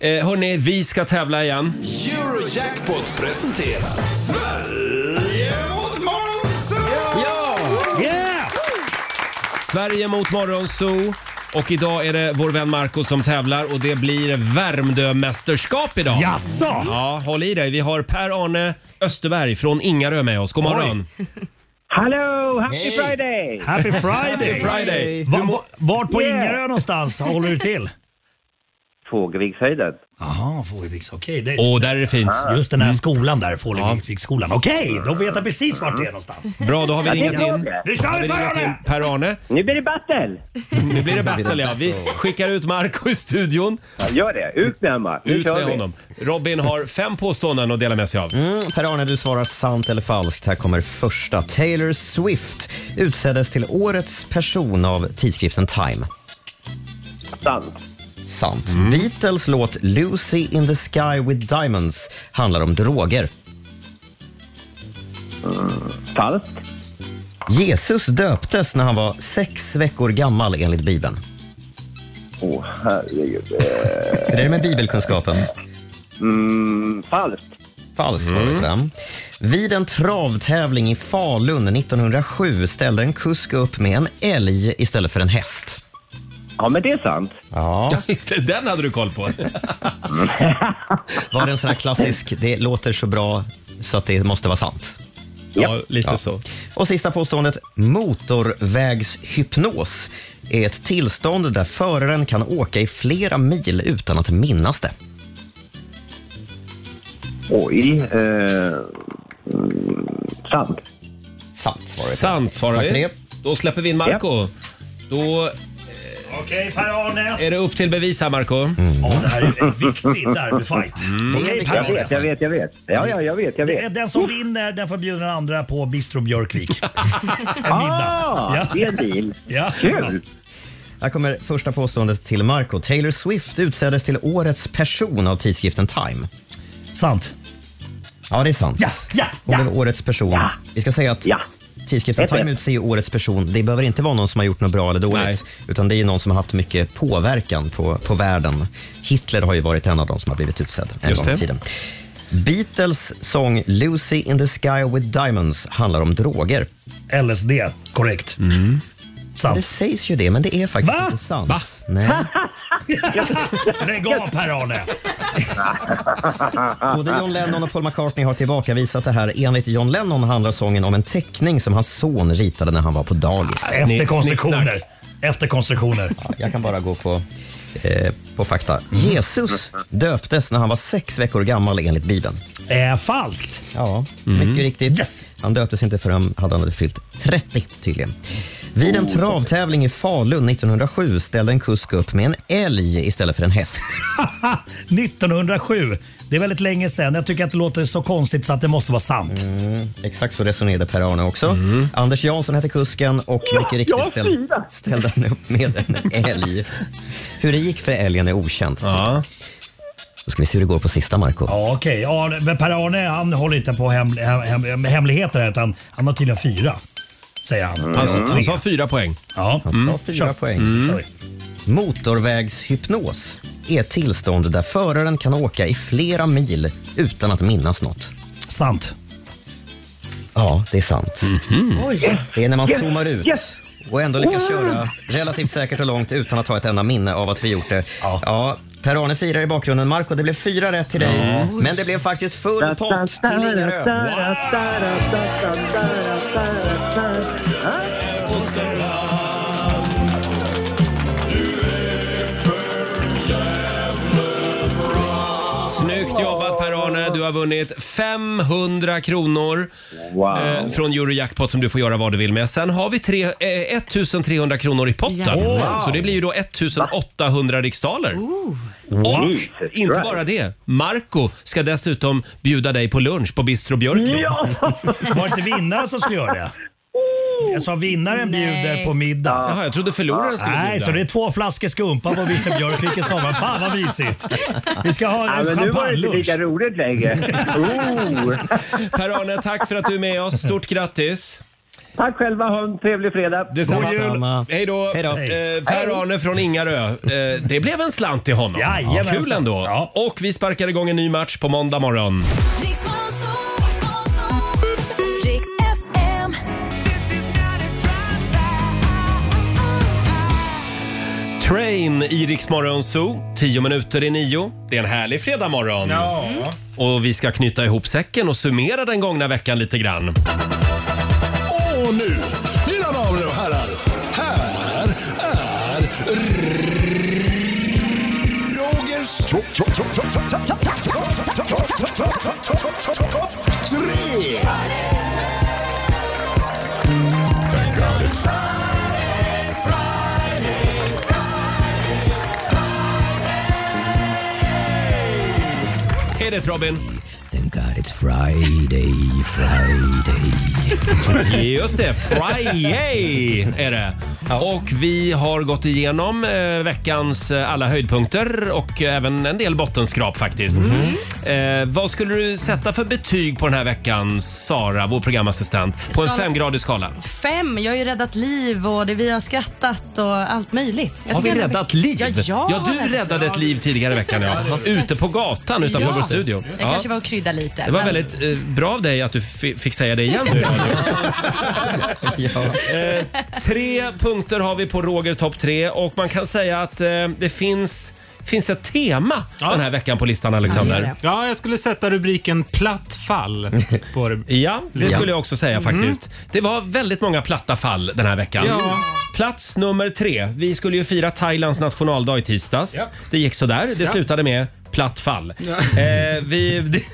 [SPEAKER 1] det. Eh, hörni, vi ska tävla igen.
[SPEAKER 10] Eurojackpot presenterar Sverige mot Måns!
[SPEAKER 1] Ja!
[SPEAKER 9] Yeah!
[SPEAKER 1] Sverige mot Morgonzoo. Och idag är det vår vän Marco som tävlar och det blir Värmdömästerskap idag.
[SPEAKER 9] Jaså?
[SPEAKER 1] Ja, håll i dig. Vi har Per-Arne Österberg från Ingarö med oss. God morgon.
[SPEAKER 5] Hallå! Happy
[SPEAKER 1] Hej.
[SPEAKER 5] Friday!
[SPEAKER 9] Happy Friday!
[SPEAKER 1] Happy Friday.
[SPEAKER 9] Va- va- vart på
[SPEAKER 5] Yeah.
[SPEAKER 9] Ingarö någonstans håller du *laughs* till?
[SPEAKER 5] Fågelvikshöjden.
[SPEAKER 9] Jaha, Fågelviks. Okej. det-
[SPEAKER 1] Åh, där är det fint.
[SPEAKER 9] Ah. Just den här
[SPEAKER 1] Mm.
[SPEAKER 9] skolan där, Fågelviksskolan. Okej, då vet jag precis vart det är någonstans.
[SPEAKER 1] Bra, då har vi
[SPEAKER 9] Ja, det är
[SPEAKER 1] ringat
[SPEAKER 9] bra
[SPEAKER 1] in.
[SPEAKER 9] det. Nu kör
[SPEAKER 1] Har
[SPEAKER 9] vi,
[SPEAKER 1] ringat
[SPEAKER 9] Per-Arne!
[SPEAKER 1] in Per-Arne.
[SPEAKER 5] Nu blir det battle!
[SPEAKER 1] Nu blir det battle ja. Vi skickar ut Marco i studion.
[SPEAKER 5] Ja, gör det. Ut med honom. Nu
[SPEAKER 1] Ut
[SPEAKER 5] kör
[SPEAKER 1] med
[SPEAKER 5] vi.
[SPEAKER 1] honom. Robin har fem påståenden att dela med sig av.
[SPEAKER 2] Mm, Per-Arne, du svarar sant eller falskt. Här kommer första. Taylor Swift utseddes till årets person av tidskriften Time.
[SPEAKER 5] Sant.
[SPEAKER 2] Sant.
[SPEAKER 9] Mm.
[SPEAKER 2] Beatles låt Lucy in the sky with diamonds handlar om droger.
[SPEAKER 5] Falskt.
[SPEAKER 2] Jesus döptes när han var sex veckor gammal enligt Bibeln.
[SPEAKER 5] Åh, herregud.
[SPEAKER 2] Hur är det med bibelkunskapen?
[SPEAKER 5] Mm, falskt.
[SPEAKER 2] Falskt var det där. Vid en travtävling i Falun 1907 ställde en kusk upp med en älg istället för en häst.
[SPEAKER 5] Ja, men det är sant.
[SPEAKER 2] Ja.
[SPEAKER 1] *laughs* Den hade du koll på.
[SPEAKER 2] Var det en sån här klassisk, det låter så bra så att det måste vara sant?
[SPEAKER 1] Ja, lite så.
[SPEAKER 2] Och sista påståendet, motorvägshypnos är ett tillstånd där föraren kan åka i flera mil utan att minnas det.
[SPEAKER 5] Oj. Eh, mm, sant.
[SPEAKER 2] Sant svarar
[SPEAKER 1] Sant svarar
[SPEAKER 5] Tack för
[SPEAKER 1] vi.
[SPEAKER 5] det.
[SPEAKER 1] Då släpper vi in Marco. Då eh,
[SPEAKER 9] Okej, Per-Arne.
[SPEAKER 1] är det upp till bevis här Marco. Mm.
[SPEAKER 9] Ja, det här är en viktig derbyfight. Okej,
[SPEAKER 5] Jag
[SPEAKER 9] Per-Arne.
[SPEAKER 5] vet, jag vet, jag vet. Ja, ja, jag vet, jag
[SPEAKER 9] Det är
[SPEAKER 5] vet.
[SPEAKER 9] Den som vinner den får bjuda den andra på Bistro
[SPEAKER 1] *laughs*
[SPEAKER 9] Björkvik. En middag.
[SPEAKER 5] Ah, det är en deal.
[SPEAKER 9] Ja.
[SPEAKER 5] Kul!
[SPEAKER 2] Här kommer första påståendet till Marco. Taylor Swift utseddes till årets person av tidskriften Time.
[SPEAKER 9] Sant.
[SPEAKER 2] Ja, det är sant. Ja,
[SPEAKER 9] ja,
[SPEAKER 2] Hon blev årets person. Vi ska säga att tidskriften
[SPEAKER 9] Ett, ett.
[SPEAKER 2] Time utser ju årets person. Det behöver inte vara någon som har gjort något bra eller dåligt, utan det är ju någon som har haft mycket påverkan på, på världen. Hitler har ju varit en av de som har blivit utsedd en
[SPEAKER 1] Just
[SPEAKER 2] gång i
[SPEAKER 1] det.
[SPEAKER 2] tiden. Beatles sång Lucy in the sky with diamonds handlar om droger. Mm.
[SPEAKER 9] LSD, korrekt. Sant.
[SPEAKER 2] Det sägs ju det, men det är faktiskt inte sant. Va? Nej.
[SPEAKER 9] *laughs* Lägg av
[SPEAKER 5] *laughs*
[SPEAKER 9] Per-Arne.
[SPEAKER 2] Både John Lennon och Paul McCartney har tillbakavisat det här. Enligt John Lennon handlar sången om en teckning som hans son ritade när han var på dagis.
[SPEAKER 9] Ah, Efter konstruktioner. Efter konstruktioner.
[SPEAKER 2] Ja, Jag kan bara gå på, eh, på fakta. Jesus döptes när han var sex veckor gammal enligt Bibeln.
[SPEAKER 9] Eh, falskt.
[SPEAKER 1] Mm.
[SPEAKER 9] Mm.
[SPEAKER 2] Ja, mycket riktigt. Han döptes inte förrän han hade fyllt 30 tydligen. Vid en travtävling i Falun 1907 ställde en kusk upp med en älg istället för en häst.
[SPEAKER 13] 1907. Det är väldigt länge sedan. Jag tycker att det låter så konstigt så att det måste vara sant.
[SPEAKER 2] Exakt så resonerade Per-Arne också. Anders Jansson hette kusken och mycket
[SPEAKER 13] jag
[SPEAKER 2] riktigt ställ,
[SPEAKER 13] fyra.
[SPEAKER 2] ställde han upp med en älg. Hur det gick för älgen är okänt. Ja. Då ska vi se hur det går på sista, Marco.
[SPEAKER 13] Ja, okej. Ja, men Per-Arne han håller inte på hem, hem, hem, hemligheter här utan han har tydligen fyra. Säger han.
[SPEAKER 2] Mm. Han sa- han sa
[SPEAKER 1] fyra poäng.
[SPEAKER 13] Ja.
[SPEAKER 2] Han sa fyra
[SPEAKER 13] Kör.
[SPEAKER 2] poäng.
[SPEAKER 13] Mm. Sorry.
[SPEAKER 2] Motorvägshypnos är ett tillstånd där föraren kan åka i flera mil utan att minnas något.
[SPEAKER 13] Sant. Mhm.
[SPEAKER 2] Ja, det är sant.
[SPEAKER 13] Oj.
[SPEAKER 2] Det är när man
[SPEAKER 13] Yes,
[SPEAKER 2] zoomar ut
[SPEAKER 13] yes.
[SPEAKER 2] och ändå lyckas
[SPEAKER 13] Wow.
[SPEAKER 2] köra relativt säkert och långt utan att ha ett enda minne av att vi gjort det. Ja. Per-Arne firar i bakgrunden. Marco, det blev fyra rätt till dig.
[SPEAKER 5] Ja.
[SPEAKER 2] Men det blev faktiskt full pott till Ingarö.
[SPEAKER 1] Snyggt jobbat Per-Arne. Du har vunnit 500 kronor eh, från Eurojackpot som du får göra vad du vill med. Sen har vi tre, eh, 1300 kronor i potten.
[SPEAKER 5] Jajamän.
[SPEAKER 1] Så det blir ju då 1800 riksdaler. Och
[SPEAKER 5] Jesus
[SPEAKER 1] inte
[SPEAKER 5] Christ.
[SPEAKER 1] bara det. Marco ska dessutom bjuda dig på lunch på Bistro Björklund.
[SPEAKER 13] Var det inte vinnaren som skulle göra det? Jag sa vinnaren bjuder på middag.
[SPEAKER 1] Jaha, jag trodde förloraren skulle
[SPEAKER 13] Nej,
[SPEAKER 1] bjuda.
[SPEAKER 13] så det är två flaskor skumpa på Bisse Björkvik i sommar. Fan vad mysigt. Vi ska ha
[SPEAKER 1] Ja,
[SPEAKER 13] en
[SPEAKER 1] men nu var det inte
[SPEAKER 13] champagnelunch.
[SPEAKER 1] lika
[SPEAKER 19] roligt längre.
[SPEAKER 1] *laughs* Per-Arne, tack för att du är med oss. Stort grattis!
[SPEAKER 19] Tack själva, ha en trevlig fredag.
[SPEAKER 1] God jul! Hej då!
[SPEAKER 19] Hej då.
[SPEAKER 1] Eh, Per-Arne från Ingarö. Eh, det blev en slant till honom.
[SPEAKER 5] Jajamensan.
[SPEAKER 1] Kul ändå. Och vi sparkar igång en ny match på måndag morgon.
[SPEAKER 5] Riks FM.
[SPEAKER 1] Train i Rix Morgon Zoo, 10 minuter i nio. Det är en härlig fredagmorgon.
[SPEAKER 5] Ja.
[SPEAKER 2] Mm.
[SPEAKER 1] Och vi ska knyta ihop säcken och summera den gångna veckan lite grann.
[SPEAKER 5] Och nu, mina damer och herrar, här är Rogers... Tre!
[SPEAKER 1] Är det Robin?
[SPEAKER 5] Thank God it's Friday, Friday.
[SPEAKER 1] Just det, Friday är det. Och vi har gått igenom eh, veckans eh, alla höjdpunkter och eh, även en del bottenskrap faktiskt. Eh, vad skulle du sätta för betyg på den här veckan, Sara, vår programassistent, på en
[SPEAKER 7] Skala.
[SPEAKER 1] femgradig skala?
[SPEAKER 7] Fem, jag har ju räddat liv och det, vi har skrattat och allt möjligt. Jag
[SPEAKER 1] Har vi
[SPEAKER 7] tycker ändå-
[SPEAKER 1] räddat liv?
[SPEAKER 7] Ja, jag har
[SPEAKER 1] du
[SPEAKER 7] räddat-
[SPEAKER 1] räddade ett liv tidigare i veckan. Ja. Ute på gatan utanför
[SPEAKER 7] Ja.
[SPEAKER 1] vår studio.
[SPEAKER 7] Det
[SPEAKER 1] Ja.
[SPEAKER 7] kanske var att krydda lite.
[SPEAKER 1] Det var
[SPEAKER 7] men-
[SPEAKER 1] väldigt eh, bra av dig att du fi- fick säga det igen nu. *laughs*
[SPEAKER 7] *laughs*
[SPEAKER 1] eh, tre punkter har vi på Roger topp tre och man kan säga att eh, det finns, finns ett tema den här veckan på listan Alexander.
[SPEAKER 3] Ja, jag skulle sätta rubriken platt fall. På det.
[SPEAKER 1] Ja, det
[SPEAKER 3] Ja.
[SPEAKER 1] skulle jag också säga
[SPEAKER 3] Mm.
[SPEAKER 1] faktiskt. Det var väldigt många platta fall den här veckan.
[SPEAKER 3] Ja.
[SPEAKER 1] Plats nummer tre. Vi skulle ju fira Thailands nationaldag i tisdags.
[SPEAKER 5] Ja.
[SPEAKER 1] Det gick sådär. Det
[SPEAKER 5] Ja.
[SPEAKER 1] slutade med platt fall. Eh, vi, *laughs* de-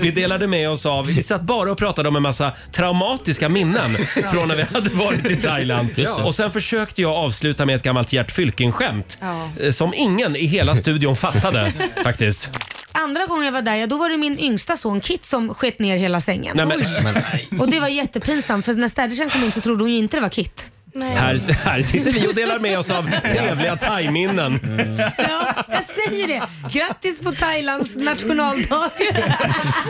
[SPEAKER 1] vi delade med oss av, vi satt bara och pratade om en massa traumatiska minnen från när vi hade varit i Thailand.
[SPEAKER 5] Just det.
[SPEAKER 1] Och sen försökte jag avsluta med ett gammalt Gert Fylking-skämt
[SPEAKER 12] Ja.
[SPEAKER 1] eh, som ingen i hela studion fattade faktiskt.
[SPEAKER 12] Andra gången jag var där, ja, då var det min yngsta son Kit som sket ner hela sängen.
[SPEAKER 1] Nej, men,
[SPEAKER 12] Och det var jättepinsamt för när städerskan kom in så trodde hon ju inte det var Kit.
[SPEAKER 1] Här, här sitter vi och delar med oss av trevliga thai-minnen.
[SPEAKER 12] Ja, jag säger det. Grattis på Thailands
[SPEAKER 1] *laughs*
[SPEAKER 12] nationaldag.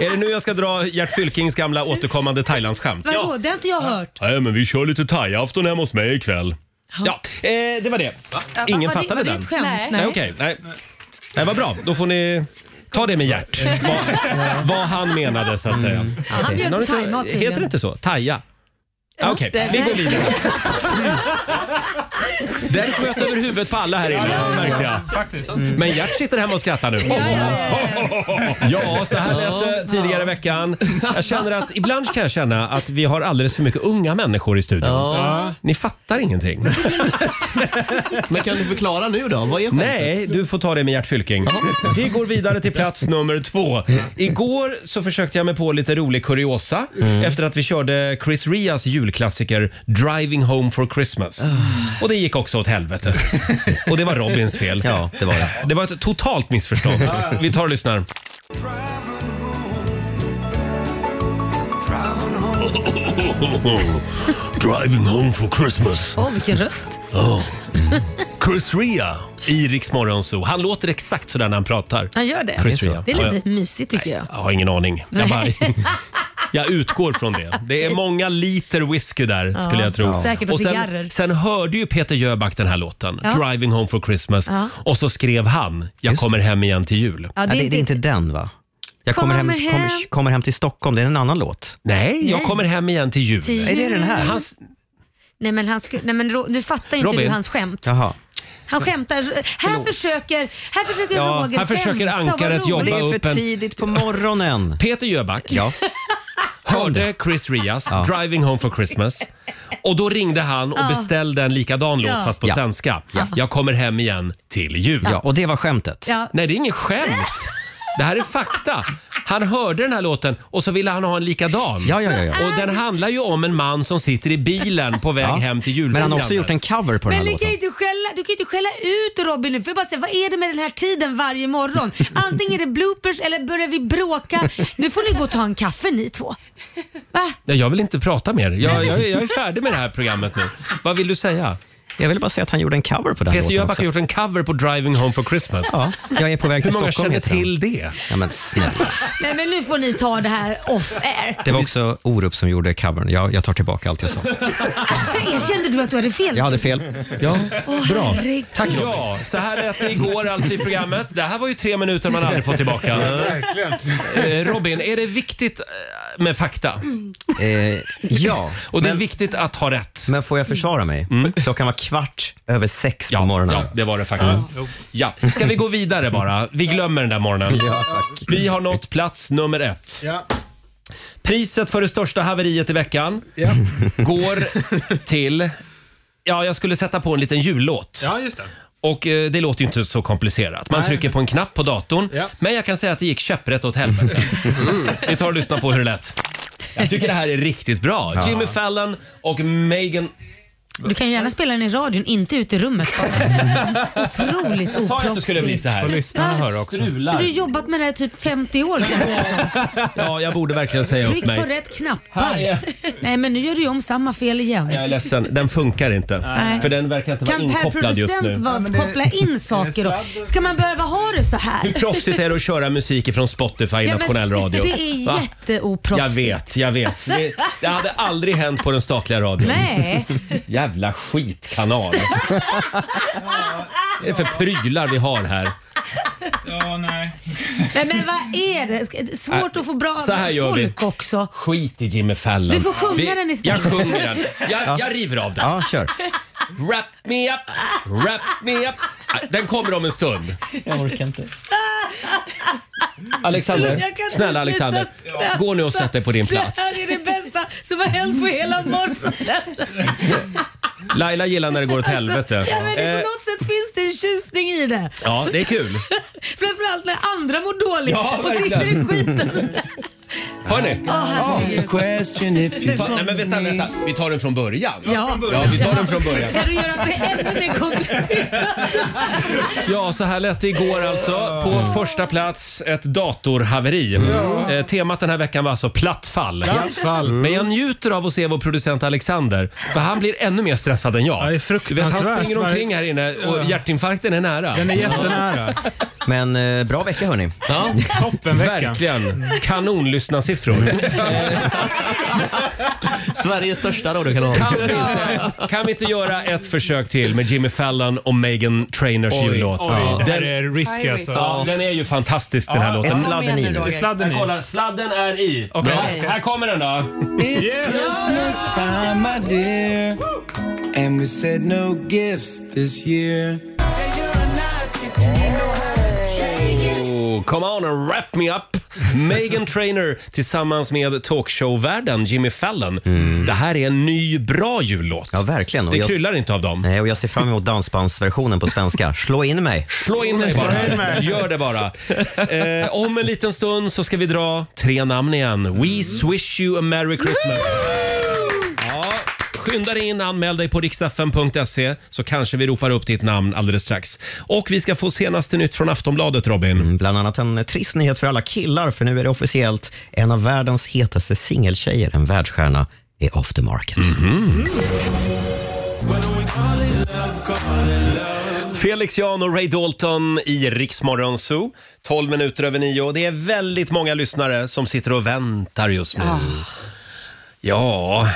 [SPEAKER 1] Är det nu jag ska dra Gert Fylkings gamla återkommande Thailandsskämt?
[SPEAKER 12] Vadå, det har inte jag hört.
[SPEAKER 1] Nej, men vi kör lite thai-afton hemma hos mig ikväll. Ja, eh, det var det. Ingen
[SPEAKER 12] Var det-
[SPEAKER 1] fattade
[SPEAKER 12] var det
[SPEAKER 1] den.
[SPEAKER 12] ett skämt?
[SPEAKER 1] Nej,
[SPEAKER 12] Nej.
[SPEAKER 1] nej, okej. Nej. Nej, vad bra. Då får ni ta det med Gert. vad, vad han menade så att säga.
[SPEAKER 5] Han
[SPEAKER 1] Okej.
[SPEAKER 5] bjöd på
[SPEAKER 1] Har du inte-
[SPEAKER 5] thaimat tydligen.
[SPEAKER 1] Heter det inte så? Thaia? Ja, Okej,
[SPEAKER 5] det-
[SPEAKER 1] vi går vidare. Den sköt över huvudet på alla här inne, märkte jag. Men Gert sitter hemma och skrattar nu. Ja, så här lät det tidigare i veckan. Jag känner att ibland kan jag känna att vi har alldeles för mycket unga människor i studion.
[SPEAKER 8] Ja.
[SPEAKER 1] Ni fattar ingenting.
[SPEAKER 8] *laughs* Men kan du förklara nu då? Vad är skämtet?
[SPEAKER 1] Nej, du får ta det med Gert Fylking. Vi går vidare till plats
[SPEAKER 8] *laughs*
[SPEAKER 1] nummer två. Igår så försökte jag mig på lite rolig kuriosa
[SPEAKER 8] Mm.
[SPEAKER 1] efter att vi körde Chris Rias julklassiker Driving Home for Christmas. Och det gick också åt helvete. Och det var Robins fel. Ja, det var det. Det var ett totalt missförstånd. Vi tar och lyssnar. Driving home for Christmas.
[SPEAKER 12] Åh, vilken röst.
[SPEAKER 1] Oh. Chris Ria i Rix Morgon Zoo. Han låter exakt sådär när han pratar.
[SPEAKER 12] Han gör det.
[SPEAKER 1] Chris Ria.
[SPEAKER 12] Det är
[SPEAKER 1] Ja,
[SPEAKER 12] lite mysigt tycker jag.
[SPEAKER 1] Jag har ingen aning. Jag, bara,
[SPEAKER 12] Nej. *laughs*
[SPEAKER 1] jag utgår från det. Det är många liter whisky där
[SPEAKER 12] Ja,
[SPEAKER 1] skulle jag tro.
[SPEAKER 12] säkert och cigarrer.
[SPEAKER 1] sen, sen hörde ju Peter Jöback den här låten,
[SPEAKER 12] Ja.
[SPEAKER 1] Driving Home for Christmas.
[SPEAKER 12] Ja.
[SPEAKER 1] Och så skrev han, jag kommer hem igen till jul.
[SPEAKER 12] Ja, det är Ja, det- inte- det är inte
[SPEAKER 1] den va?
[SPEAKER 2] Jag kommer hem, kommer, kommer hem till Stockholm, det är en annan låt.
[SPEAKER 1] Nej, jag
[SPEAKER 12] Nej.
[SPEAKER 1] kommer hem igen till jul.
[SPEAKER 12] Till
[SPEAKER 2] Är det den här?
[SPEAKER 1] Hans-
[SPEAKER 12] Nej men, han sku... Nej, men Ro- nu fattar inte
[SPEAKER 1] Robin.
[SPEAKER 12] du hans skämt.
[SPEAKER 2] Jaha.
[SPEAKER 12] Han skämtar. Här
[SPEAKER 2] Förlåt.
[SPEAKER 12] försöker, här försöker
[SPEAKER 1] Ja,
[SPEAKER 12] Roger
[SPEAKER 1] här försöker
[SPEAKER 12] skämta. Vad
[SPEAKER 1] ankaret
[SPEAKER 12] roligt.
[SPEAKER 1] jobba upp en...
[SPEAKER 2] på morgonen.
[SPEAKER 1] *laughs* Peter Jöback hörde Chris Rias Driving Home for Christmas. Och då ringde han och
[SPEAKER 2] Ja.
[SPEAKER 1] beställde en likadan låt
[SPEAKER 2] Ja.
[SPEAKER 1] fast på
[SPEAKER 2] Ja.
[SPEAKER 1] svenska.
[SPEAKER 2] Ja.
[SPEAKER 1] Jag kommer hem igen till jul.
[SPEAKER 2] Ja, och det var skämtet.
[SPEAKER 12] Ja.
[SPEAKER 1] Nej, det är inget skämt. Det här är fakta. Han hörde den här låten och så ville han ha en likadan.
[SPEAKER 2] Ja, ja, ja, ja.
[SPEAKER 1] Och den handlar ju om en man som sitter i bilen på väg
[SPEAKER 2] Ja.
[SPEAKER 1] hem till julfirandet.
[SPEAKER 2] Men han har också gjort en cover på
[SPEAKER 12] Men
[SPEAKER 2] den här
[SPEAKER 12] ni kan
[SPEAKER 2] låten.
[SPEAKER 12] ju inte skälla, du kan ju inte skälla ut Robin nu. För jag bara säga, vad är det med den här tiden varje
[SPEAKER 1] *laughs*
[SPEAKER 12] morgon? Antingen är det bloopers eller börjar vi bråka. Nu får ni gå och ta en kaffe ni två.
[SPEAKER 1] Nej, jag vill inte prata mer. Jag, jag, jag är färdig med det här programmet nu. Vad vill du säga?
[SPEAKER 2] Jag ville bara säga att han gjorde en cover på den
[SPEAKER 1] Peter
[SPEAKER 2] låten
[SPEAKER 1] Jöback
[SPEAKER 2] också.
[SPEAKER 1] har gjort en cover på Driving Home for Christmas.
[SPEAKER 2] Ja, jag är på väg till
[SPEAKER 1] Hur många
[SPEAKER 2] Stockholm,
[SPEAKER 1] känner
[SPEAKER 2] heter den.
[SPEAKER 1] till det?
[SPEAKER 2] Ja, men snälla.
[SPEAKER 12] Nej men nu får ni ta det här off air.
[SPEAKER 2] Det var också Orup som gjorde covern. Jag, jag tar tillbaka allt jag sa.
[SPEAKER 12] Erkände du att du hade fel?
[SPEAKER 2] Jag hade fel.
[SPEAKER 1] Ja,
[SPEAKER 12] Åh,
[SPEAKER 1] bra.
[SPEAKER 12] herregud.
[SPEAKER 1] Tack Ja, så här lät det igår alltså i programmet. Det här var ju tre minuter man aldrig får
[SPEAKER 3] *laughs*
[SPEAKER 1] tillbaka. Eh, Robin, är det viktigt eh, med fakta?
[SPEAKER 2] Eh, ja.
[SPEAKER 1] *laughs* Och det är viktigt att ha rätt. Mm.
[SPEAKER 2] Men får jag försvara mig? Klockan var kvart över sex på morgonen.
[SPEAKER 1] Ja, det var det faktiskt. Ja. Ska vi gå vidare bara? Vi glömmer den där morgonen.
[SPEAKER 2] Ja,
[SPEAKER 1] Vi har nått plats nummer ett. Priset för det största haveriet i veckan går till... Ja, jag skulle sätta på en liten jullåt.
[SPEAKER 10] Ja, just det.
[SPEAKER 1] Och eh, det låter ju inte så komplicerat. Man
[SPEAKER 10] Nej.
[SPEAKER 1] trycker på en knapp på datorn.
[SPEAKER 10] Ja. Mm.
[SPEAKER 1] Men jag kan säga att det gick käpprätt åt helvete. Vi tar och lyssnar på hur det lät. Jag tycker det här är riktigt bra.
[SPEAKER 12] Ja.
[SPEAKER 1] Jimmy Fallon och Megan...
[SPEAKER 12] Du kan ju gärna spela den i radion, inte ute i rummet. Otroligt
[SPEAKER 1] Jag sa ju att det skulle bli
[SPEAKER 12] oproffsigt.
[SPEAKER 1] så här.
[SPEAKER 12] Får lyssnarna höra
[SPEAKER 1] också.
[SPEAKER 12] Men Du har jobbat med det här i typ 50
[SPEAKER 1] *laughs*
[SPEAKER 12] år.
[SPEAKER 1] Ja, jag borde verkligen säga upp
[SPEAKER 12] Tryck på
[SPEAKER 1] mig.
[SPEAKER 12] rätt knappar. Nej men nu gör du ju om samma fel igen.
[SPEAKER 1] Jag är ledsen, den funkar inte.
[SPEAKER 12] Nej.
[SPEAKER 1] För den verkar inte vara
[SPEAKER 12] Kan per
[SPEAKER 1] inkopplad just
[SPEAKER 12] producent
[SPEAKER 1] nu.
[SPEAKER 12] vara, koppla
[SPEAKER 5] *laughs*
[SPEAKER 12] in saker? Och, ska man behöva ha det så här?
[SPEAKER 1] Hur proffsigt är det att köra musik ifrån Spotify i
[SPEAKER 12] Ja, men
[SPEAKER 1] nationell radio?
[SPEAKER 12] Det är
[SPEAKER 1] Va?
[SPEAKER 12] jätteoproffsigt.
[SPEAKER 1] Jag vet, jag vet. Det, det hade aldrig hänt på den statliga radion.
[SPEAKER 12] Nej.
[SPEAKER 1] Jävla skitkanal. Vad är det för prylar vi har här?
[SPEAKER 3] Ja, nej.
[SPEAKER 12] Nej, men vad är det? Ska- det är Svårt att få bra
[SPEAKER 1] Äh, Så här gör vi.
[SPEAKER 12] folk också.
[SPEAKER 1] Skit i Jimmy Fallon.
[SPEAKER 12] Du får sjunga
[SPEAKER 1] vi,
[SPEAKER 12] den istället.
[SPEAKER 1] Jag sjunger den. Jag, jag river av den.
[SPEAKER 2] Ja, kör.
[SPEAKER 1] Wrap me up, wrap me up. Äh, Den kommer om en stund.
[SPEAKER 5] Jag orkar inte.
[SPEAKER 12] Jag kan
[SPEAKER 1] Alexander,
[SPEAKER 12] inte
[SPEAKER 1] snälla Alexander.
[SPEAKER 12] sluta skratta.
[SPEAKER 1] Gå nu och sätt dig på din plats.
[SPEAKER 12] Det här är det bästa som har hänt på hela morgonen.
[SPEAKER 1] Laila gillar när det går åt helvete.
[SPEAKER 12] Alltså, Ja, men det,
[SPEAKER 1] Eh,
[SPEAKER 12] på något sätt finns det en tjusning i det.
[SPEAKER 1] Ja, det
[SPEAKER 12] *laughs*
[SPEAKER 1] är kul.
[SPEAKER 12] Framförallt när andra mår dåligt
[SPEAKER 1] Ja,
[SPEAKER 12] liksom. och sitter i
[SPEAKER 1] verkligen.
[SPEAKER 12] skiten.
[SPEAKER 1] Hörni.
[SPEAKER 12] Åh, herregud.
[SPEAKER 1] Ta, nej men vänta, vänta. Vi tar den från början.
[SPEAKER 12] Ja.
[SPEAKER 1] ja vi tar den från början.
[SPEAKER 12] Ska du göra det ännu mer komplicerat?
[SPEAKER 1] Ja, så här lät det igår alltså. På första plats, ett datorhaveri.
[SPEAKER 5] Ja.
[SPEAKER 1] Eh, temat den här veckan var alltså plattfall.
[SPEAKER 3] Plattfall.
[SPEAKER 1] Mm. Men jag njuter av att se vår producent Alexander, för han blir ännu mer stressad än jag. du vet, han
[SPEAKER 3] fruktansvärt.
[SPEAKER 1] springer omkring här inne
[SPEAKER 3] Ja.
[SPEAKER 1] och hjärtinfarkten är nära.
[SPEAKER 3] Den är jättenära.
[SPEAKER 2] Men eh, bra vecka hörni.
[SPEAKER 1] Ja,
[SPEAKER 2] Toppenvecka.
[SPEAKER 1] Verkligen. Kanonlyssnarsiffror.
[SPEAKER 8] Sveriges största radiokanal.
[SPEAKER 1] Kan vi, inte, kan vi inte göra ett försök till med Jimmy Fallon och Megan Trainers
[SPEAKER 3] Oj,
[SPEAKER 1] jullåt?
[SPEAKER 3] oj, det här är risky alltså.
[SPEAKER 1] Ja, den är ju fantastisk den här
[SPEAKER 3] Ja,
[SPEAKER 1] låten.
[SPEAKER 3] är sladden i nu? Är sladden i?
[SPEAKER 1] Jag kollar, sladden är i.
[SPEAKER 3] Okej.
[SPEAKER 1] Bra. Här kommer den då.
[SPEAKER 5] It's Christmas time my dear And we said no gifts this year.
[SPEAKER 1] Oh, come on and wrap me up! Megan Trainer tillsammans med talkshow-värden Jimmy Fallon. Det här är en ny bra jullåt.
[SPEAKER 2] Ja, verkligen.
[SPEAKER 1] Det kryllar inte av dem.
[SPEAKER 2] Nej, och jag ser fram emot dansbandsversionen på svenska. Slå in mig.
[SPEAKER 1] Slå in dig bara. Gör det bara. Eh, om en liten stund så ska vi dra tre namn igen. We swish you a merry Christmas. Ja, Skynda dig in, anmäl dig på riksfn.se så kanske vi ropar upp ditt namn alldeles strax. Och vi ska få senaste nytt från Aftonbladet, Robin.
[SPEAKER 2] Mm, Bland annat en eh, trist nyhet för alla killar, för nu är det officiellt en av världens hetaste singeltjejer, en världsstjärna, är off the market.
[SPEAKER 1] Mhm. Felix Jan och Ray Dalton i Riksmorgon Zoo. 12 minuter över nio. Det är väldigt många lyssnare som sitter och väntar just nu.
[SPEAKER 7] Ah.
[SPEAKER 1] Ja...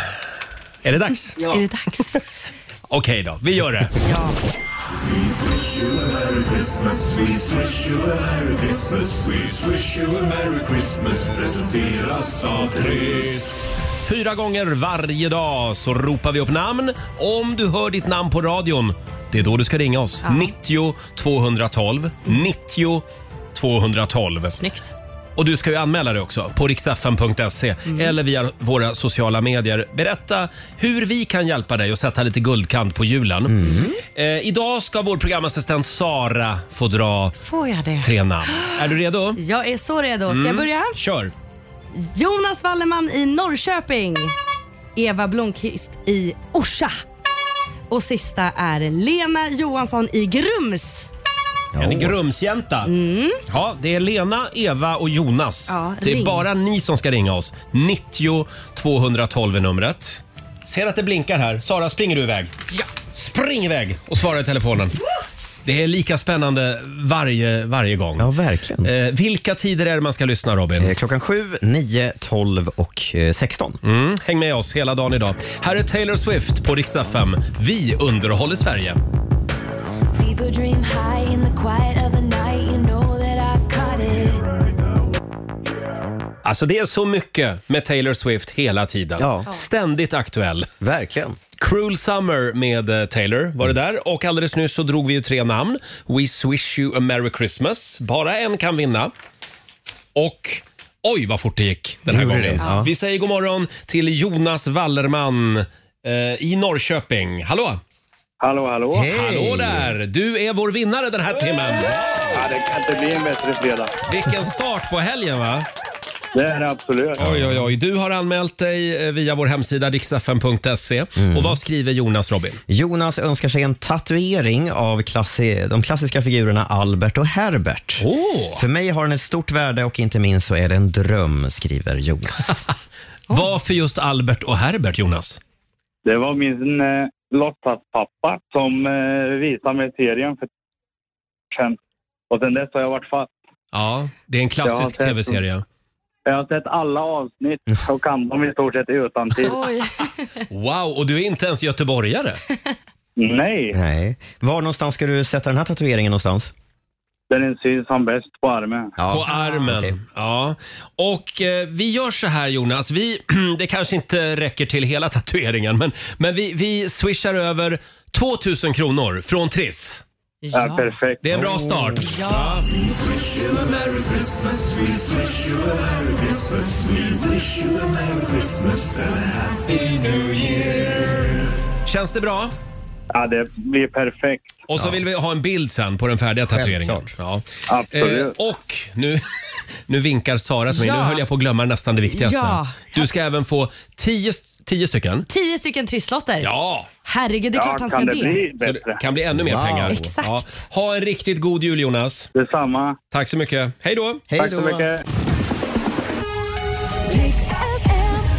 [SPEAKER 1] Är det dags?
[SPEAKER 7] Är det dags?
[SPEAKER 1] *laughs* Okej då, vi gör det. Fyra gånger varje dag så ropar vi upp namn. Om du hör ditt namn på radion, det är då du ska ringa oss.
[SPEAKER 5] Ja.
[SPEAKER 1] 90 212. 90 212.
[SPEAKER 7] Snyggt.
[SPEAKER 1] Och du ska ju anmäla dig också på riksfn.se
[SPEAKER 7] Mm.
[SPEAKER 1] eller via våra sociala medier. Berätta hur vi kan hjälpa dig och sätta lite guldkant på julen.
[SPEAKER 7] Mm.
[SPEAKER 1] Eh, idag ska vår programassistent Sara få dra
[SPEAKER 7] Får jag det?
[SPEAKER 1] tre namn. Är du redo?
[SPEAKER 7] Jag är så redo. Ska jag
[SPEAKER 1] Mm.
[SPEAKER 7] börja?
[SPEAKER 1] Kör!
[SPEAKER 7] Jonas Wallerman i Norrköping. Eva Blomqvist i Orsa. Och sista är Lena Johansson i Grums.
[SPEAKER 1] En Grumsjänta. Ja, det är Lena, Eva och Jonas.
[SPEAKER 7] Ja,
[SPEAKER 1] det är
[SPEAKER 7] ring.
[SPEAKER 1] bara ni som ska ringa oss. 90 212 är numret. Ser att det blinkar här. Sara, springer du iväg? Ja. Spring iväg och svara i telefonen. Det är lika spännande varje, varje gång. Eh,
[SPEAKER 2] Ja, verkligen.
[SPEAKER 1] vilka tider är det man ska lyssna, Robin?
[SPEAKER 2] Eh, klockan 7, 9, 12 och eh, 16.
[SPEAKER 1] Mm, häng med oss hela dagen idag. Här är Taylor Swift på Rix FM. Vi underhåller Sverige.
[SPEAKER 4] People dream high in the quiet of the night. You know that I caught it.
[SPEAKER 1] Alltså det är så mycket med Taylor Swift hela tiden. Ständigt aktuell.
[SPEAKER 2] Verkligen. Mm.
[SPEAKER 1] Cruel Summer med eh, Taylor var det där. Och alldeles nyss så drog vi ju tre namn. We Swish You A Merry Christmas. Bara en kan vinna. Och oj vad fort det gick den här
[SPEAKER 2] Gjorde
[SPEAKER 1] gången.
[SPEAKER 2] det? Ja.
[SPEAKER 1] Vi säger god morgon till Jonas Wallerman eh, i Norrköping. Hallå!
[SPEAKER 15] Hallå, hallå!
[SPEAKER 1] Hallå där! Du är vår vinnare den här timmen.
[SPEAKER 15] Ja, det kan inte bli en bättre fredag.
[SPEAKER 1] Vilken start på helgen va?
[SPEAKER 15] Det är det absolut.
[SPEAKER 1] Oj, oj, oj. Du har anmält dig eh, via vår hemsida riksfn.se. Och vad skriver Jonas Robin?
[SPEAKER 2] Jonas önskar sig en tatuering av klassi- de klassiska figurerna Albert och Herbert. För mig har den ett stort värde och inte minst så är det en dröm, skriver Jonas.
[SPEAKER 1] Varför just Albert och Herbert, Jonas?
[SPEAKER 15] Det var min eh, låtsaspappa som eh, visade mig serien för sen. Och sen dess har jag varit fast.
[SPEAKER 1] Ja, det är en klassisk
[SPEAKER 15] Ja, det-
[SPEAKER 1] tv-serie.
[SPEAKER 15] Jag har sett alla avsnitt och kan dem i stort sett utan till.
[SPEAKER 1] Wow, och du är inte ens göteborgare?
[SPEAKER 15] Nej.
[SPEAKER 2] Nej. Var någonstans ska du sätta den här tatueringen någonstans?
[SPEAKER 15] Den syns som bäst på armen.
[SPEAKER 1] På armen. Ja. Och eh, vi gör så här Jonas, vi, *clears throat* det kanske inte räcker till hela tatueringen, men, men vi, vi swishar över 2000 kronor från Triss.
[SPEAKER 15] Ja, Ja. perfekt.
[SPEAKER 1] Det är en bra start. Känns det bra?
[SPEAKER 15] Ja, det blir perfekt.
[SPEAKER 1] Och så vill vi ha en bild sen på den färdiga tatueringen. Ja. Eh,
[SPEAKER 15] Absolut.
[SPEAKER 1] och nu, *laughs* nu vinkar Sara till mig.
[SPEAKER 7] Ja.
[SPEAKER 1] Nu höll jag på att glömma nästan det viktigaste.
[SPEAKER 7] Ja.
[SPEAKER 1] Du ska även få tio, tio stycken.
[SPEAKER 7] Tio stycken trisslotter.
[SPEAKER 1] Ja!
[SPEAKER 7] Herregud, det är klart han ska det.
[SPEAKER 1] Så det kan bli ännu mer
[SPEAKER 7] Wow.
[SPEAKER 1] pengar.
[SPEAKER 7] Exakt.
[SPEAKER 1] Ja. Ha en riktigt god jul Jonas.
[SPEAKER 15] Detsamma.
[SPEAKER 1] Tack så mycket. Hej då!
[SPEAKER 15] Tack så mycket.